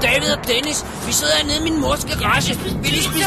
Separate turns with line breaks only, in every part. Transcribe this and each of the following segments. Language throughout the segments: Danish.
Dennis. Vi sidder hernede i min mors garage. Vi lige spise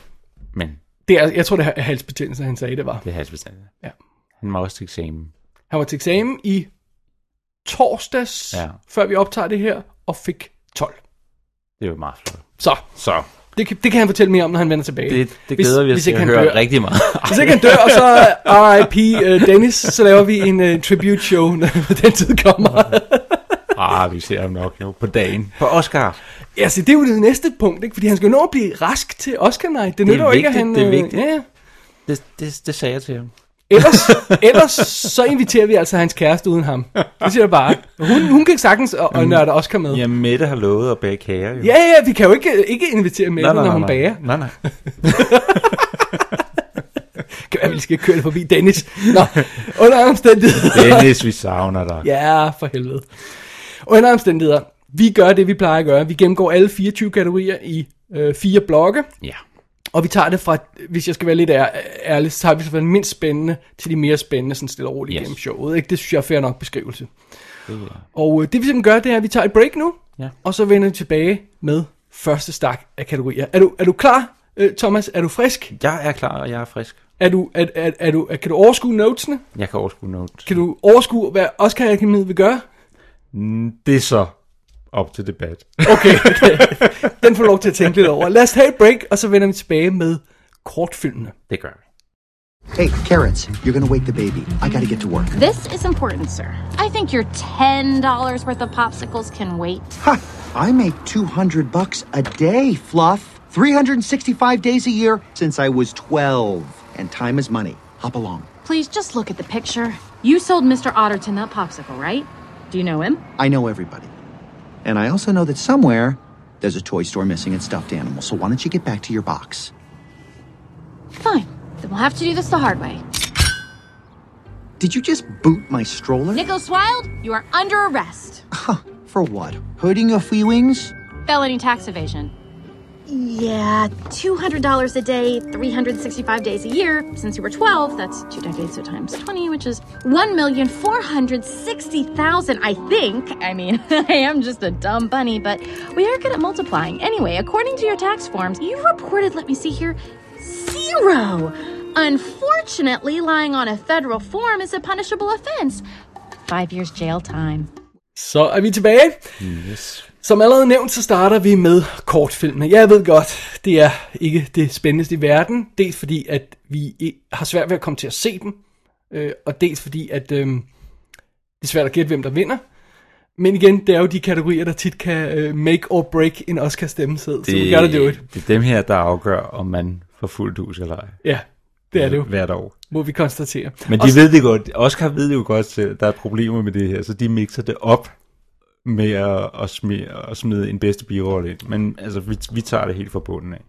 Men
det er, jeg tror, det er halsbetændelse, han sagde, det var.
det er halsbestanden.
Ja.
Han var også til eksamen.
Han var til eksamen i torsdags,
Ja.
før vi optager det her, og fik 12.
Det var meget flot.
Så,
Så
det, kan- det kan han fortælle mere om, når han vender tilbage.
det, det glæder vi os til
ikke
at
han
høre
dør.
rigtig meget.
Hvis ikke han dør, og så RIP øh, Dennis, så laver vi en øh, tribute show, når den tid kommer.
ah, vi ser ham nok nu på dagen. På Oscar.
Ja, så det er jo det næste punkt, ikke? Fordi han skal jo nå at blive rask til Oscar Night. Det,
er
nytter jo ikke, at han...
vigtigt, det er
øh,
vigtigt.
Ja, ja.
Det, det, det sagde jeg til ham.
Ellers, ellers så inviterer vi altså hans kæreste uden ham. Det siger jeg bare. Hun, hun kan sagtens og, og nørde Oscar med.
Ja, Mette har lovet at bage kager jo.
Ja, ja, vi kan jo ikke, ikke invitere med, når hun bager.
Nej, nej.
Kan være, vi skal køre det forbi Dennis. Nå, under alle omstændigheder.
Dennis, vi savner dig.
Ja, for helvede. Under omstændigheder, vi gør det, vi plejer at gøre. Vi gennemgår alle 24 kategorier i øh, fire blokke.
ja.
Og vi tager det fra, hvis jeg skal være lidt ær- ærlig, så tager vi fra den mindst spændende til de mere spændende, sådan stille og roligt yes.
Yes.
gennem showet. Ikke? Det synes jeg er fair nok beskrivelse.
Det er-
Og øh, det vi simpelthen gør, det er, at vi tager et break nu,
Ja.
og så vender vi tilbage med første stak af kategorier. Er du, er du klar, øh, Thomas? Er du frisk?
Jeg er klar, og jeg er frisk.
Er du, er, er, er du, er, kan du overskue notesene?
Jeg kan overskue noget.
Kan du overskue, hvad Oscar Akademiet vil gøre?
Det er så op til debat.
Okay, okay. den får du lov til at tænke lidt over. Lad os tage et break, og så vender vi tilbage med kortfilmene.
Det gør vi.
Hey, carrots, you're gonna wake the baby. I gotta get to work.
This is important, sir. I think your $10 worth of popsicles can wait.
Ha! I make 200 bucks a day, Fluff. 365 days a year since I was 12. And time is money. Hop along.
Please just look at the picture. You sold Mr. Otterton that popsicle, right? Do you know him?
I know everybody. And I also know that somewhere there's a toy store missing a stuffed animal, so why don't you get back to your box?
Fine. Then we'll have to do this the hard way.
Did you just boot my stroller?
Nicholas Wilde, you are under arrest.
For what? Hurting your feelings?
Felony tax evasion. Yeah, $200 a day, 365 days a year. Since you were 12, that's two decades, so times 20, which is 1,460,000, I think. I mean, I am just a dumb bunny, but we are good at multiplying. Anyway, according to your tax forms, you reported, let me see here, zero. Unfortunately, lying on a federal form is a punishable offense. Five years jail time.
Så er vi tilbage. Yes. Som allerede nævnt, så starter vi med kortfilmene. Jeg ved godt, det er ikke det spændendeste i verden. Dels fordi, at vi i- har svært ved at komme til at se dem. Øh, og dels fordi, at øh, det er svært at gætte, hvem der vinder. Men igen, det er jo de kategorier, der tit kan øh, make or break en Oscar-stemmeseddel. Så vi gør det jo
Det er dem her, der afgør, om man får fuldt hus eller ej.
Ja, det er det jo,
Hvert år.
må vi konstatere.
Men de
Og så-
ved det godt. Oscar ved jo godt selv, at der er problemer med det her, så de mixer det op med at, at, smide, at smide en bedste birolle ind. Men altså, vi, vi tager det helt fra bunden af.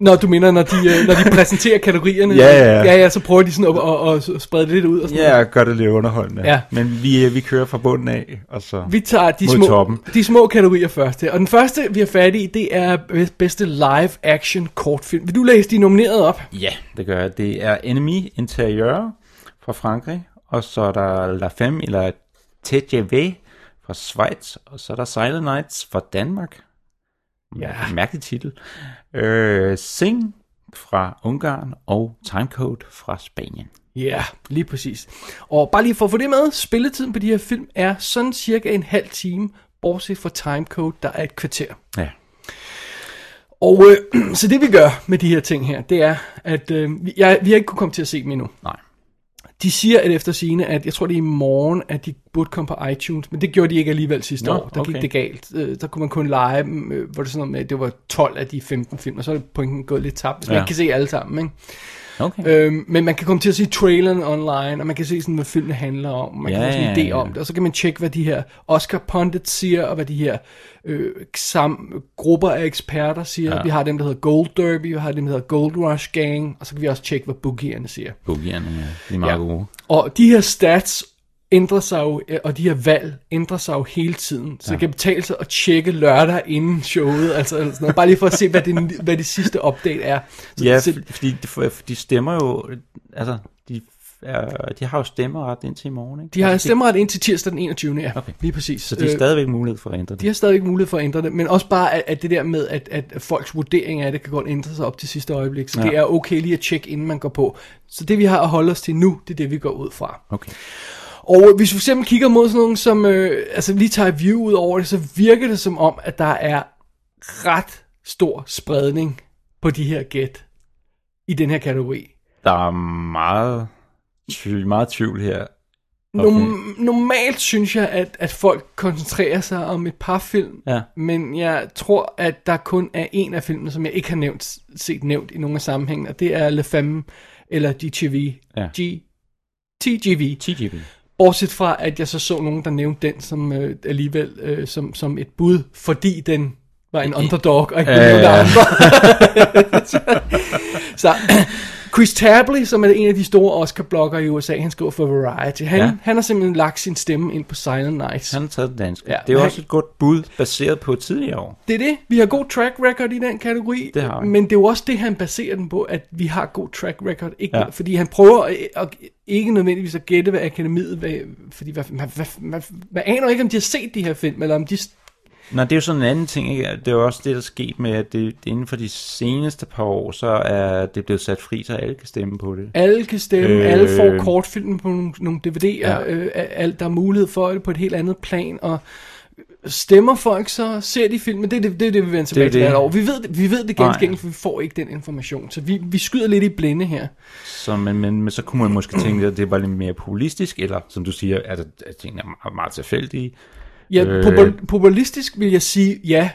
Når du mener, når de, øh, når de præsenterer kategorierne.
Ja, ja, ja.
ja, ja, så prøver de sådan at, at, at sprede det lidt ud. Og sådan
Ja, gør det lidt underholdende.
Ja.
Men vi, øh, vi kører fra bunden af, og så...
Vi tager de
Mod
små,
toppen.
de små kategorier først. her. Og den første, vi har fat i, det er be- bedste live action kortfilm. Vil du læse de nominerede op?
Ja, det gør jeg. Det er Enemy Interieur fra Frankrig, og så er der La Femme eller TJV fra Schweiz, og så er der Silent Nights fra Danmark. Ja. Mærkelig titel. Øh, Sing fra Ungarn og Timecode fra Spanien.
Ja, yeah, lige præcis. Og bare lige for at få det med, spilletiden på de her film er sådan cirka en halv time, bortset fra timecode, der er et kvarter.
Ja.
Og øh, så det vi gør med de her ting her, det er, at øh, vi- jeg, vi har ikke kunnet komme til at se dem endnu.
Nej.
De siger at efter sine, at jeg tror det er i morgen, at de burde komme på iTunes, men det gjorde de ikke alligevel sidste
Nå,
år. Der gik
okay.
det galt. Øh, der kunne man kun lege dem, øh, hvor det sådan noget med, at det var 12 af de 15 film, og så er pointen gået lidt tabt, hvis ja. man
Ja.
ikke kan se alle sammen. Ikke?
Okay. Øh,
Øhm, men man kan komme til at se traileren online, og man kan se, sådan, hvad filmene handler om, man kan
Ja,
få sådan en
ja,
idé
ja.
om det, og så kan man tjekke, hvad de her Oscar pundits siger, og hvad de her øh, sam- grupper af eksperter siger. Ja. Vi har dem, der hedder Gold Derby, vi har dem, der hedder Gold Rush Gang, og så kan vi også tjekke, hvad boogierne siger.
Bogierne, ja. De er meget
Ja.
ja. gode.
Og de her stats ændrer sig jo, øh, og de her valg ændrer sig jo hele tiden. Så det kan betale sig at tjekke lørdag inden showet, altså eller sådan noget, bare lige for at se, hvad det, hvad det sidste update er. Så,
Ja,
så,
f- fordi de, for- de stemmer jo... Altså, de, er, de har jo stemmeret indtil i morgen, ikke?
de har
altså,
stemmeret indtil tirsdag den 21. Ja, okay.
Okay.
lige præcis. Øh,
Så de er stadigvæk mulighed for at ændre det.
De har stadigvæk mulighed for at ændre det, men også bare, at, at det der med, at, at folks vurdering af det kan godt ændre sig op til sidste øjeblik, så ja. det er okay lige at tjekke, inden man går på. Så det, vi har at holde os til nu, det er det, vi går ud fra.
Okay.
Og hvis vi for eksempel kigger mod sådan nogen, som øh, altså lige tager view ud over det, så virker det som om, at der er ret stor spredning på de her gæt i den her kategori.
Der er meget, tvivl, meget tvivl her.
Norm- normalt synes jeg, at, at folk koncentrerer sig om et par film,
Ja.
men jeg tror, at der kun er en af filmene, som jeg ikke har nævnt, set nævnt i nogen af sammenhængen, og det er Le Femme, eller GTV.
Ja.
G- TGV.
TGV.
Bortset fra, at jeg så så nogen, der nævnte den som øh, alligevel øh, som, som et bud, fordi den var en underdog, og ikke øh,
Ja,
nogen
ja, ja.
andre. så Chris Tabley, som er en af de store Oscar-bloggere i USA, han skriver for Variety. Han, ja.
Ja.
han har simpelthen lagt sin stemme ind på Silent Nights.
Han har taget det danske.
Ja,
Ja, det er
men
jo også et godt bud, baseret på tidligere år.
Det er det. Vi har god track record i den kategori.
Det har vi.
Men det er jo også det, han baserer den på, at vi har god track record. Ikke, ja.
Ja.
Fordi han prøver at, at, ikke nødvendigvis at gætte, hvad akademiet... Hvad, fordi hvad, man, hvad, man, man aner ikke, om de har set de her film, eller om de...
Nå, det er jo sådan en anden ting, ikke? Det er jo også det, der er sket med, at det, det inden for de seneste par år, så er det blevet sat fri, så alle kan stemme på det.
Alle kan stemme, øh,
Øh.
alle får kortfilm på nogle, nogle DVD'er, ja.
Ja.
øh, alt, der er mulighed for det på et helt andet plan, og stemmer folk så, ser de filmen, det er det, det, er det vi vender tilbage
det.
til hvert år. Vi ved, det- vi ved det ganske
Nej.
enkelt, for vi får ikke den information, så vi, vi skyder lidt i blinde her.
Så, men, men, men så kunne man måske tænke, at det var lidt mere populistisk, eller som du siger, at, at tingene er meget, meget tilfældige.
Ja,
Øh.
øh. populistisk vil jeg sige ja,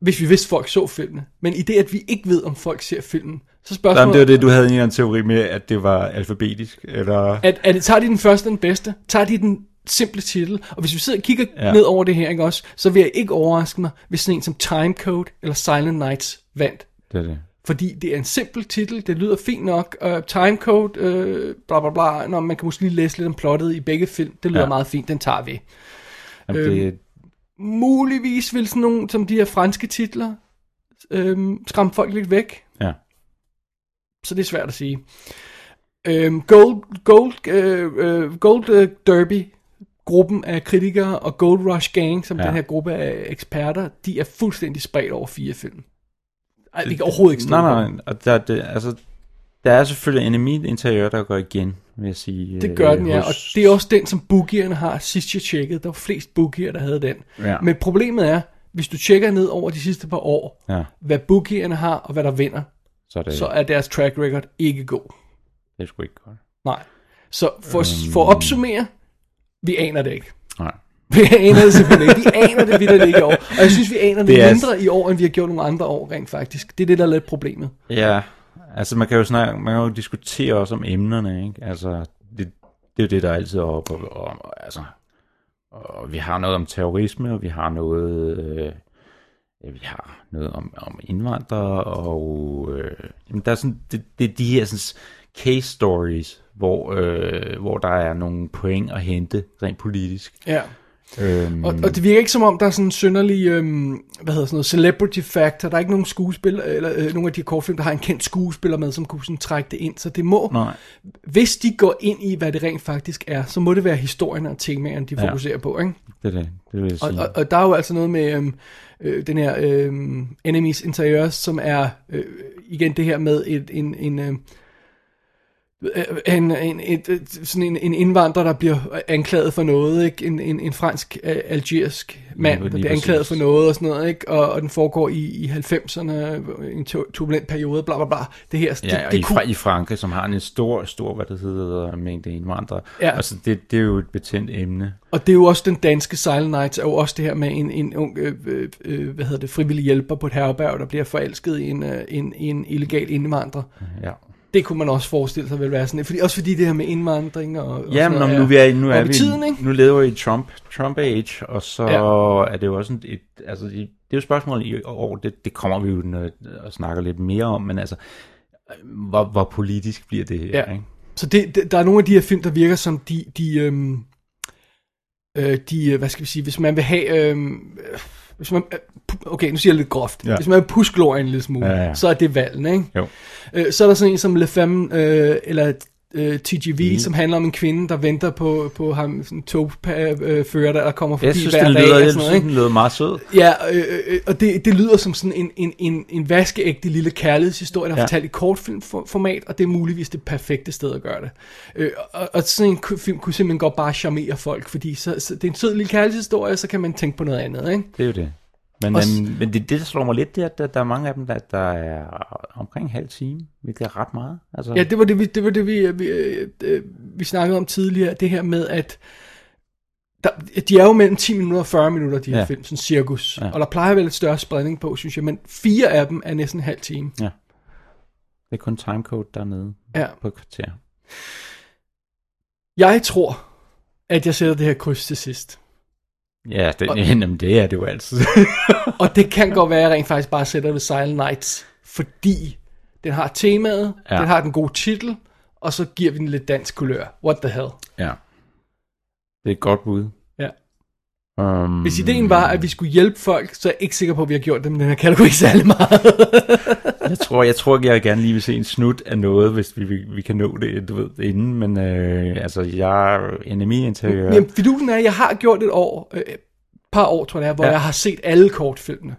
hvis vi vidste, folk så filmene. Men i det, at vi ikke ved, om folk ser filmen, så spørgsmålet...
Jamen, det var det, du havde en eller anden teori med, at det var alfabetisk, eller...
At, at, tager de den første den bedste? Tager de den simple titel? Og hvis vi sidder og kigger ja.
Ja.
ned over det her, ikke også, så vil jeg ikke overraske mig, hvis sådan en som Timecode eller Silent Nights vandt.
Det er det.
Fordi det er en simpel titel, det lyder fint nok, uh, timecode, øh, bla bla bla, Nå, man kan måske lige læse lidt om plottet i begge film, det lyder ja.
Ja.
meget fint, den tager vi.
Jamen, det
Muligvis vil sådan nogle, som de her franske titler, øh, skræmme folk lidt væk,
ja.
så det er svært at sige. Øhm, Gold, Gold, øh, øh, Gold øh, Derby, gruppen af kritikere, og Gold Rush Gang, som ja.
Ja.
den her gruppe af eksperter, de er fuldstændig spredt over fire film. Ej, det kan overhovedet ikke stå
Nej,
på.
nej, nej. og der, det, altså, der er selvfølgelig enemy interiør, der går igen, vil jeg sige.
Det gør
øh,
den, ja, og
hos-
det er også den, som boogierne har sidst jeg tjekkede. Der var flest boogier, der havde den.
Ja.
Men problemet er, hvis du tjekker ned over de sidste par år,
Ja,
hvad boogierne har og hvad der vinder,
så er det,
så er deres track record ikke god.
det er sgu ikke godt.
Nej. Så for, øhm. for at opsummere, vi aner det ikke.
Nej.
Vi aner det simpelthen ikke. Vi aner det vidt ikke i år. Og jeg synes, vi aner det,
Det er-
det mindre i år, end vi har gjort nogle andre år rent faktisk. Det er det, der er lidt problemet.
Ja, altså man kan jo snakke, man kan jo diskutere også om emnerne, ikke? Altså, det, det er jo det, der altid er oppe, og, og, og, altså, og vi har noget om terrorisme, og vi har noget øh, ja, vi har noget om, om indvandrere, og øh, jamen, der er sådan, det, det er de her sådan, case stories, hvor, øh, hvor der er nogle point at hente rent politisk.
Ja.
Øhm,
Og, og det virker ikke som om, der er sådan en synderlig, øhm, hvad hedder sådan noget, celebrity factor. Der er ikke nogen skuespiller, eller øh, nogen af de kortfilm, der har en kendt skuespiller med, som kunne sådan trække det ind. Så det må,
nej.
hvis de går ind i, hvad det rent faktisk er, så må det være historien og temaerne, de
Ja.
fokuserer på, ikke?
Det er det, det vil jeg
Og,
sige.
og, og der er jo altså noget med øhm, øh, den her øhm, Enemies Interiors, som er øh, igen det her med et, en, en, øh, øh, en, en, et, øh, sådan en, en indvandrer, der bliver anklaget for noget, ikke? En, en, en fransk øh, algerisk mand,
Lige-
der
lige
bliver anklaget for
præcis.
noget og sådan noget, ikke? Og, og den foregår i, i 90'erne, en tu- turbulent periode, bla bla bla. Det her,
Ja,
det,
og i,
det kunne,
fra, i Frankrig, som har en stor, stor, hvad det hedder, mængde indvandrere.
Ja.
Altså, det, det er jo et betændt emne.
Og det er jo også den danske Silent Night, er jo også det her med en, en ung, øh, øh, øh, hvad hedder det, frivillig hjælper på et herberg, der bliver forelsket i en, øh, en, en illegal indvandrer.
Ja.
Det kunne man også forestille sig vil være sådan, fordi, også fordi det her med indvandring og, og
Ja,
sådan
men
noget
om nu vi er, nu
op
er
i
vi,
tiden, ikke?
nu lever vi i Trump, Trump Age, og så er det jo også sådan et, altså, det det er jo spørgsmålet i år, det, det kommer vi jo nø- og snakker lidt mere om, men altså, hvor, hvor politisk bliver det her,
Ja.
ikke?
Så det, det, der er nogle af de her film, der virker som de, de, øhm, øh, de øh, hvad skal vi sige, hvis man vil have, øhm, øh, hvis man, øh, pu- okay, nu siger jeg lidt groft, ja.
Ja.
hvis man vil puske glorien en lille smule,
Ja, ja.
så er det valgene, ikke?
Jo.
Øh, så er der sådan en som Le Femme, øh, eller øh, TGV, mm. som handler om en kvinde, der venter på, på ham, sådan en togfører, der, der kommer forbi
Jeg synes,
hver
den
dag.
lyder,
og sådan
jeg synes,
noget,
den
ikke?
lyder meget sød.
Ja, øh, øh, og det, det lyder som sådan en, en, en, en vaskeægte lille kærlighedshistorie, der er
Ja.
fortalt i kortfilmformat, og det er muligvis det perfekte sted at gøre det. Øh, og, og sådan en ku- film kunne simpelthen godt bare charmere folk, fordi så, så, det er en sød lille kærlighedshistorie, og så kan man tænke på noget andet, ikke?
Det er jo det. Men,
Og s-
øhm, men det, det, der slår mig lidt, det er, at der, der er mange af dem, der, der er omkring en halv time, hvilket er ret meget. Altså,
Ja, det var det, vi, det, var det, vi, vi, øh, øh, vi snakkede om tidligere, det her med, at der, de er jo mellem 10 minutter og 40 minutter, de her ja.
Ja.
film, sådan cirkus. Ja.
Ja.
Og der plejer vel lidt større spredning på, synes jeg, men fire af dem er næsten en halv time.
det er kun timecode dernede
Ja.
på et kvarter.
Jeg tror, at jeg sætter det her kryds til sidst.
Ja, det, og, jamen, det er det jo altid.
Og det kan godt være, at jeg rent faktisk bare sætter ved Silent Nights, fordi den har temaet, ja.
Ja.
den har den gode titel, og så giver vi den lidt dansk kulør. What the hell?
ja. Det er et godt bud.
Ja.
Um,
Hvis ideen var, at vi skulle hjælpe folk, så er jeg ikke sikker på, at vi har gjort dem i den her kategori særlig meget.
jeg tror, jeg tror ikke, jeg gerne lige vil se en snut af noget, hvis vi, vi, vi kan nå det, du ved, inden. Men øh, altså, jeg E er enemy-interiør.
Jamen, fidusen er, at jeg har gjort et år, øh, et par år, tror jeg, det er, hvor ja.
Ja.
jeg har set alle kortfilmene.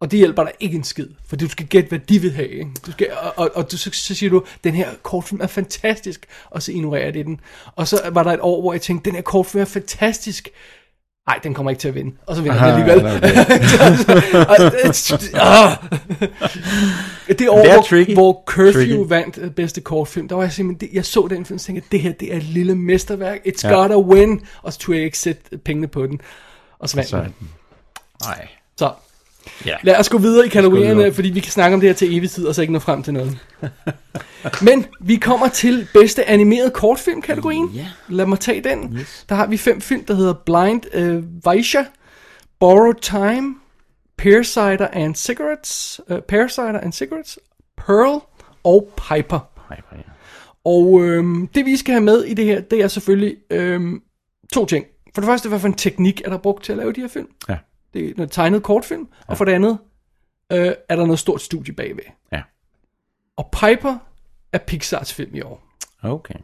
Og det hjælper dig ikke en skid, for du skal gætte, hvad de vil have. Ikke? Du skal, og og, og du, så, så siger du, den her kortfilm er fantastisk, og så ignorerer det den. Og så var der et år, hvor jeg tænkte, den her kortfilm er fantastisk. Nej, den kommer ikke til at vinde. Og så vinder den alligevel.
Ah, okay.
Og det- ah. det år,
Det er
hvor,
tricky.
hvor Curfew
Tricky.
vandt øh, bedste kortfilm, der var jeg simpelthen, det- jeg så den film, og tænkte, det her, det er et lille mesterværk, it's ja.
Ja.
gotta win, og så turde jeg ikke sætte pengene på den, og så vandt
Så,
den.
nej.
Så
Ja.
lad os gå videre i kategorierne,
videre.
fordi vi kan snakke om det her til evig tid, og så ikke nå frem til noget. Men vi kommer til bedste animeret kortfilm-kategorien.
Ja.
Lad mig tage den.
Yes.
Der har vi fem film, der hedder Blind øh, Vaisha, Borrowed Time, Parasider and Cigarettes, øh, Parasider and Cigarettes, Pearl og Piper.
Nej, hvor er jeg-
Og øhm, det vi skal have med i det her, det er selvfølgelig øhm, to ting. For det første, hvad for en teknik er der brugt til at lave de her film?
Ja.
Det er noget tegnet kortfilm. Ja. Og for det andet, øh, er der noget stort studie bagved.
Ja.
Og Piper er Pixars film i år.
Okay.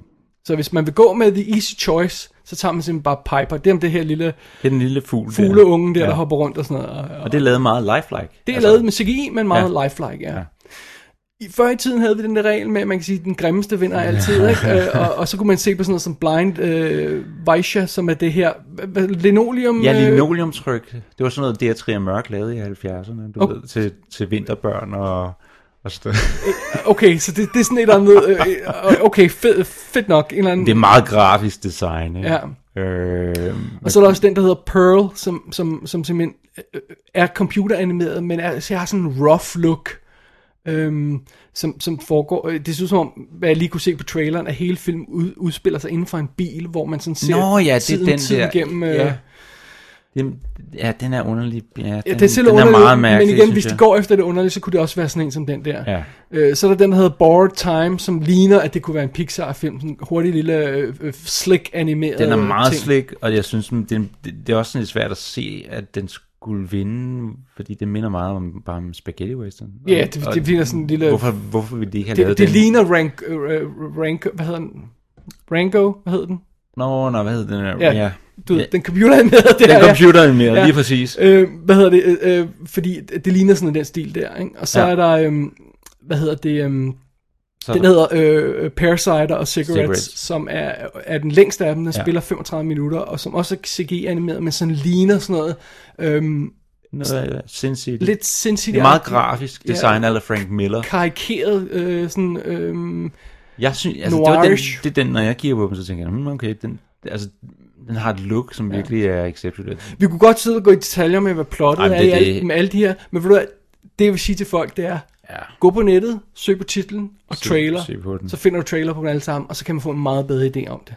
Så hvis man vil gå med The Easy Choice, så tager man simpelthen bare Piper. Det er om det her lille
Det er den lille fugl.
fugleunge der, ja.
Ja.
der hopper rundt og sådan noget. Og, og
Og det er lavet meget lifelike.
det er altså, lavet med CGI, men meget ja. lifelike, ja. ja.
Ja.
I, før i tiden havde vi den der regel med, at man kan sige, at den grimmeste vinder altid, ikke? Øh, og, og så kunne man se på sådan noget som Blind øh, Vaisha, som er det her hva- hva- linoleum...
Ja,
øh,
linoleumtryk. Det var sådan noget, Dea og Mørk lavede i 70'erne, du
Okay.
okay. ved, til, til vinterbørn og, og sådan
øh, Okay, så det, det er sådan et eller andet... Øh, øh, okay, fed, fedt nok. En eller anden,
Det er meget grafisk design, ikke?
Ja.
Øh,
Og så er der også den, der hedder Pearl, som, som, som simpelthen øh, er computeranimeret, men er, så har sådan en rough look, øhm, som, som foregår. øh, Det synes som om, hvad jeg lige kunne se på traileren, at hele filmen ud, udspiller sig inden for en bil, hvor man sådan ser
Nå ja, det er
tiden,
den
tiden
der.
gennem... Øh,
ja. Den, ja, den er underlig. Ja, den,
Ja, det er selv
den er
underligt,
meget mærkelig,
men igen,
synes
hvis
jeg.
de går efter det underlige, så kunne det også være sådan en som den der.
Ja.
Øh, så er der den, der hedder Borrowed Time, som ligner, at det kunne være en Pixar-film. Sådan en hurtig lille, øh, øh, slick animeret
Den er meget
Øh, ting.
slik, og jeg synes, den, den- det, det er også sådan lidt svært at se, at den skulle vinde, fordi det minder meget om bare om spaghetti western. Og-
Ja, det-
og
det ligner sådan en lille-
Hvorfor, hvorfor ville de ikke have
Det,
lavet
det
den?
ligner rank, øh, øh, rank, hvad hedder den? Rango, hvad hedder den?
Nå, nå, hvad hedder den? her?
Ja,
ja.
Du,
Ja.
ja. den computeranimerede der.
Den
ja.
computer mere,
Ja.
lige præcis.
Øh, hvad hedder det? Øh, øh, fordi det det ligner sådan den stil der, ikke? Og så
Ja.
ja. er der, øhm, hvad hedder det? Øhm,
Så,
den hedder øh, Parasiter og Cigarettes,
Cigarettes.
Cigarettes, som er, er den længste af dem, der
Ja.
ja. spiller 35 minutter, og som også er CG-animeret, men sådan ligner sådan noget øhm,
noget, af- sindssygt.
lidt sindssygt.
det er meget grafisk
Ja.
design eller Frank Miller.
Karikeret, øh, sådan, øhm,
Jeg synes, altså, det, var den,
Noirish.
det er den, når jeg kigger på dem, så tænker jeg, hmm, okay, den, altså, den har et look, som virkelig er exceptionelt.
vi kunne godt sidde og gå i detaljer med, hvad plottet
Ej, men
er
det-
i
det-
alt, med alle de her, men ved du hvad, det jeg vil sige til folk, det er,
Ja.
gå på nettet, søg på titlen og
Se-
trailer,
se på den.
så finder du trailer på dem alle sammen, og så kan man få en meget bedre idé om det.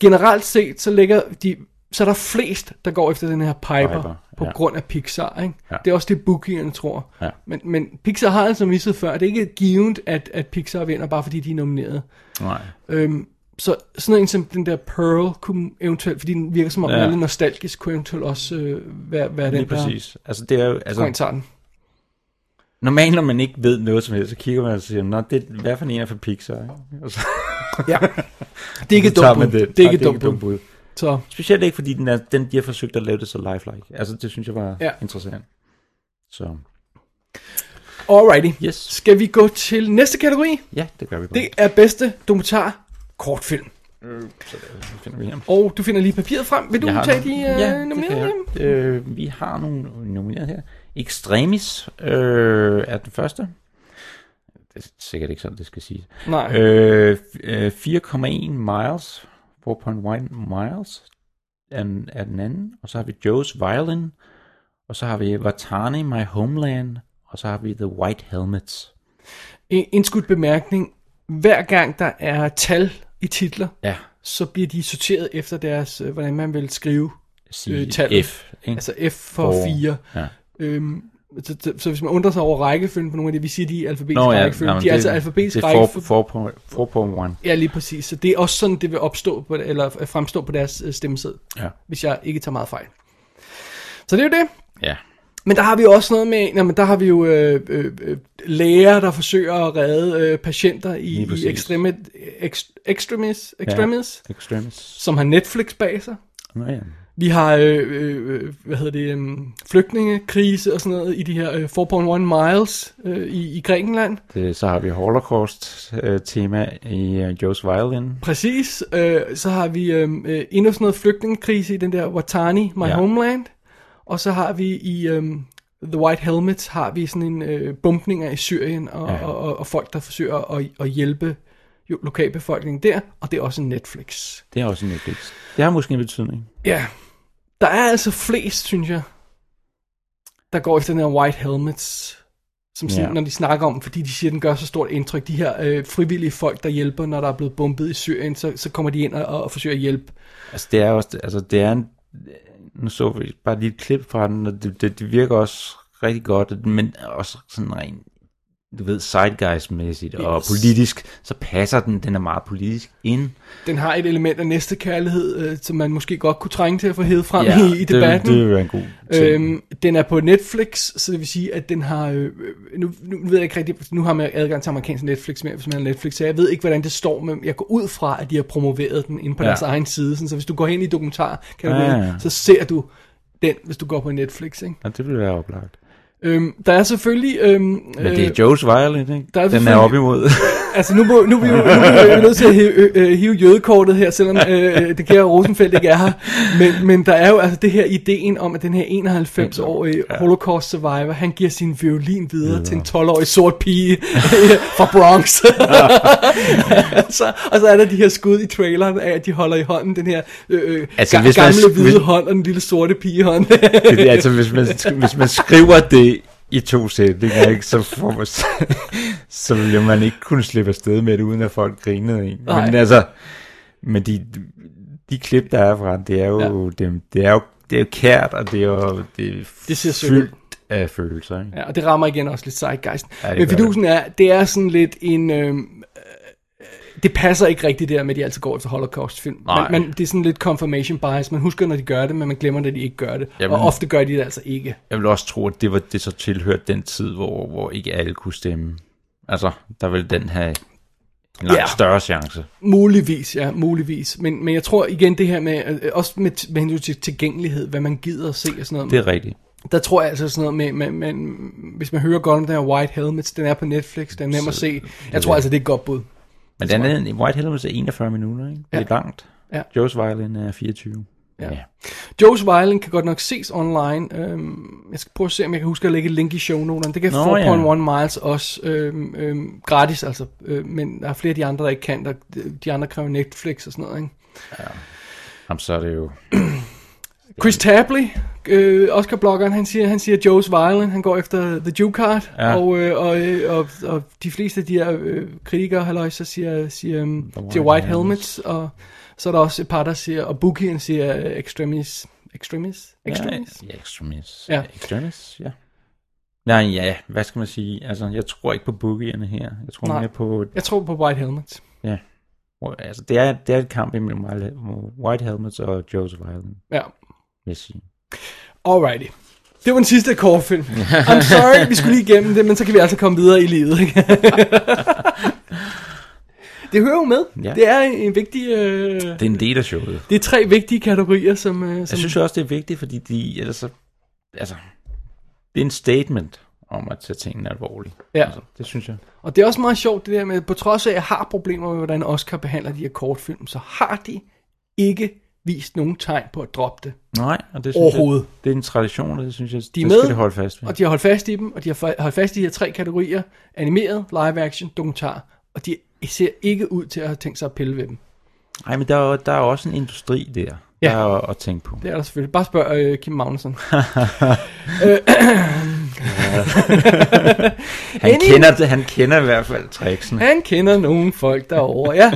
Generelt set, så ligger de, så er der flest, der går efter den her Piper,
Piper,
Piper på
ja.
grund af Pixar. Ikke?
Ja.
Det er også det, bookierne tror.
Ja.
Men, men Pixar har altså misset før. Det er ikke givet, at, at Pixar vinder, bare fordi de er nomineret.
Nej.
Øhm, så sådan en som den der Pearl kunne eventuelt, fordi den virker som om
Ja.
ja. den er lidt nostalgisk, kunne eventuelt også øh, være, være
Lige
den, der
præcis. Altså, det er jo, altså,
går ind og tager den.
Normalt, når man ikke ved noget som helst, så kigger man og siger, Nå, det, hvad for en er fra Pixar? ikke?" Og så,
Ja. Det er ikke et
så tager
dumt
man
bud.
den.
Det er
Nej,
ikke et dumt bud. Så
Specielt ikke, fordi den er, den, de har forsøgt at lave det så lifelike. Altså, det synes jeg var ja.
Ja.
interessant. Så
Alrighty.
Yes.
Skal vi gå til næste kategori?
ja, det gør vi godt.
Det er bedste dokumentar kortfilm.
Det finder vi her.
Og du finder lige papiret frem. Vil du tage de øh,
ja,
ja,
det
nominerede?
kan jeg.
hjem?
Øh, vi har nogle nomineret her. Extremis øh, er den første. Det er sikkert ikke sådan, det skal siges.
Nej.
Øh, f- øh, 4,1 miles, 4.1 miles er, den- er den anden. Og så har vi Joe's Violin. Og så har vi Vatani, My Homeland. Og så har vi The White Helmets.
En indskudt bemærkning. Hver gang der er tal i titler,
Ja,
så bliver de sorteret efter deres, øh, hvordan man vil skrive.
sige
Øh, tallet.
F. Ikke?
Altså F for
For-
4.
ja.
Øhm, så, så, så hvis man undrer sig over rækkefølgen på nogle af det, vi siger, de er i alfabetisk
Nå, ja,
rækkefølge.
jamen,
de er
det-
altså alfabetisk
Det er
rækkefølge.
4 4.1.
Ja, lige præcis. Så det er også sådan, det vil opstå på, eller fremstå på deres øh, stemmeseddel,
Ja.
hvis jeg ikke tager meget fejl. Så det er jo det.
ja.
Men der har vi jo også noget med, jamen, der har vi jo øh, øh, øh, læger, der forsøger at redde øh, patienter i,
Lige præcis.
i extreme, ex, extremis, extremis ja.
Extremis.
som har Netflix bag sig.
Nå, ja.
Vi har, øh, øh, øh, hvad hedder det, øh, flygtningekrise og sådan noget i de her øh, 4.1 miles øh, i, i Grækenland.
Det, så har vi Holocaust-tema i øh, Joe's Violin.
Præcis. Øh, så har vi øh, øh, endnu sådan noget flygtningekrise i den der Watani, My
Ja.
ja. Homeland. Og så har vi i øh, The White Helmets, har vi sådan en øh, bumpninger i Syrien, og,
Ja.
ja. og, og, og folk, der forsøger at, at hjælpe jo- lokalbefolkningen der. Og det er også en Netflix.
Det er også en Netflix. Det har måske en betydning.
Ja. Der er altså flest, synes jeg, der går efter den her White Helmets. Som sådan,
Ja.
når de snakker om, fordi de siger, at den gør så stort indtryk. De her øh, frivillige folk, der hjælper, når der er blevet bombet i Syrien, så, så kommer de ind og, og forsøger at hjælpe.
Altså, det er også, altså, det er en, nu så vi bare lige et klip fra den, og det, det, det virker også rigtig godt, men også sådan rent, du ved, zeitgeist-mæssigt og
Yes.
politisk, så passer den, den er meget politisk ind.
Den har et element af næste kærlighed, øh, som man måske godt kunne trænge til at få hævet frem ja, i, i debatten.
Det, det vil være en god ting.
Øhm, den er på Netflix, så det vil sige, at den har... Øh, nu, nu ved jeg ikke rigtigt... Nu har man adgang til amerikansk Netflix mere, hvis man har Netflix, så jeg ved ikke, hvordan det står, men jeg går ud fra, at de har promoveret den inde på
Ja.
ja. deres egen side. Sådan, så hvis du går hen i dokumentar, kan du
Ja,
ja,
ja.
så ser du den, hvis du går på Netflix. Ikke?
Ja, det vil være oplagt.
Øhm, der er selvfølgelig... Øhm,
Men det er Joe's Violin, ikke?
der er
den er
selvfølgelig-
op imod.
Altså, nu, må, nu, er vi, jo- nu er vi nødt til at hive, øh, øh, hive jødekortet her, selvom øh, det kære Rosenfeldt ikke er her. Men, men der er jo altså det her ideen om, at den her 91-årige holocaust survivor, han giver sin violin videre til en 12-årig sort pige fra Bronx. så, og så er der de her skud i traileren af, at de holder i hånden den her øh, øh,
Altså,
altså,
hvis man-
gamle hvide
hvis-
hånd og den lille sorte pigehånd.
det, er altså, hvis man, hvis man skriver det i to sætninger, ikke, så, får man, så, så ville man ikke kunne slippe afsted med det, uden at folk grinede en.
Nej.
Men altså, men de, de klip, der er fra, det er jo, ja. det, det er jo det er jo kært, og det er jo det er
Det siger sig
fyldt af følelser. Ikke?
Ja, og det rammer igen også lidt zeitgeisten.
Ja,
Ja,
det
Men
gør
fidusen er, det er sådan lidt en... Øh, øh, det passer ikke rigtigt det der med, at de altid går efter holocaust-film.
Nej.
Man, man, det er sådan lidt confirmation bias. Man husker, når de gør det, men man glemmer, når de ikke gør det.
Jamen.
Jamen. Og ofte gør de det altså ikke.
Jeg vil også tro, at det var det så tilhørte den tid, hvor, hvor ikke alle kunne stemme. Altså, der ville den have en langt
Ja.
større chance.
Muligvis, ja, muligvis. Men, men jeg tror igen det her med, øh, også med, med hensyn til tilgængelighed, hvad man gider at se og sådan noget.
Det er rigtigt.
Der tror jeg altså sådan noget med, med, med hvis man hører godt om den her White Helmets, den er på Netflix, den er nem at se. Jeg tror altså, det er et godt bud.
Men den er, White Helmets er 41 minutter, ikke? Det er langt.
Ja.
Joe's Violin er 24. Ja. ja.
Joe's Violin kan godt nok ses online. Øhm, jeg skal prøve at se, om jeg kan huske at lægge et link i shownoterne. Det kan 4.1
Nå, ja.
Miles også øhm, øhm, gratis, altså. Øh, men der er flere af de andre, der ikke kan. Der, de andre kræver Netflix og sådan noget, ikke?
Jamen, så er det jo...
Chris Tabley, øh, Oscar-bloggeren, han siger, han siger Joe's Violin, han går efter The Jew Card,
Ja.
ja. og, øh, og, øh, og, og de fleste af de her øh, kritikere, halløj, så siger, siger, um,
White
siger White
Helmets.
Helmets, og så er der også et par, der siger, og Bookien siger øh, Extremis, Extremis, Extremis,
Ja, ja, extremist.
Ja.
Ja. Extremist, ja. Nej, ja, hvad skal man sige? Altså, jeg tror ikke på boogierne her. Jeg tror
Nej.
mere på...
jeg tror på White Helmets.
Ja. Hvor- Altså, det er, det er et kamp imellem White- White Helmets og Joe's Violin,
Ja,
vil jeg sige.
alrighty. Det var den sidste kortfilm. I'm sorry, vi skulle lige igennem det, men så kan vi altså komme videre i livet. ikke? det hører jo med.
Ja.
Det er en, en vigtig... Øh...
Det er en del af showet.
Det er tre vigtige kategorier, som... Øh, som
Jeg synes jo også, det er vigtigt, fordi de, ellers så, altså, det er en statement om at tage tingene alvorligt.
Ja.
Altså, det synes jeg.
Og det er også meget sjovt, det der med, på trods af, at jeg har problemer med, hvordan Oscar behandler de her kortfilm, så har de ikke vist nogen tegn på at droppe det.
Nej, og det synes
Overhovedet.
Jeg, det er en tradition, og det synes jeg,
De
de
er
det skal
med,
det holde fast ved.
Og de har holdt fast i dem, og de har fa- holdt fast i de her tre kategorier. Animeret, live action, dokumentar. Og de ser ikke ud til at have tænkt sig at pille ved dem.
Nej, men der er, jo- der er jo også en industri der,
Ja.
der er at, at tænke på.
Det er der selvfølgelig. Bare spørg øh, Kim Magnussen.
Han
Any-
kender, det, han kender i hvert fald tricksene.
Han kender nogle folk derovre, ja.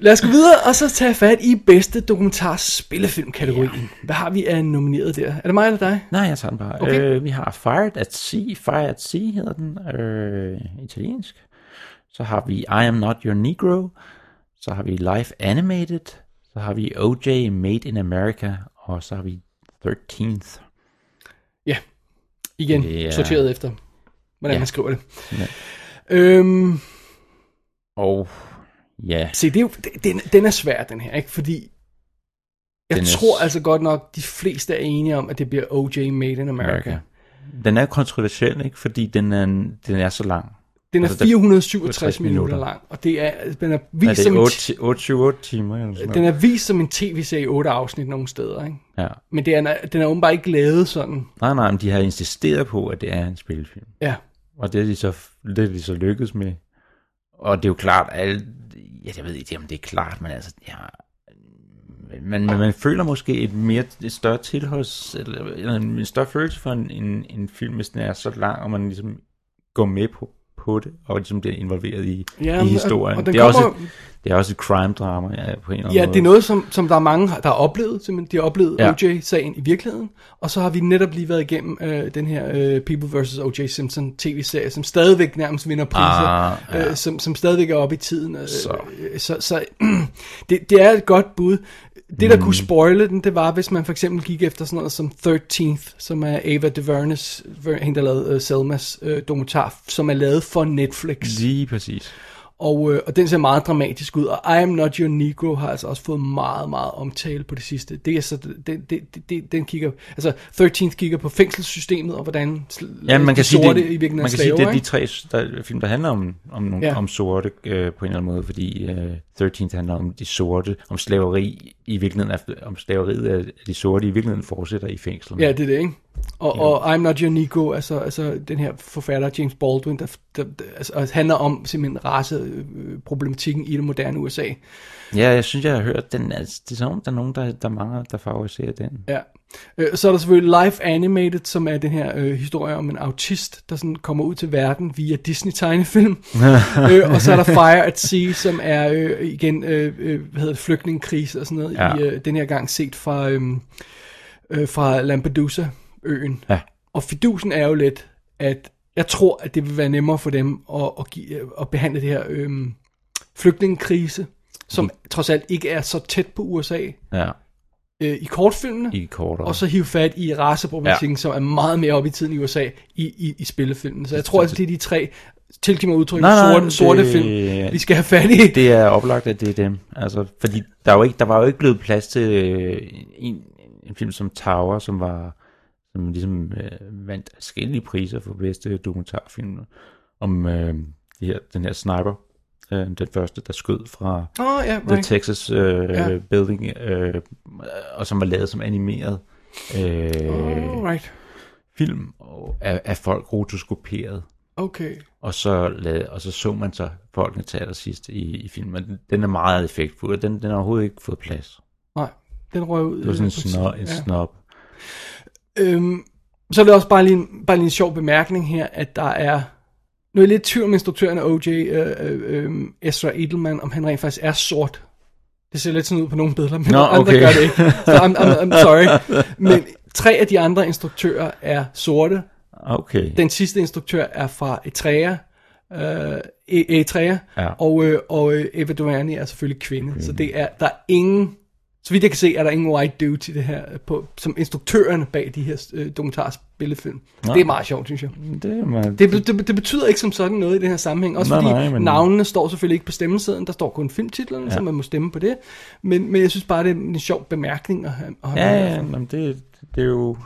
Lad os gå videre og så tage fat i bedste dokumentar spillefilmkategorien. Hvad har vi af nomineret der? Er det mig eller dig?
Nej, jeg tager den bare.
Okay.
Øh, vi har Fired at Sea, Fire at Sea hedder den, øh, italiensk. Så har vi I Am Not Your Negro. Så har vi Life Animated. Så har vi OJ Made in America. Og så har vi 13th.
Ja, igen,
Ja.
yeah. sorteret efter, hvordan
Ja.
yeah. man skriver det.
Ja.
Øhm,
Og ja,
se, det er jo, det- den, den er svær, den her, ikke? Fordi jeg
Den er
tror
s-
altså godt nok, de fleste er enige om, at det bliver O.J. Made in America.
America. Den er kontroversiel, ikke? Fordi den er, den er så lang.
Den er
Altså, den-
467
minutter.
minutter. lang, og det er, den er
Er
vist, som en, t-
det 8-28 timer? Eller sådan
den
noget?
er vist som en tv-serie i otte afsnit nogle steder, ikke?
Ja.
Men det er, den er åbenbart ikke lavet sådan.
Nej, nej, men de har insisteret på, at det er en spillefilm.
Ja,
Og det er de så, det er de så lykkedes med. Og det er jo klart, alle, ja, jeg ved ikke, om det er klart, men altså, ja, man, man, man føler måske et, mere, et større tilhørs, eller, eller en større følelse for en, en, en film, hvis den er så lang, og man ligesom går med på, på det, og ligesom bliver involveret i,
Ja,
ja,
men-
i historien.
og
Og,
den
det, er også
kommer-
et, det er også et crime-drama, ja, på en eller anden
ja
måde.
det er noget, som, som der er mange, der har oplevet. Simpelthen. De har oplevet
Ja.
ja. O.J.-sagen i virkeligheden. Og så har vi netop lige været igennem øh, den her øh, People vs. O.J. Simpson tv-serie, som stadigvæk nærmest vinder priser.
Ah, ja.
øh, som, som stadigvæk er oppe i tiden. Øh,
Så.
så øh, så, så det, det er et godt bud. Det, der mm. kunne spoile den, det var, hvis man for eksempel gik efter sådan noget som 13th, som er Ava DuVernay's, hende der lavede øh, Selmas øh, dokumentar, som er lavet for Netflix.
Lige præcis.
Og, øh, og den ser meget dramatisk ud, og I Am Not Your Negro har altså også fået meget, meget omtale på det sidste. Det er så, det, det, det- det, den kigger, altså 13th kigger på fængselssystemet, og hvordan sl-
Ja, man
de
kan sige,
Altså, sorte
det,
i virkeligheden
man
er
kan sige,
slaver,
det er de
ikke?
tre s- der, film, der handler om, om, nogle,
Ja.
ja. om sorte øh, på en eller anden måde, fordi øh, 13 handler om de sorte, om slaveri i virkeligheden, er, om slaveriet af de sorte i virkeligheden fortsætter i fængslerne.
Ja, det er det, ikke? Og, og I'm Not Your Negro, altså, altså den her forfatter, James Baldwin, der, der, der altså, altså, handler om simpelthen raceproblematikken i det moderne USA.
ja, jeg synes, jeg har hørt, den, altså, det er som om, der er nogen, der, der er mange, der favoriserer den.
Ja. Øh, Så er der selvfølgelig Life Animated, som er den her øh, historie om en autist, der sådan kommer ud til verden via Disney-tegnefilm. øh, og så er der Fire at Sea, som er øh, igen, øh, øh, hvad hedder det, flygtningekrise og sådan noget, ja.
Ja.
i, øh, den her gang set fra... Øh, øh, fra Lampedusa-øen.
Ja.
Og fidusen er jo lidt, at jeg tror, at det vil være nemmere for dem at, at, give, at behandle det her øh, flygtningekrise, som trods alt ikke er så tæt på USA
Ja,
øh, i kortfilmene.
i kortere.
og så hive fat i raceproblematikken, ja. som er meget mere op i tiden i USA i, i, i spillefilmen. Så jeg tror altså, det er de tre, tilgiv mig udtrykket,
Nej, nej,
sorte,
det-
sorte film, vi skal have fat i. Det,
Det er oplagt, at det er dem. Altså, fordi der, er jo ikke, der var jo ikke blevet plads til øh, en, en film som Tower, som var som ligesom øh, vandt forskellige priser for bedste dokumentarfilm om øh, de her, den her sniper, øh, den første, der skød fra
Åh, oh, ja,
The
right.
Texas øh,
Ja.
ja. Building, øh, og som var lavet som animeret øh,
Oh, right.
film og af, af folk rotoskoperet.
Okay.
Og så, lad, og så så man så folkene til allersidst i, i filmen. Den, den er meget effektfuld, og den, den har overhovedet ikke fået plads.
Nej, den røg ud. øh,
Det var sådan en, snor, en
Ja.
snob.
Øhm, så er det også bare lige, en, bare lige en sjov bemærkning her, at der er... Nu er jeg lidt i tvivl om instruktøren af O.J. Øh, øh, øh, Ezra Edelman, om han rent faktisk er sort. Det ser lidt sådan ud på nogle billeder, men
Nå,
Nå, andre
okay.
gør det ikke. Så I'm, I'm, I'm sorry. Men tre af de andre instruktører er sorte.
Okay.
Den sidste instruktør er fra Etrea. Øh, E- Eritrea,
Ja.
og, øh, og øh, Eva Duvernay er selvfølgelig kvinde, så det er, der er ingen, så vidt jeg kan se, er der ingen white dude i det her, øh, på, som instruktøren bag de her øh, dokumentarspillefilm. Det er meget sjovt, synes jeg.
Det, er meget,
Det, be- det, det betyder ikke som sådan noget i den her sammenhæng, også
Nej,
fordi
nej, men-
navnene står selvfølgelig ikke på stemmesedlen, der står kun filmtitlerne, ja. så man må stemme på det, men, men jeg synes bare, det er en sjov bemærkning at have, at have
ja,
med.
ja, jamen det, det er jo...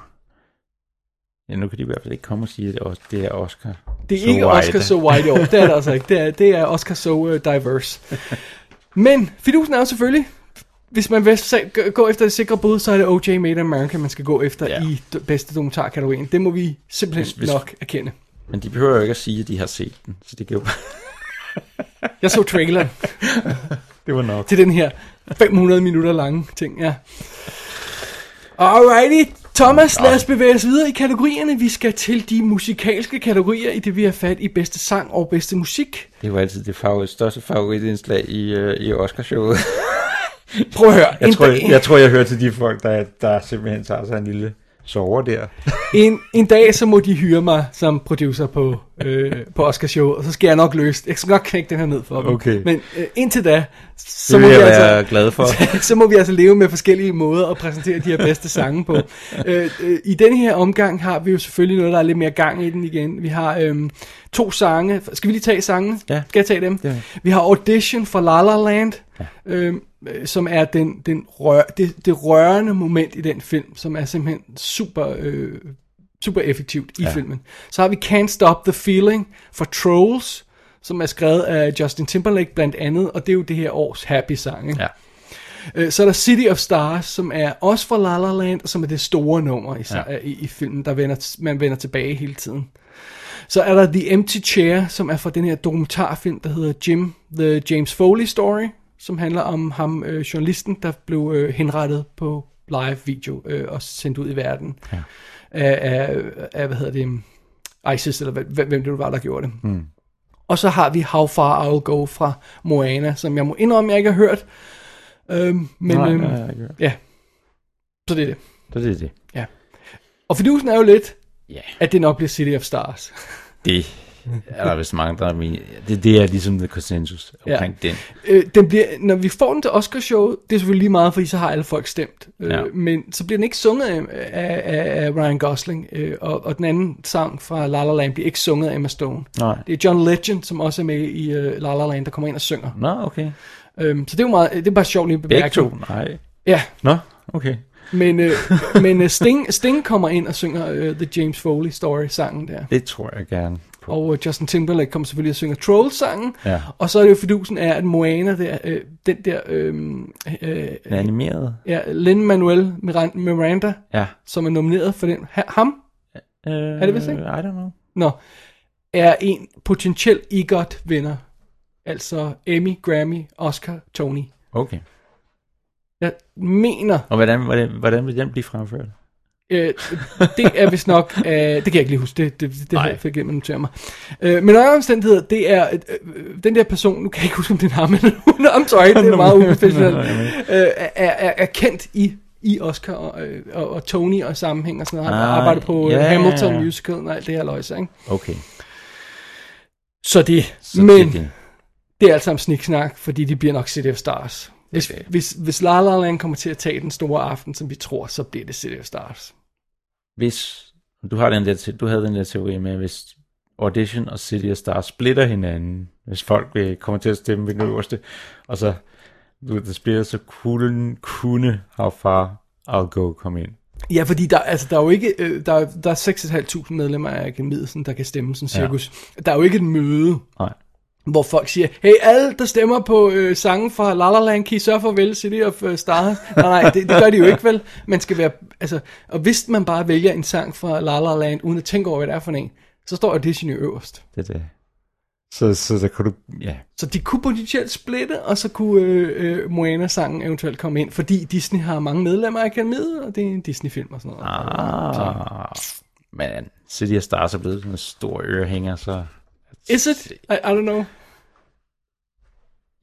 Ja, nu kan de i hvert fald ikke komme og sige, at det er os- det er Oscar.
Det er
So
ikke
white.
Oscar So White i år. Det er det altså ikke. Det er, det er Oscar So uh, Diverse. Men fidusen er jo selvfølgelig, hvis man vil se- g- gå efter det sikre bud, så er det O.J. Made in America, man skal gå efter
Ja.
ja. i d- bedste dokumentarkategorien. Det må vi simpelthen hvis,
hvis-
hvis... nok erkende.
Men de behøver jo ikke at sige, at de har set den. Så det, kan jo...
Jeg så traileren
det var nok.
til den her 500 minutter lange ting, ja. Alrighty, Thomas, lad os bevæge os videre i kategorierne. Vi skal til de musikalske kategorier, i det vi har fat i bedste sang og bedste musik.
Det var altid det favorit, største favoritindslag i, øh, i Oscarshowet.
Prøv at høre.
Jeg
en
tror,
dag-
jeg, jeg tror, jeg hører til de folk, der, der simpelthen tager sig en lille sover der.
en, en dag, så må de hyre mig som producer på, øh, på Oscar Show, og så skal jeg nok løse det. Jeg skal nok knække den her ned for dem.
Okay.
Men øh, indtil da, så
Det
må,
vil
vi
jeg være
altså,
glad for.
så må vi altså leve med forskellige måder at præsentere de her bedste sange på. øh, øh, I denne her omgang har vi jo selvfølgelig noget, der er lidt mere gang i den igen. Vi har øh, to sange. Skal vi lige tage sangene?
Ja.
Skal jeg tage dem?
Ja.
Vi har Audition fra La La Land. Ja. Øhm, øh, som er den, den rør, det, det rørende moment i den film, som er simpelthen super øh, super effektivt i ja. filmen. Så har vi Can't Stop the Feeling for Trolls, som er skrevet af Justin Timberlake blandt andet, og det er jo det her års happy sang. Ikke?
Ja.
Øh, Så er der City of Stars, som er også fra La La Land, og som er det store nummer i, ja.
Ja.
i, i filmen, der vender, man vender tilbage hele tiden. Så er der The Empty Chair, som er fra den her dokumentarfilm, der hedder Jim, The James Foley Story, som handler om ham, øh, journalisten, der blev øh, henrettet på live video øh, og sendt ud i verden. Ja. Af, af, af, hvad hedder det, um, ISIS, eller hvem, hvem det nu var, der gjorde det. Mm. Og så har vi How Far I'll Go fra Moana, som jeg må indrømme, jeg ikke har hørt. Øhm, men,
Nej,
øhm,
nej, jeg har ikke hørt.
ja, så det er det.
Så det er det.
Og fidusen er jo lidt,
Ja.
at det nok bliver City of Stars.
Det er der vist mange, der er min... Det, det er ligesom the consensus omkring ja. den.
Øh, den bliver, når vi får den til Oscarshowet, det er selvfølgelig lige meget, fordi så har alle folk stemt. Øh,
Ja.
Men så bliver den ikke sunget af, af, af, af Ryan Gosling, øh, og, og den anden sang fra La La Land bliver ikke sunget af Emma Stone.
Nej.
Det er John Legend, som også er med i øh, La La Land, der kommer ind og synger.
Nå, okay.
Øhm, så det er jo meget, det er bare sjovt lige
Begge to?
bemærket.
Nej.
Ja,
Nå, okay.
men, øh, men øh, Sting, Sting kommer ind og synger øh, The James Foley Story-sangen der.
Det tror jeg gerne på.
Og øh, Justin Timberlake kommer selvfølgelig og synger Trolls-sangen.
Ja.
Og så er det jo fidusen af, at Moana, der, øh, den der øh, øh,
Den animerede?
Ja, Lin-Manuel Miran- Miranda,
Ja.
som er nomineret for den. Ha- ham?
Øh,
Er det vist ikke?
I don't know.
Nå. Er en potentiel EGOT-vinder. Altså Emmy, Grammy, Oscar, Tony.
Okay.
Jeg mener,
Og hvordan, hvordan, hvordan vil den blive fremført?
øh, det er vist nok, øh, det kan jeg ikke lige huske, det, det, det, det har
Nej.
jeg fik gennem notere mig. Øh, men under omstændigheder, det er, øh, øh, den der person, nu kan jeg ikke huske, om det er ham eller hun, I'm sorry, det er meget uprofessionelt, øh, er, er, er kendt i i Oscar og, øh, og, og Tony og sammenhæng og sådan noget. Han
Ah,
arbejder på
ja,
yeah.
ja,
Hamilton
ja.
musicalen og alt det her løjse, ikke?
Okay.
Så det.
Så
Så Men
Det, er det.
det er alt sammen sniksnak, fordi de bliver nok CDF Stars. Hvis,
det.
hvis, hvis La La Land kommer til at tage den store aften, som vi tror, så bliver det CDF Stars.
Hvis, du, har den der, te- du havde den der teori med, hvis Audition og City of Stars splitter hinanden, hvis folk vil, kommer til at stemme ved den øverste, og så du, ved, det spiller, så kunne, kunne How Far I'll Go komme ind.
Ja, fordi der, altså, der er jo ikke, øh, der, er- der er 6.500 medlemmer af akademiet, sådan, der kan stemme sådan cirkus. Ja. Der er jo ikke et møde,
Nej.
hvor folk siger, hey, alle, der stemmer på øh, sangen fra La La Land, kan I sørge for at vælge City of øh, Stars? nej, nej, det, det gør de jo ikke, vel? Man skal være, altså, og hvis man bare vælger en sang fra La La Land, uden at tænke over, hvad det er for en, så står audition jo øverst.
Det er det. Så, så der kunne du... Ja.
Så de kunne potentielt splitte, og så kunne øh, øh, Moana-sangen eventuelt komme ind, fordi Disney har mange medlemmer af akademiet, og det er en Disney-film og sådan noget.
Ah, men City of Stars er blevet sådan en stor ørehænger, så
Is it? I, I don't know.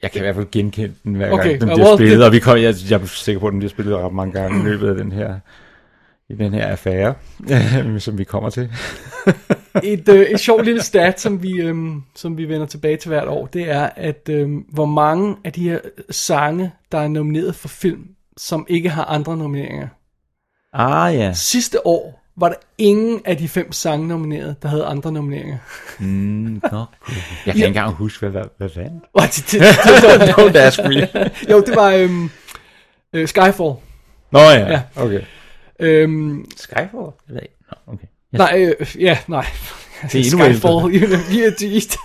jeg kan i hvert fald genkende den hver
Okay,
okay, gang, den
og
bliver
hvor-
spillet,
det-
og vi kom, jeg, jeg er sikker på, at den bliver spillet ret mange gange i løbet af den her, i den her affære, som vi kommer til.
et, øh, et sjovt lille stat, som vi, øhm, som vi vender tilbage til hvert år, det er, at øhm, hvor mange af de her sange, der er nomineret for film, som ikke har andre nomineringer.
Ah ja,
Sidste år var der ingen af de fem sange nomineret, der havde andre nomineringer.
mm, no. jeg kan ikke engang huske, hvad, hvad, hvad vandt.
What? Det, det, det,
Don't ask me.
jo, det var øhm, øh, Skyfall.
Nå ja,
Ja.
ja. okay.
Øhm,
Skyfall? Jeg ved ikke. Nå, okay. Jeg,
nej, øh, ja, nej.
Det er endnu
Skyfall, you know, yeah, geez.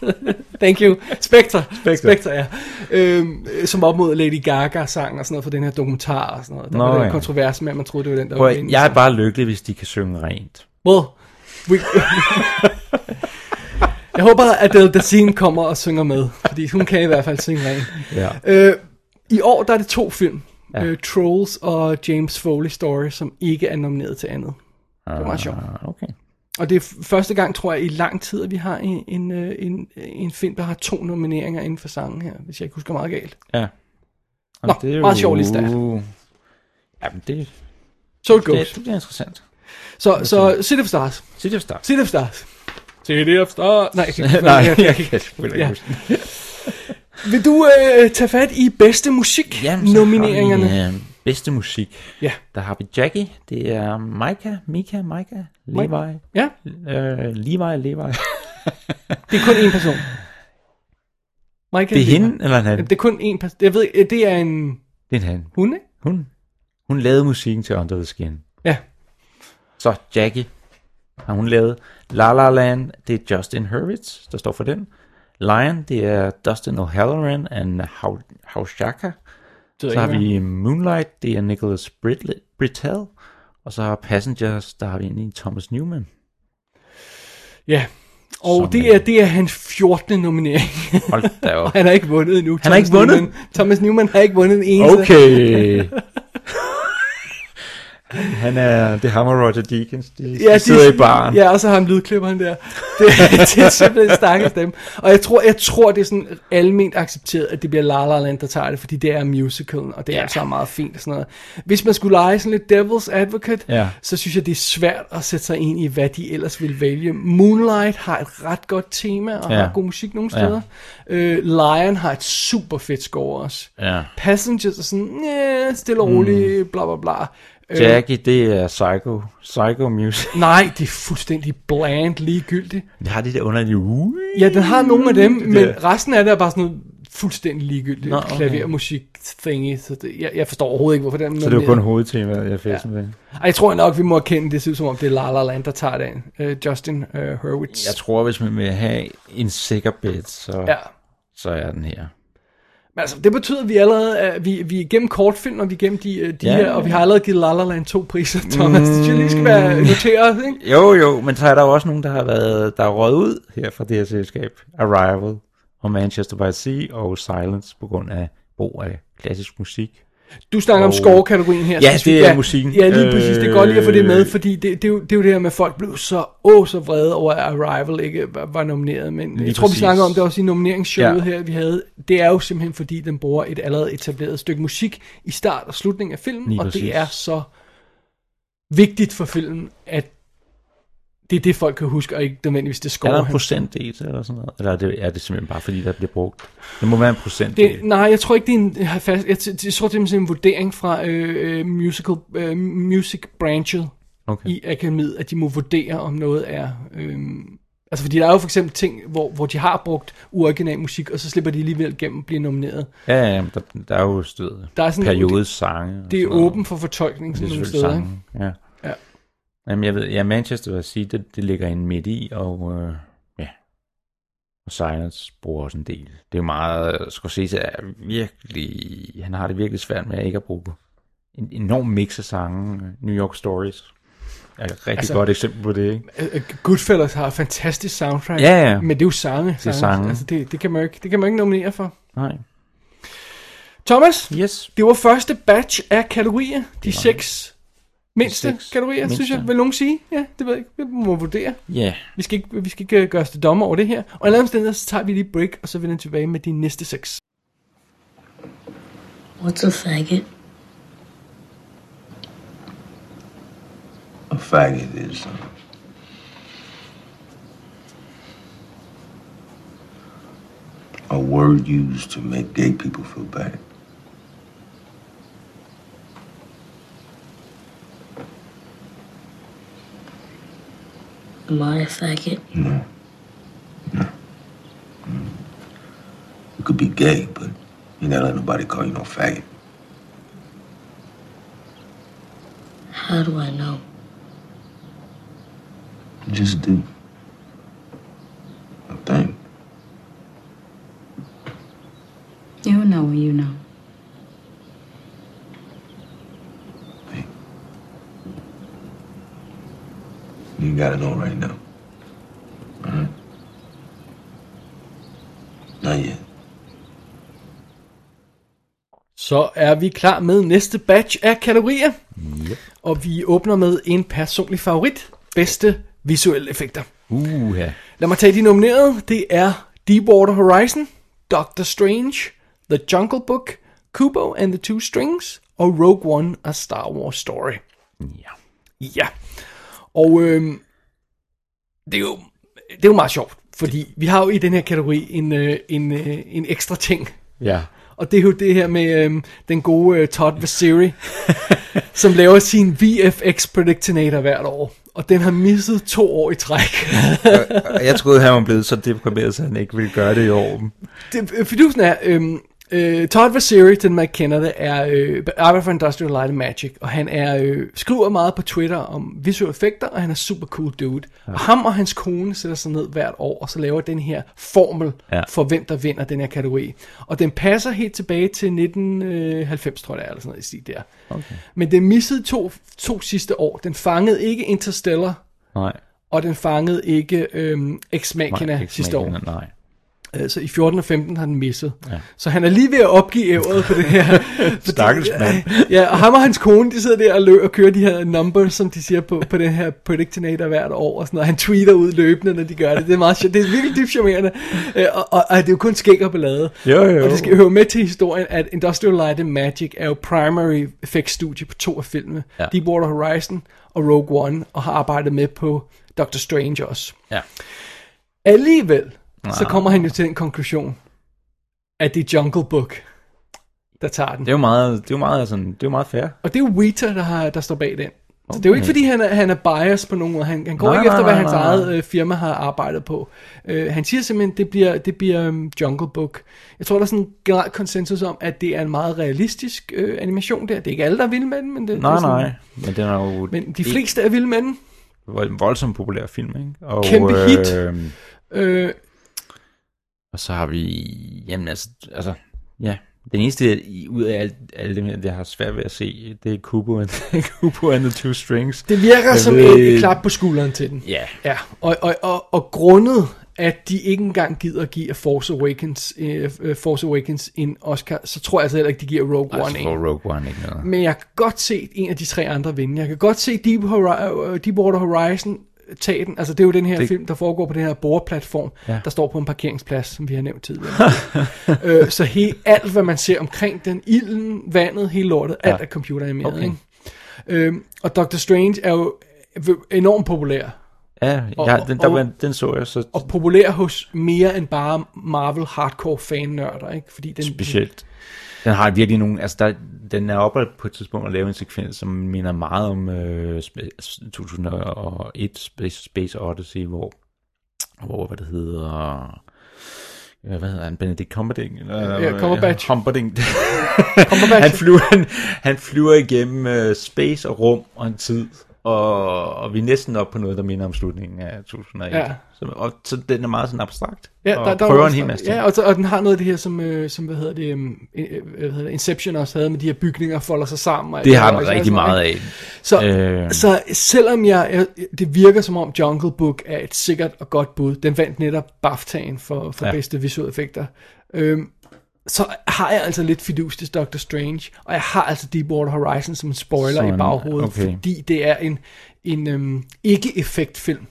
Thank you. Spectre. Spectre, Spectre ja. Øhm, øh, som op mod Lady Gaga sang og sådan noget for den her dokumentar og sådan noget. Der
Nå,
var den
ja.
kontrovers med, at man troede, det var den, der
prøv,
var
at- jeg er bare lykkelig, hvis de kan synge rent.
Well, we... jeg håber, at Adele Dazeem kommer og synger med, fordi hun kan i hvert fald synge rent.
Ja.
Øh, I år der er det to film. Ja.
Ja.
Øh, Trolls og James Foley Story, som ikke er nomineret til andet. Det var meget sjovt.
Ah, okay.
Og det er f- første gang, tror jeg, i lang tid, at vi har en, en, øh, en, en film, der har to nomineringer inden for sangen her, hvis jeg ikke husker meget galt.
Ja.
Nå, meget sjov liste af.
Jamen, det,
So it
det,
goes.
det bliver interessant.
Så, så City of Stars.
City of Stars.
City of Stars. City of Stars. Nej, jeg kan ikke-
Nej, jeg kan selvfølgelig ikke
Ja.
huske den.
Vil du øh, tage fat i bedste musik
Jamen, så
nomineringerne?
har vi, øh, bedste musik.
Ja.
Der har vi Jackie, det er Mika, Mika, Mika, Levi,
Ja,
øh, Levi, Levi.
det er kun én person. Michael
Det er hende,
Lever.
eller en han?
Jamen, Det er kun én person. Jeg ved ikke, det er en
Det er en han.
hund, ikke?
Hun, hun lavede musikken til Under the Skin.
Ja.
Så Jackie har hun lavet. La La Land, det er Justin Hurwitz, der står for den. Lion, det er Dustin O'Halloran and Hau- Haushaka. Så har vi Moonlight, det er Nicholas Britl- Britell. Og så har Passengers, der har vi egentlig Thomas Newman.
Ja. Og
Som
det er,
en-
det er hans 14. nominering.
Hold da op.
Han har ikke vundet endnu.
Han har ikke vundet?
Newman. Thomas Newman har ikke vundet en eneste.
Okay. han er, det er ham og Roger Deakins, de, ja,
de-
de sidder i baren.
Ja, og så har han lydklipperen der. Det, det er simpelthen stakkels dem. Og jeg tror, jeg tror, det er sådan alment accepteret, at det bliver La La Land, der tager det, fordi det er musicalen, og det er
Ja.
yeah. altså meget fint og sådan noget. Hvis man skulle lege sådan lidt devil's advocate,
Ja.
så synes jeg, det er svært at sætte sig ind i, hvad de ellers ville vælge. Moonlight har et ret godt tema, og
Ja.
har god musik nogle
Ja.
steder. Øh, Lion har et super fedt score også.
Ja.
Passengers er sådan, "Næh, stille og roligt, mm. bla bla bla. Øh,
Jackie, det er psycho, psycho music.
Nej, det er fuldstændig bland ligegyldigt.
Det har det der underlige uge.
Ja, den har nogle af dem, men
der.
resten af det er bare sådan noget fuldstændig ligegyldigt
Nå,
Nå,
okay.
okay. klavermusik-thingy. Så det, jeg, jeg forstår overhovedet ikke, hvorfor den
Så det var kun hovedtemaet, jeg fik
Ja.
ja. med.
Ej, jeg tror nok, vi må erkende, det ser ud som om, det er La La Land, der tager det ind. Øh, Justin øh, Hurwitz.
Jeg tror, hvis man vil have en sikker bed, så, ja.
Ja.
så er den her.
Men altså, det betyder, at vi allerede er, vi, vi er igennem kortfilm, og vi er igennem de, øh, de
Ja.
ja. her, og vi har allerede givet La La Land to priser, Thomas. Mm. Det synes jeg lige skal være noteret, ikke?
Jo, jo, men så er der jo også nogen, der har været, der er røget ud her fra det her selskab. Arrival og Manchester by Sea og Silence på grund af brug af klassisk musik.
Du snakker om
Og-
score-kategorien her.
Ja,
synes vi.
det er musikken.
Ja, lige præcis. Det er godt lige at få det med,
Øh.
fordi det, det, er jo, det er jo det her med, at folk blev så, åh, så vrede over, at Arrival ikke var- var nomineret. Men jeg tror, vi
præcis.
snakker om det også i nomineringsshowet
Ja.
her, vi havde. Det er jo simpelthen, fordi den bruger et allerede etableret stykke musik i start og slutning af filmen,
Lige
og
præcis.
det er så vigtigt for filmen, at det er det, folk kan huske, og ikke nødvendigvis det
Er
score.
der en
han-
procentdel eller sådan noget? Eller er det, er det simpelthen bare fordi, der bliver brugt? Det må være en procentdel.
Det, nej, jeg tror ikke, det er en jeg, fast, jeg, t- jeg tror, det er simpelthen en vurdering fra øh, øh, musical, øh, music branchet
Okay.
i akademiet, at de må vurdere, om noget er... Øh, altså, fordi der er jo for eksempel ting, hvor, hvor de har brugt uoriginal musik, og så slipper de alligevel gennem at blive nomineret.
Ja, ja, men der, der er jo stød.
Der er sådan-
Periodes sange. og
Det er
sådan noget.
åben for fortolkning
Det er
sådan nogle
selvfølgelig
steder. Ikke?
sange, ja.
Ja.
Jamen, jeg ved, ja, Manchester, vil jeg sige, det, det ligger inde midt i, og øh, ja. Og Silence bruger også en del. Det er jo meget, Scorsese er virkelig, han har det virkelig svært med at ikke at bruge en enorm mix af sange. New York Stories er et rigtig
Altså-
altså, godt eksempel på det, ikke?
Øh, øh, Goodfellas har et fantastisk soundtrack,
Ja, ja.
men det er jo sange.
er sange.
Altså, det, det, kan man jo ikke, det kan man jo ikke nominere for.
Nej.
Thomas,
Yes.
Det var første batch af kategorier. De seks mindste
seks
kategorier,
mindste.
synes jeg. Vil nogen sige? Ja, det ved jeg ikke. Det må vurdere.
Ja. Yeah.
Vi skal ikke, vi skal ikke øh, gøre os til dommer over det her. Og i alle omstændigheder, så tager vi lige et break, og så vender vi tilbage med de næste seks.
What's a faggot?
A faggot is. uh, A word used to make gay people feel bad.
Am I a faggot?
No. No. Mm. You could be gay, but you gotta let nobody call you no faggot.
How do I know?
You just do. I think.
You know, you know.
Hey. You gotta know right now. Alright? Not yet.
Så er vi klar med næste batch af kategorier. Yep. Og vi åbner med en personlig favorit. Bedste visuelle effekter.
Uh, ja.
Lad mig tage de nominerede. Det er Deepwater Horizon, Doctor Strange, The Jungle Book, Kubo and the Two Strings og Rogue One A Star Wars Story.
ja.
Ja. Og øhm, det, er jo, det er jo meget sjovt, fordi vi har jo i den her kategori en, øh, en, øh, en ekstra ting.
Ja.
Og det er jo det her med øhm, den gode øh, Todd Vasiri, som laver sin VFX Predictinator hvert år. Og den har misset to år i træk.
Og Jeg troede, han var blevet så deprimeret, så han ikke ville gøre det i år.
det, øh, fidusen er, øhm, øh, Todd Vasiri, den man kender det, er, øh, arbejder for Industrial Light and Magic, og han er, øh, skriver meget på Twitter om visuelle effekter, og han er super cool dude. Ja. Og ham og hans kone sætter sig ned hvert år, og så laver den her formel ja.
Ja.
for, hvem der vinder den her kategori. Og den passer helt tilbage til 1990, tror jeg, det er, eller sådan noget i stil der. Okay. Men den missede to, to sidste år. Den fangede ikke Interstellar,
Nej.
og den fangede ikke øhm, Ex Machina
ikke
sidste år.
Machina, Nej.
Altså i 14 og 15 har den misset. Ja. Så han er lige ved at opgive ævret på det her. Fordi-
Stakkels mand.
ja, og ham og hans kone, de sidder der og, lø- og kører de her numbers, som de siger på, på den her Predictinator hvert år. Og sådan noget. Han tweeter ud løbende, når de gør det. Det er meget sjovt. Det er virkelig dybt charmerende. Øh, og, og, og, det er jo kun skæg og ballade.
Jo, jo.
Og det skal høre med til historien, at Industrial Light and Magic er jo primary effects studie på to af filmene. Ja.
Ja.
Deepwater Horizon og Rogue One, og har arbejdet med på Doctor Strange også.
Ja.
Alligevel, så kommer han jo til den konklusion, at det er Jungle Book, der tager den.
Det er jo meget, det er jo meget, sådan, det er jo meget fair.
Og det er jo Weta, der, har, der står bag den. Så det er jo ikke,
Okay.
fordi han er, han er biased på nogen måde. Han, han går
Nej,
ikke
nej,
efter, hvad
nej,
hans
nej,
eget
nej.
øh, firma har arbejdet på. Øh, han siger simpelthen, det bliver, det bliver um, Jungle Book. Jeg tror, der er sådan en generel konsensus om, at det er en meget realistisk øh, animation der. Det er ikke alle, der er vilde med den, men det, det
Nej,
er sådan,
nej. Men den er jo
Men de fleste er vilde med den.
en voldsomt populær film, ikke? Og,
Kæmpe hit. Øh,
Og så har vi... Jamen altså, altså ja. Den eneste i- ud af alt, alle dem her, det har svært ved at se, det er Kubo and, Kubo and the Two Strings.
det virker
Jeg
som
ved-
en klap på skulderen til den.
Ja.
Ja, og, og, og, og grundet at de ikke engang gider at give Force Awakens, øh, øh, Force Awakens en Oscar, så tror jeg altså heller ikke, de giver Rogue One en.
Altså, Rogue One ikke noget.
Men jeg kan godt se en af de tre andre vinde. Jeg kan godt se Deep Hori- øh, Deepwater Horizon tage den. Altså det er jo den her det...
Det-
film, der foregår på den her boreplatform, ja.
Ja.
der står på en parkeringsplads, som vi har nævnt tidligere. øh, så he, alt, hvad man ser omkring den, ilden, vandet, hele lortet, ja. alt er computeranimeret.
Okay.
Okay. Øhm, og Doctor Strange er jo enormt populær.
Ja,
Og-
ja den, der,
og-
var, den så jeg så
Og populær hos mere end bare Marvel hardcore fan-nørder, ikke? Fordi den,
Mm-hmm. specielt. Den har virkelig nogle, altså der, den er oppe på et tidspunkt at lave en sekvens, som minder meget om øh, sp- 2001 Space, Space Odyssey, hvor, hvor hvad det hedder, ja, hvad hedder han, Benedict Cumberbatch? Eller,
Ja, Cumberbatch.
Cumberbatch.
Cumberbatch.
han, flyver, han, han flyver igennem øh, space og rum og en tid, og, og vi er næsten oppe på noget, der minder om slutningen af 2001.
Ja.
Ja. Så, og, så den er meget sådan abstrakt,
Ja,
og
der, der er
prøver
jo
en
også-
hel masse ting.
Ja, og, så, og den har noget af det her, som, øh, som hvad hedder det, um, hvad hedder det, Inception også havde med de her bygninger, folder sig sammen. og alt
Det har
der,
man
og sådan
rigtig
noget,
meget af.
ikke? Så,
Øh.
så selvom jeg, jeg, det virker som om Jungle Book er et sikkert og godt bud, den vandt netop BAFTA'en for, for ja.
Ja.
bedste visuelle effekter, øhm, så har jeg altså lidt fidus til Doctor Strange, og jeg har altså Deepwater Horizon som en spoiler
Sådan,
i baghovedet,
okay.
fordi det er en, en øhm, ikke-effektfilm.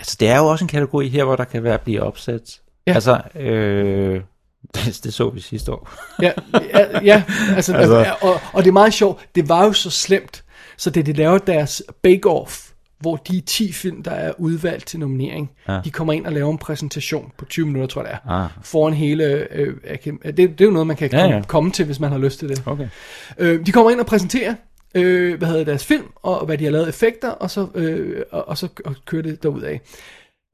Altså, det er jo også en kategori her, hvor der kan være at blive opsat.
Ja.
Ja. Altså, øh, det, det så vi sidste år.
ja, ja, ja altså, altså.
Altså-
Ja, og, og det er meget sjovt, det var jo så slemt, så da de laver deres Bake Off, hvor de 10 film, der er udvalgt til nominering, ja.
Ja.
de kommer ind og laver en præsentation på 20 minutter, tror jeg det er,
Ah.
foran hele, øh, akadem- det, det er jo noget, man kan
Ja,
komme, ja,
ja.
komme til, hvis man har lyst til det.
Okay.
Øh, de kommer ind og præsenterer, øh, hvad hedder deres film, og hvad de har lavet af effekter, og så, øh, og, og så k- og kører det derudad.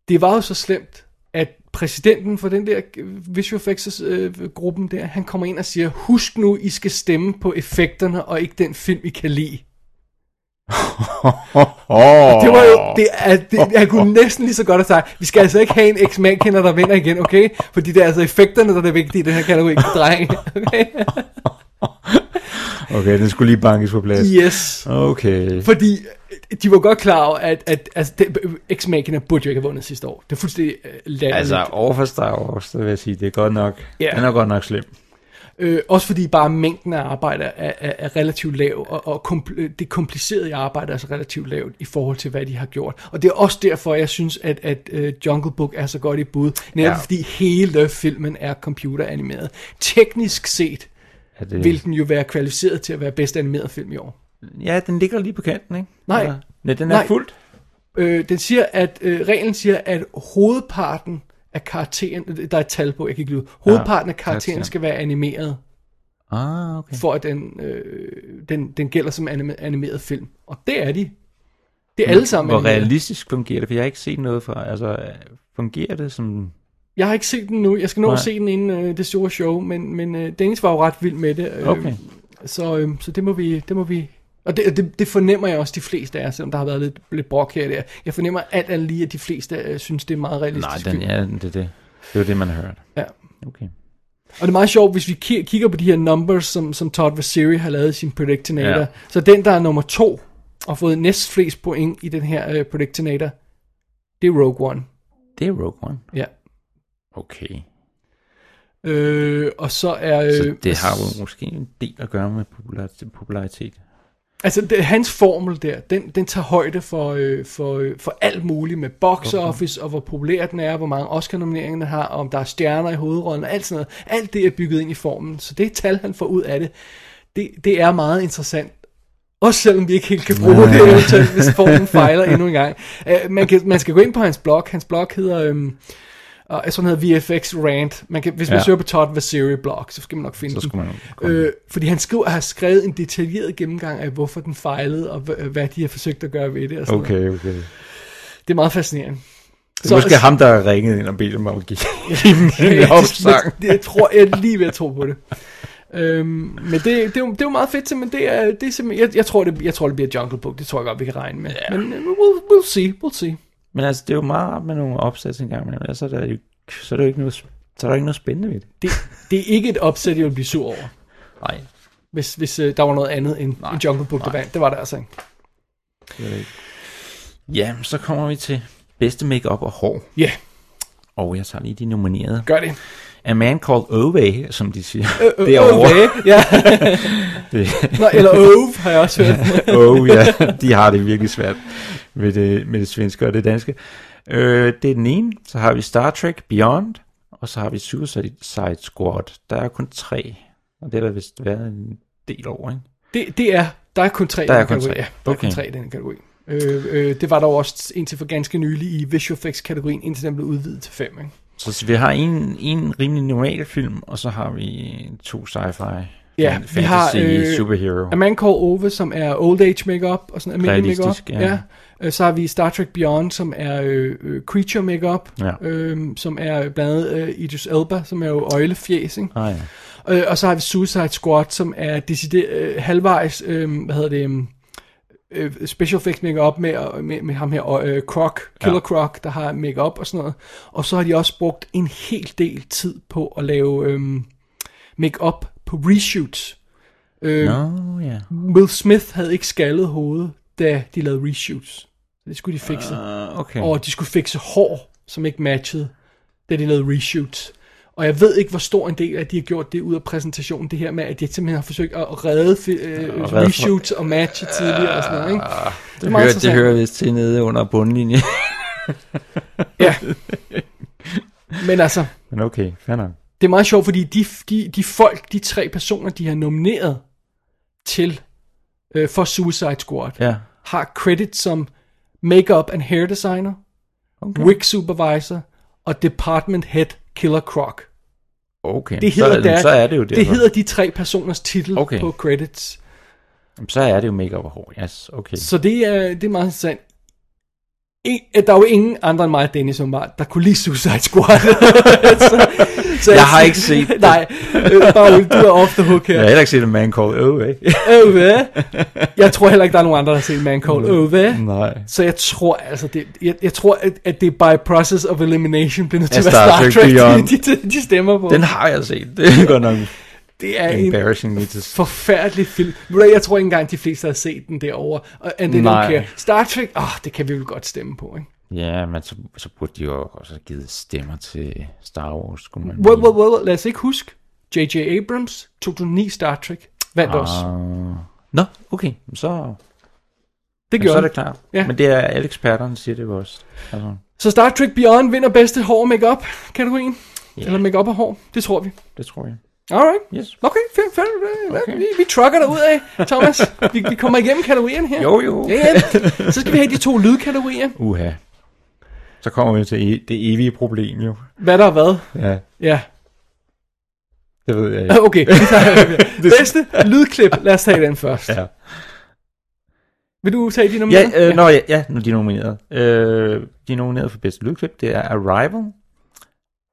Det var jo så slemt, at præsidenten for den der øh, visual effects øh, gruppen der, han kommer ind og siger, husk nu, I skal stemme på effekterne, og ikke den film, I kan lide.
Oh.
Det var jo, det er, det, jeg kunne næsten lige så godt have sagt, vi skal altså ikke have en x kender der vinder igen, okay? Fordi det er altså effekterne, der er det vigtige i den her kategori, dreng. Okay?
Okay, den skulle lige bankes på plads.
Yes.
Okay.
Fordi øh, de var godt klar over, at, at altså, det, øh, X-Machina burde jo ikke have vundet sidste år. Det er fuldstændig uh, latterligt.
Altså,
Altså,
overfor Star Wars, der vil jeg sige, det er godt nok.
Ja.
Den er godt nok slem.
øh, også fordi bare mængden af arbejde er, er, er relativt lav, og, og kompl- øh, det komplicerede arbejde er altså relativt lavt i forhold til, hvad de har gjort. Og det er også derfor, jeg synes, at, at uh, Jungle Book er så godt i bud. Netop ja.
Ja.
fordi hele filmen er computeranimeret. Teknisk set
Er det...
vil den jo være kvalificeret til at være bedst animeret film i år.
Ja, den ligger lige på kanten, ikke?
Nej.
Eller- Nej, den er
Nej.
fuldt.
Øh, den siger, at øh, reglen siger, at hovedparten af karakteren, der er et tal på, jeg kan ikke lyde, hovedparten af karakteren
karakteren.
skal være animeret,
Ah, okay.
for at den, øh, den, den gælder som anime, animeret film. Og det er de. Det er alle sammen
Hvor
animeret.
realistisk fungerer det? For jeg har ikke set noget fra, altså, fungerer det som...
Jeg har ikke set den nu. Jeg skal nå at
Nej.
se den inden øh, det store show, men, men øh, Dennis var jo ret vild med det. Øh,
Okay.
Så, øh, så det må vi... Det må vi og det, det, det fornemmer jeg også de fleste af jer, selvom der har været lidt, lidt brok her og der. Jeg fornemmer alt andet lige, at de fleste øh, synes, det er en meget
Nej,
realistisk
den,
film.
ja, det er det. Det er jo det, man har hørt.
Ja.
Okay.
Og det er meget sjovt, hvis vi ki- kigger på de her numbers, som, som Todd Vasiri har lavet i sin Predictinator. Ja.
Ja.
Så den, der er nummer to, og har fået næst flest point i den her øh, Predictinator, det er Rogue One.
Det er Rogue One.
Ja.
Okay.
Øh, og så er... Øh,
Så det har jo måske en del at gøre med popular- popularitet.
Altså, det, hans formel der, den, den tager højde for, øh, for, øh, for alt muligt med box office, og hvor populær den er, hvor mange Oscar-nomineringer den har, og om der er stjerner i hovedrollen, og alt sådan noget. Alt det er bygget ind i formen, så det tal, han får ud af det, det, det er meget interessant. Også selvom vi ikke helt kan bruge det, eventuelt, hvis formen fejler endnu en gang. Uh, man, kan, man skal gå ind på hans blog. Hans blog hedder... Øhm, og sådan hedder VFX Rant. Man kan, hvis man
Ja.
søger på Todd Vasiri blog, så skal man nok finde
Så
den.
skulle man komme.
Øh, fordi han skriver, har skrevet en detaljeret gennemgang af, hvorfor den fejlede, og hva- hvad de har forsøgt at gøre ved det. Og sådan noget.
okay.
Det er meget fascinerende.
Det er måske ham, der har ringet ind og bedt om at give en opsang.
det, jeg tror, jeg er lige ved at tro på det. Øhm, men det, det, er jo, det er jo meget fedt, men det er, det er simpelthen, jeg, jeg, tror, det, jeg tror, det bliver Jungle Book. Det tror jeg godt, vi kan regne med. Yeah. Men øh, we'll, we'll see, we'll see.
Men altså, det er jo meget rart med nogle opsæt en gang, men ellers er der jo, så er der jo ikke noget, så er der ikke noget spændende ved det.
Det, det er ikke et opsæt, jeg vil blive sur over,
Nej,
hvis, hvis øh, der var noget andet end, end Jungle Book, der vandt. Det var der altså ikke.
det er det ikke. Ja, så kommer vi til bedste makeup og hår.
Ja, yeah.
Og jeg tager lige de nominerede.
Gør det.
A Man Called Ove, som de siger. Det er over.
Okay, ja. Nå, eller Ove har jeg også hørt.
oh ja, de har det virkelig svært med det, med det svenske og det danske. Øh, det er den ene. Så har vi Star Trek Beyond, og så har vi Suicide Squad. Der er kun tre, og det har der vist været en del over, ikke?
Det, det er, der er kun tre i
Der er
den
kun
kategori.
tre.
Ja, der er kun
Okay.
tre i den kategori. Øh, øh, det var der jo også indtil for ganske nylig i visual effects kategorien, indtil den blev udvidet til fem. Ikke?
Så, vi har en, en rimelig normal film, og så har vi to sci-fi,
Ja,
fan-
vi har,
fantasy,
øh,
superhero.
A Man Called Ove, som er old age makeup og sådan almindelig makeup.
Realistisk, ja.
Øh, Så har vi Star Trek Beyond, som er øh, øh, creature makeup,
Ja.
øh, som er blandt andet øh, Idris Elba, som er jo øjlefjæs, ikke?
Ah, ja.
Øh, og så har vi Suicide Squad, som er decideret øh, halvvejs, øh, hvad hedder det, øhm, øh, special effects make-up med, og- med, med ham her, og, øh, Croc, Killer ja.
Ja.
Croc, der har make-up og sådan noget. Og så har de også brugt en hel del tid på at lave øh, make-up på reshoots. Øh,
Nå, ja.
Will Smith havde ikke skaldet hovedet, da de lavede reshoots. Det skulle de fikse.
Uh, okay.
Mm. Og de skulle fikse hår, som ikke matchede, da de lavede reshoots. Og jeg ved ikke, hvor stor en del af, at de har gjort det ud af præsentationen, det her med, at de simpelthen har forsøgt at redde fi- øh,
Og redde for- Ah,
reshoots og matche tidligere og sådan noget, ikke? meget
det, hører, det
interessant.
hører vist til nede under bundlinjen.
Ja. Men altså,
Men okay, fair nok.
det er meget sjovt, fordi de, de, de folk, de tre personer, de har nomineret til øh, for Suicide Squad,
Ja.
har credit som makeup and hair designer, okay. wig supervisor og department head Killer Croc.
Okay,
Det
så,
hedder
er det-
der,
så er det jo derfor.
Det hedder de tre personers titel okay.
Okay.
på credits.
Jamen, Så er det jo makeup og hår, yes, okay.
Så det er, det er meget interessant. En, øh, der er jo ingen andre end mig og Dennis, åbenbart, der kunne lide Suicide Squad. så, så
Jeg har ikke set det.
Nej, øh, bare rolig, du er off the hook her.
Jeg har heller ikke set en man called Ove.
Øve. Jeg tror heller ikke, der er nogen andre, der har set Man Called Øve.
Nej.
Så jeg tror, altså, det, jeg, jeg tror, at, at det er by process of elimination bliver nødt til at
Af
være
Star
Star
Trek
Trek,
Beyond.
de, de, de stemmer på.
Den har jeg set. Det er godt nok
det er en
embarrassing me to s-
forfærdelig film. Ved du hvad, Jeg tror ikke engang, de fleste har set den derovre. Og and they don't
Nej.
care. Star Trek, åh, det kan vi vel godt stemme på, ikke?
Ja, men så, så burde de jo også have givet stemmer til Star Wars, skulle man
Well,
mene.
well, well, lad os ikke huske. J.J. Abrams, 2009 Star Trek, vandt ah, også.
Ah. Nå, okay, så,
Det
jamen,
gjorde
så er det
det.
klart.
Ja.
Men det er alle eksperterne siger det jo også. Altså,
Så Star Trek Beyond vinder bedste hår makeup kategorien. Yeah. Eller makeup og hår, det tror vi.
det tror jeg.
Alright.
Yes.
Okay, fair, fair, fair. Okay. Vi, vi trucker dig ud af, Thomas. vi, vi kommer igennem kategorierne her.
Jo, jo.
Ja, ja. Så skal vi have de to lydkategorier.
Uha. Så kommer vi til e- det evige problem jo.
Hvad der er hvad.
Ja,
Ja,
det ved jeg ikke.
okay. Vi tager, bedste lydklip, lad os tage den først.
Ja.
Vil du tage de
Ja,
numre?
øh, Nå, ja, ja, nu er de nomineret. Øh, de er nomineret for bedste lydklip. Det er Arrival,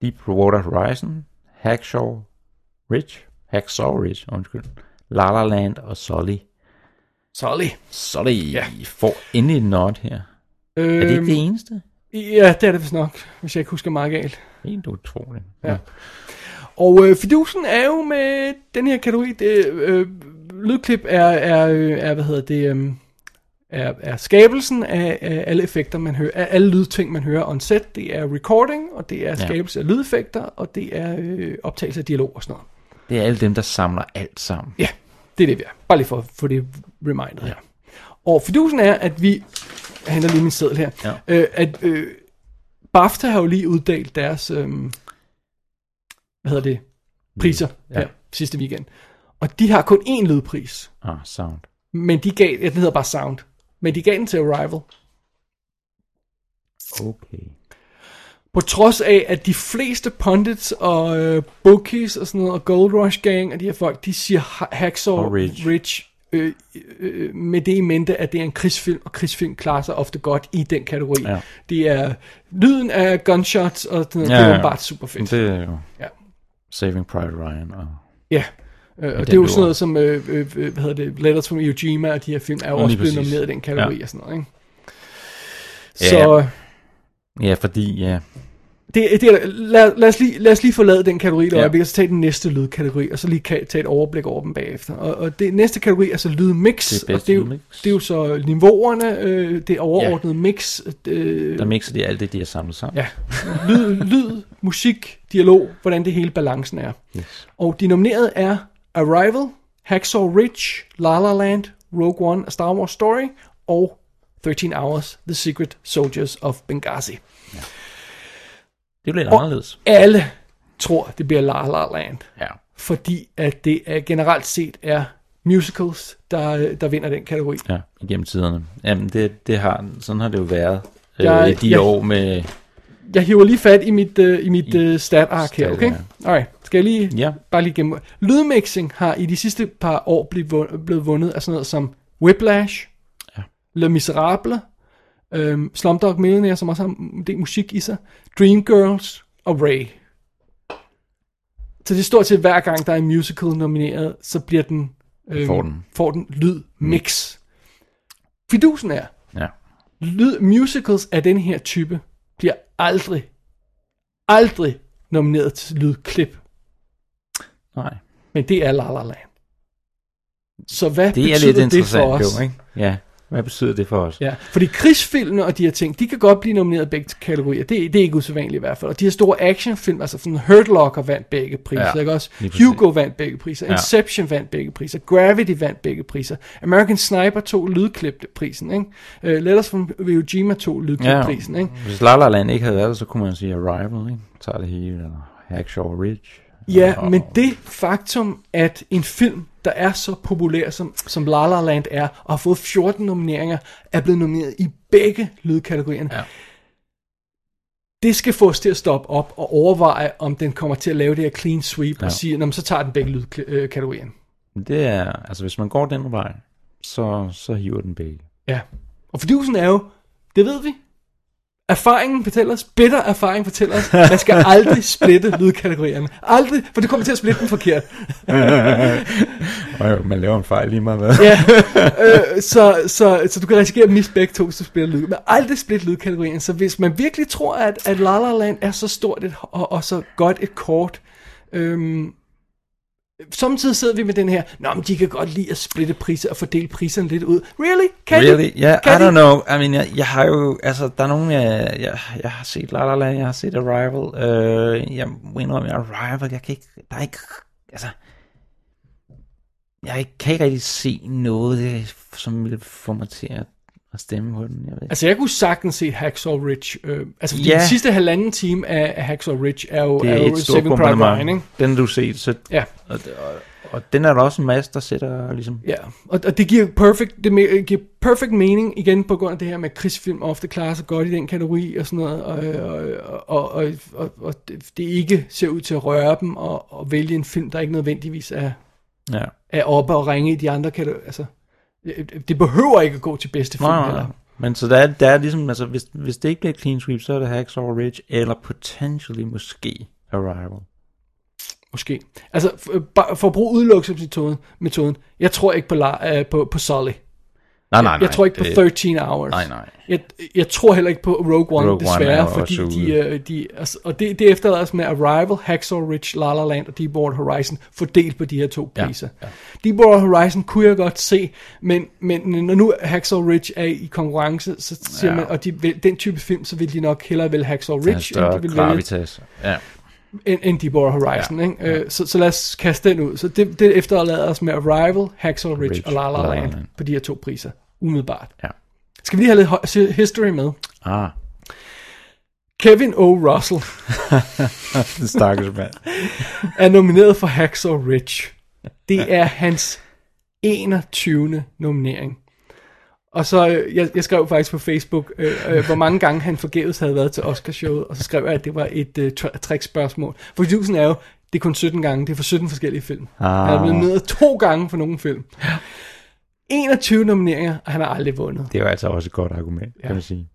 Deepwater Horizon, Hacksaw Ridge, Hacksaw Ridge, undskyld, La La Land og Sully.
Sorry.
Sully
Ja.
ja. får endelig et nod her.
Øhm,
Er det ikke det eneste?
Ja, det er det vist nok, hvis jeg ikke husker meget galt.
Helt utroligt.
Ja. Og øh, fidusen er jo med den her kategori, det, øh, lydklip er, er, øh, er, hvad hedder det, øh, er, er skabelsen af, af alle effekter, man hører, af alle lydting, man hører on set. Det er recording, og det er skabelse af lydeffekter, og det er øh, optagelse af dialog og sådan noget.
Det er alle dem, der samler alt sammen.
Ja, det er det, vi er. Bare lige for at få det reminded her. Og fidusen er, at vi... Jeg henter lige min seddel her.
Ja.
Øh, at øh, BAFTA har jo lige uddelt deres... Øh, hvad hedder det? Priser ja.
Ja.
her sidste weekend. Og de har kun én lydpris.
Ah, sound.
Men de gav... Ja, den hedder bare Sound. Men de gav den til Arrival.
Okay.
På trods af, at de fleste pundits og øh, bookies og sådan noget, og Gold Rush Gang og de her folk, de siger Ha- Hacksaw
Og Ridge.
Ridge øh, øh, med det i mente, at det er en krigsfilm, og krigsfilm klarer sig ofte godt i den kategori.
Ja.
Det er lyden af gunshots og sådan noget,
Ja,
ja, det
ja.
er bare super fedt.
Det er jo
Ja.
Saving Private Ryan og
Ja, øh, og det, er
den
jo
løber.
sådan noget som, øh, øh, øh, hvad hedder det, Letters from Iwo Jima og de her film er jo
Lige
også blevet
præcis.
nomineret i den kategori
Ja.
og sådan noget, ikke?
Ja.
Så
Ja, fordi ja,
Det, det er, lad, lad, os lige, lad os lige forlade den kategori der
Ja.
øjeblik, og så tage den næste lydkategori, og så lige ka- tage et overblik over dem bagefter. Og, og det næste kategori er så lydmix,
Det er
og
bedste
det er, jo,
lydmix.
det er jo så niveauerne, øh, det overordnede mix, øh,
Der mixer de alt det, de har samlet sammen.
Ja. Lyd, lyd, musik, dialog, hvordan det hele balancen er. Yes. Og de nominerede er Arrival, Hacksaw Ridge, La La Land, Rogue One, A Star Wars Story og 13 Hours, The Secret Soldiers of Benghazi.
Det er jo lidt
Og-
anderledes.
Alle tror, det bliver La La Land,
Ja.
fordi at det er generelt set er musicals, der, der vinder den kategori.
Ja, igennem tiderne. Jamen, det, det har, sådan har det jo været øh,
Jeg-
i de
jeg-
år med...
Jeg hiver lige fat i mit, øh, i mit øh, stat-ark her,
Stat,
okay?
ja.
Alright, skal jeg lige,
Ja.
bare lige gennem. Lydmixing har i de sidste par år blevet vundet, blevet vundet af sådan noget som Whiplash, ja. Le Miserable, øhm, Slumdog Millionaire, som også har en del musik i sig, Dreamgirls og Ray. Så det er stort set hver gang, der er en musical nomineret, så bliver den, øhm,
Får den.
får den lydmix. Fidusen er,
Ja.
lyd, musicals af den her type bliver aldrig, aldrig nomineret til lydklip,
Nej.
men det er La La Land. Så hvad
Det er
betyder det
lidt
for
interessant
os?
jo, ikke? Ja. Hvad betyder det for os?
Ja, fordi krigsfilmene og de her ting, de kan godt blive nomineret i begge kategorier. Det, det er ikke usædvanligt i hvert fald. Og de her store actionfilm, altså sådan Hurt Locker vandt begge priser,
Ja,
ja, ikke også?
lige præcis.
Hugo vandt begge priser,
Ja.
Inception vandt begge priser, Gravity vandt begge priser, American Sniper tog lydklipprisen, ikke? Uh, Letters from Iwo Jima tog lydklipprisen, ikke?
Hvis La La Land ikke havde været der, så kunne man sige Arrival, ikke? Tager det hele, eller Hacksaw Ridge.
Ja,
og,
men det faktum, at en film, der er så populær som, som La La Land er, og har fået 14 nomineringer, er blevet nomineret i begge lydkategorierne,
Ja.
det skal få os til at stoppe op og overveje, om den kommer til at lave det her clean sweep
Ja.
og sige, "Nå, men så tager den begge lydkategorierne.
Det er, altså hvis man går den vej, så, så hiver den begge.
Ja. Og fordyvelsen er jo, det ved vi, erfaringen fortæller os, bitter erfaring fortæller os, man skal aldrig splitte lydkategorierne. Aldrig, for det kommer til at splitte dem forkert.
Og jo, man laver en fejl lige meget, hvad?
Ja, øh, så, så, så du kan risikere at miste begge to, hvis du spiller lyd. Men aldrig split lydkategorien. Så hvis man virkelig tror, at, at La La Land er så stort et, og, og så godt et kort, øhm, samtidig sidder vi med den her, Nå, men de kan godt lide at splitte priser og fordele priserne lidt ud. Really? Kan
Really?
de?
Ja,
kan
yeah, I
de?
don't know. I mean, jeg, jeg har jo, altså, der er nogen, jeg, jeg, jeg har set La La Land, jeg har set Arrival. Øh, jeg må indrømme, jeg Arrival, jeg kan ikke, der er ikke, altså, jeg ikke- kan ikke rigtig se noget, øh, som ville få mig til at, at stemme på den. Jeg ved ikke.
Altså, jeg kunne sagtens se Hacksaw Ridge. Øh, altså, fordi
Ja.
den sidste halvanden time af, af Hacksaw Ridge er jo,
det
er
er
jo
et stort
Saving Private Ryan, ikke?
bombardement. Den har du set, så,
Ja.
og, og, og den er der også en masse, der sætter ligesom...
Ja, og, og det giver perfect, det me- giver perfect mening igen på grund af det her med, at krigsfilm ofte klarer sig godt i den kategori og sådan noget, og, øh, og, og, og, og, og det det ikke ser ud til at røre dem, og, og vælge en film, der ikke nødvendigvis er,
Ja.
er oppe og ringe i de andre kategorier. Altså, det- det behøver ikke at gå til bedste film
Nej, nej,
heller.
nej. Men så der er, der er ligesom, altså hvis, hvis det ikke bliver clean sweep, så er det Hacksaw Ridge, eller potentially måske Arrival.
Måske. Altså, for, bare for at bruge udelukkelsesmetoden, metoden, jeg tror ikke på, la, øh, på, på Sully.
Nej, Ah, nej, nej.
jeg tror ikke på
det-
13 Hours.
Nej, nej.
Jeg, jeg tror heller ikke på Rogue One,
Rogue
Rogue
One
desværre,
er
One
jo
fordi
også
de, øh, de... Altså, og det, det efterlader os med Arrival, Hacksaw Ridge, La La Land og Deepwater Horizon fordelt på de her to
Ja,
priser. Ja, Deepwater Horizon kunne jeg godt se, men, men når nu Hacksaw Ridge er i konkurrence, så siger
Ja.
man, og de, vil- den type film, så vil de nok hellere vælge Hacksaw
Altså, Der
Ridge, end
er en større
de vil vælge
gravitas. Ja.
end, end Deepwater Horizon.
Ja,
Ja, ikke? Øh, så, så lad os kaste den ud. Så det, det efterlader os med Arrival, Hacksaw Ridge,
Ridge
Ridge og La La Land
Land.
på de her to priser. Umiddelbart.
Ja.
Skal vi lige have lidt ho- history med?
Ah,
Kevin O. Russell
den stakkels mand.
er nomineret for Hacksaw Ridge. Det er hans 21. nominering. Og så, øh, jeg, jeg skrev faktisk på Facebook, øh, øh, hvor mange gange han forgæves havde været til Oscarshowet, og så skrev jeg, at det var et øh, tr- trickspørgsmål. For Jusen er jo, det er kun 17 gange, det er for 17 forskellige film. Ah. Han er blevet nødt to gange for nogle film. 21 nomineringer, og han har aldrig vundet.
Det er jo altså også et godt argument, ja. kan man sige.